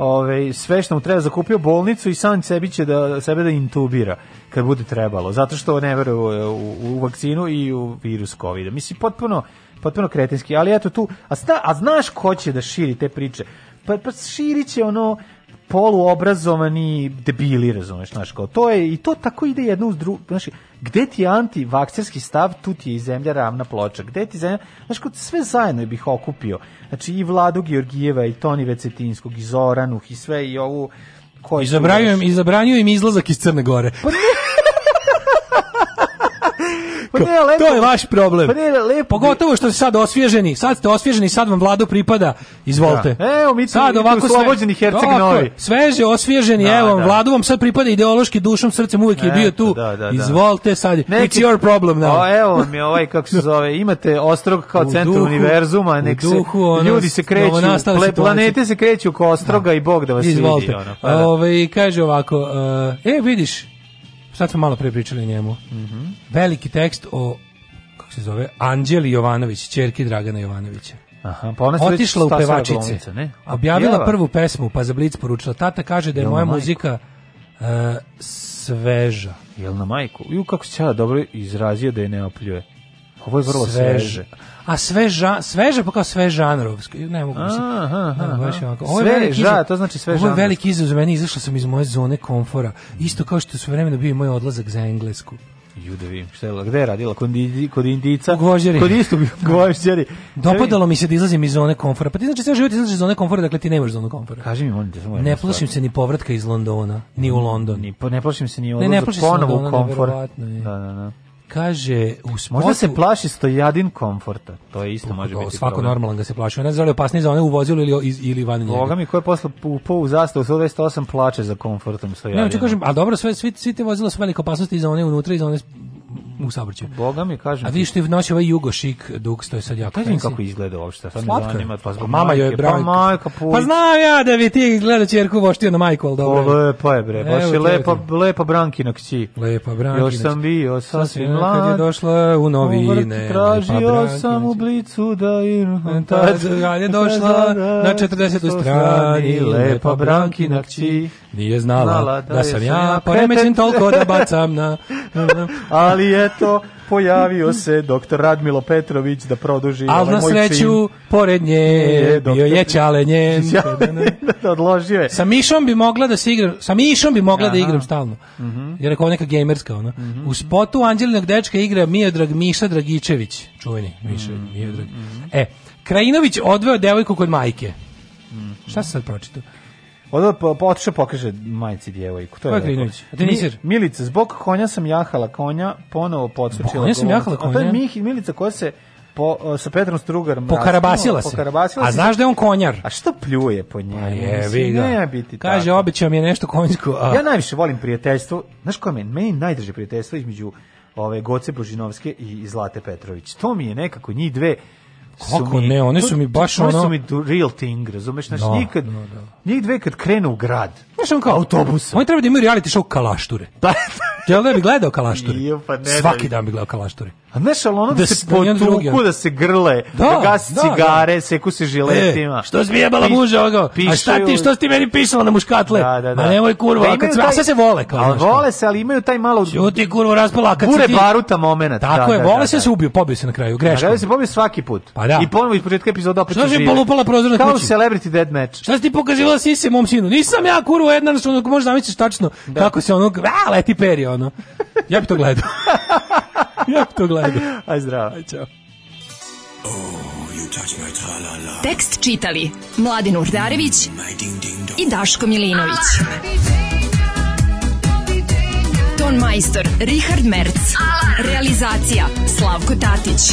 S5: ove, sve što mu treba, zakupio bolnicu i sam sebi će da, sebe da intubira kad bude trebalo, zato što ne veruje u, u vakcinu i u virus covid Mislim, potpuno, potpuno kretinski, ali eto tu, a, sta, a znaš ko će da širi te priče? Pa, pa širit će ono poluobrazovani debili, razumeš, znaš, kao, to je, i to tako ide jedno uz drugo, znaš, gde ti je antivakcerski stav, tu ti je i zemlja ravna ploča, gde ti zemlja, znaš, kao, sve zajedno bih okupio, znači, i Vladu Georgijeva, i Toni Vecetinskog, i Zoranuh, i sve, i ovu, koji
S6: I zabranjujem, i zabranjujem izlazak iz Crne Gore.
S5: pa ne, lepo,
S6: <laughs> To je vaš problem.
S5: pa ne, lepo,
S6: Pogotovo što ste sad osvježeni, sad ste osvježeni, sad vam vlado pripada, izvolite.
S5: Da. Evo, mi smo- mi smo
S6: sve-
S5: oslobođeni Herceg
S6: Tako,
S5: Novi.
S6: Sveže, osvježeni,
S5: Da,
S6: evo, vam
S5: da.
S6: vladu vam sad pripada ideološki dušom, srcem uvijek je
S5: Eto,
S6: bio tu.
S5: da, da, da.
S6: Izvolite sad,
S5: Neki-
S6: it's your problem now.
S5: A, evo mi ovaj, kako se zove, imate ostrog kao
S6: U
S5: centar
S6: duhu-
S5: univerzuma,
S6: u
S5: nek se,
S6: duhu, ono,
S5: ljudi se kreću,
S6: novonastale
S5: ple,
S6: situacije.
S5: planete se kreću oko ostroga i Bog da vas
S6: Izvolite.
S5: vidi. Ono, pa da.
S6: Ovaj, kaže ovako, uh, e, vidiš, sad smo malo pre pričali o njemu.
S5: Mhm.
S6: Veliki tekst o, kako se zove, Anđeli Jovanović, čerki Dragana Jovanovića.
S5: Aha, pa ona se već
S6: Otišla u
S5: stasala
S6: pevačice,
S5: glumica, ne? A
S6: objavila
S5: pjeva?
S6: prvu pesmu, pa za Blic poručila, tata kaže da je
S5: Jel,
S6: moja
S5: majko?
S6: muzika uh, sveža.
S5: Jel na majku? Ju, kako se ja dobro izrazio da je ne opljuje. Ovo je vrlo
S6: Svež-
S5: sveže.
S6: A sveža, sveža pa kao sve žanrovski. Ne mogu mislim.
S5: Aha, aha,
S6: Ne, baš je
S5: aha.
S6: ovako. Ovo je
S5: Sve
S6: veliki
S5: ža,
S6: izazov-
S5: to znači sve
S6: Ovo je
S5: žanrovski.
S6: veliki izazov za mene, izašla sam iz moje zone komfora. Isto kao što su vremena bio i moj odlazak za Englesku.
S5: Ju da vidim, šta je, gde je radila? Kod, indi, kod indica?
S6: U Gvožđeri.
S5: Kod istog <laughs> gvožđeri.
S6: Dopadalo mi se da izlazim iz zone komfora. Pa ti znači sve život izlaziš iz zone komfora, dakle ti nemaš zonu komfora.
S5: Kaži mi, molim te, samo jednu
S6: Ne plašim
S5: stvar.
S6: se ni povratka iz Londona, ni u London.
S5: Ni, pa ne plašim se ni
S6: ne
S5: odlazak ne,
S6: plašim se
S5: ponovo u
S6: Londona,
S5: komfort.
S6: neverovatno je.
S5: Da, da, da.
S6: Kaže, u spotu...
S5: Možda se plaši stojadin komforta. To je isto može
S6: Kako,
S5: biti.
S6: Svako
S5: problem.
S6: normalan ga se plaši. Ne znam da li je opasnije za one u vozilu ili, ili van njega.
S5: Boga mi ko je posle upao u zastavu 128 plače za komfortom
S6: Ne,
S5: stojadinom.
S6: hoću kažem, a dobro, sve, svi, svi te vozila su velika opasnost i za one unutra i za one s- u saobraćaju.
S5: Boga mi kažem.
S6: A
S5: ti,
S6: vi što je nosi ovaj jugo šik duks, to je sad jako
S5: Ne znam
S6: fancy.
S5: kako izgleda uopšte. Sad me
S6: Slatko je.
S5: zanima. Pa zbog
S6: mama joj je
S5: majke,
S6: bravo.
S5: Pa majka puj.
S6: Pa znam ja da bi ti gledao čerku voštio na majku, ali dobro.
S5: O, lepa je bre, baš
S6: Evo
S5: je
S6: ti,
S5: lepa,
S6: evo
S5: lepa Brankina kći.
S6: Lepa Brankina
S5: Još sam
S6: kći.
S5: bio
S6: Sasvim
S5: sasvim
S6: mlad,
S5: mlad.
S6: kad je došla u novine,
S5: vrt
S6: lepa znači.
S5: Tražio
S6: Brankina
S5: sam u
S6: kći.
S5: blicu da iru.
S6: Tad kad je došla na 40. strani, lepa Brankina kći.
S5: <laughs>
S6: Nije znala da sam ja, poremećen toliko da bacam na...
S5: Ali je eto, pojavio se doktor Radmilo Petrović da produži
S6: Al
S5: ovaj
S6: na
S5: moj
S6: sreću,
S5: čin.
S6: pored nje,
S5: E,
S6: bio je
S5: doktor-
S6: Čale njen.
S5: <laughs> Odložio je.
S6: Sa Mišom bi mogla da se igram, sa Mišom bi mogla da
S5: Aha.
S6: igram stalno.
S5: Mhm.
S6: Jer ako ovo neka gamerska ona. U spotu Anđelinog dečka igra Miodrag Miša Dragičević, čuveni Miša
S5: Mhm.
S6: Miodrag. E, Krajinović odveo devojku kod majke.
S5: Mhm.
S6: Šta se sad pročitao?
S5: Odo po, po, otišao pokaže majci djevojku. To
S6: Ko
S5: je
S6: je
S5: rekao.
S6: Krinović? A tenisir?
S5: Mi- Milica, zbog konja sam jahala konja, ponovo podsučila.
S6: Zbog konja sam
S5: govornicu.
S6: jahala
S5: A to je
S6: konja?
S5: Mihi- Milica koja se po, o, sa Petrom Strugarom
S6: Pokarabasila se.
S5: raskinula, Pokarabasila
S6: A znaš Pa da je on konjar?
S5: A što pljuje po njemu?
S6: Jevi
S5: Mislim,
S6: ga.
S5: Ne biti tako.
S6: Kaže, obećao mi je nešto konjsko. A...
S5: Ja najviše volim prijateljstvo. Znaš ko je meni? Meni je najdraže prijateljstvo između ove Goce Božinovske i i Zlate Petrović. To mi je nekako njih dve su
S6: Kako
S5: mi-
S6: ne, one
S5: to-
S6: su mi baš
S5: to- to
S6: ono-
S5: su mi du- real thing, razumeš? Znaš,
S6: No,
S5: nikad, njih dve kad krenu u grad,
S6: Znaš, on kao
S5: <laughs>
S6: autobus. Oni treba da imaju reality show kalašture. Da. Jel da bi gledao kalašture?
S5: Ju, pa ne da
S6: Svaki
S5: bi.
S6: dan bi gledao kalašture.
S5: A znaš, ali ono da,
S6: Da
S5: se
S6: se- da jedan drugi,
S5: potuku,
S6: ono.
S5: da se grle, da,
S6: Da,
S5: gase
S6: da,
S5: cigare, seku se žiletima.
S6: E, što si mi jebala
S5: Pi-
S6: muža ovoga? A šta
S5: pišu-
S6: ti, što si ti meni pisala na muškatle?
S5: Da, da, da.
S6: A nemoj kurva,
S5: Da
S6: a kad
S5: imaju
S6: sve, a
S5: taj-
S6: sve se vole kao.
S5: Ali
S6: znaš kao.
S5: vole se, ali imaju taj malo...
S6: Ćuti kurvo raspala, a kad
S5: Bure
S6: si Znači, ti-
S5: baruta moment.
S6: Tako
S5: da,
S6: je,
S5: da,
S6: vole
S5: da,
S6: se
S5: da.
S6: se ubio, pobio se na kraju,
S5: Na
S6: greška.
S5: kraju se pobije svaki put.
S6: Pa da.
S5: I ponovo iz početka epizoda opet
S6: Što si polupala prozor na
S5: Kao u
S6: kući?
S5: Celebrity Dead Match.
S6: Šta si ti pokazivala sise mom sinu? Nisam ja kurvo jedna, što ono, možeš zamisliti tačno kako se ono, a, leti perje, ono. Ja bi to gledao. ja bi to gledao.
S5: Aj zdravo.
S6: Aj, čao.
S3: Tekst čitali Mladin Urdarević i Daško Milinović. Ton majstor Richard Merc. Realizacija Slavko Tatić.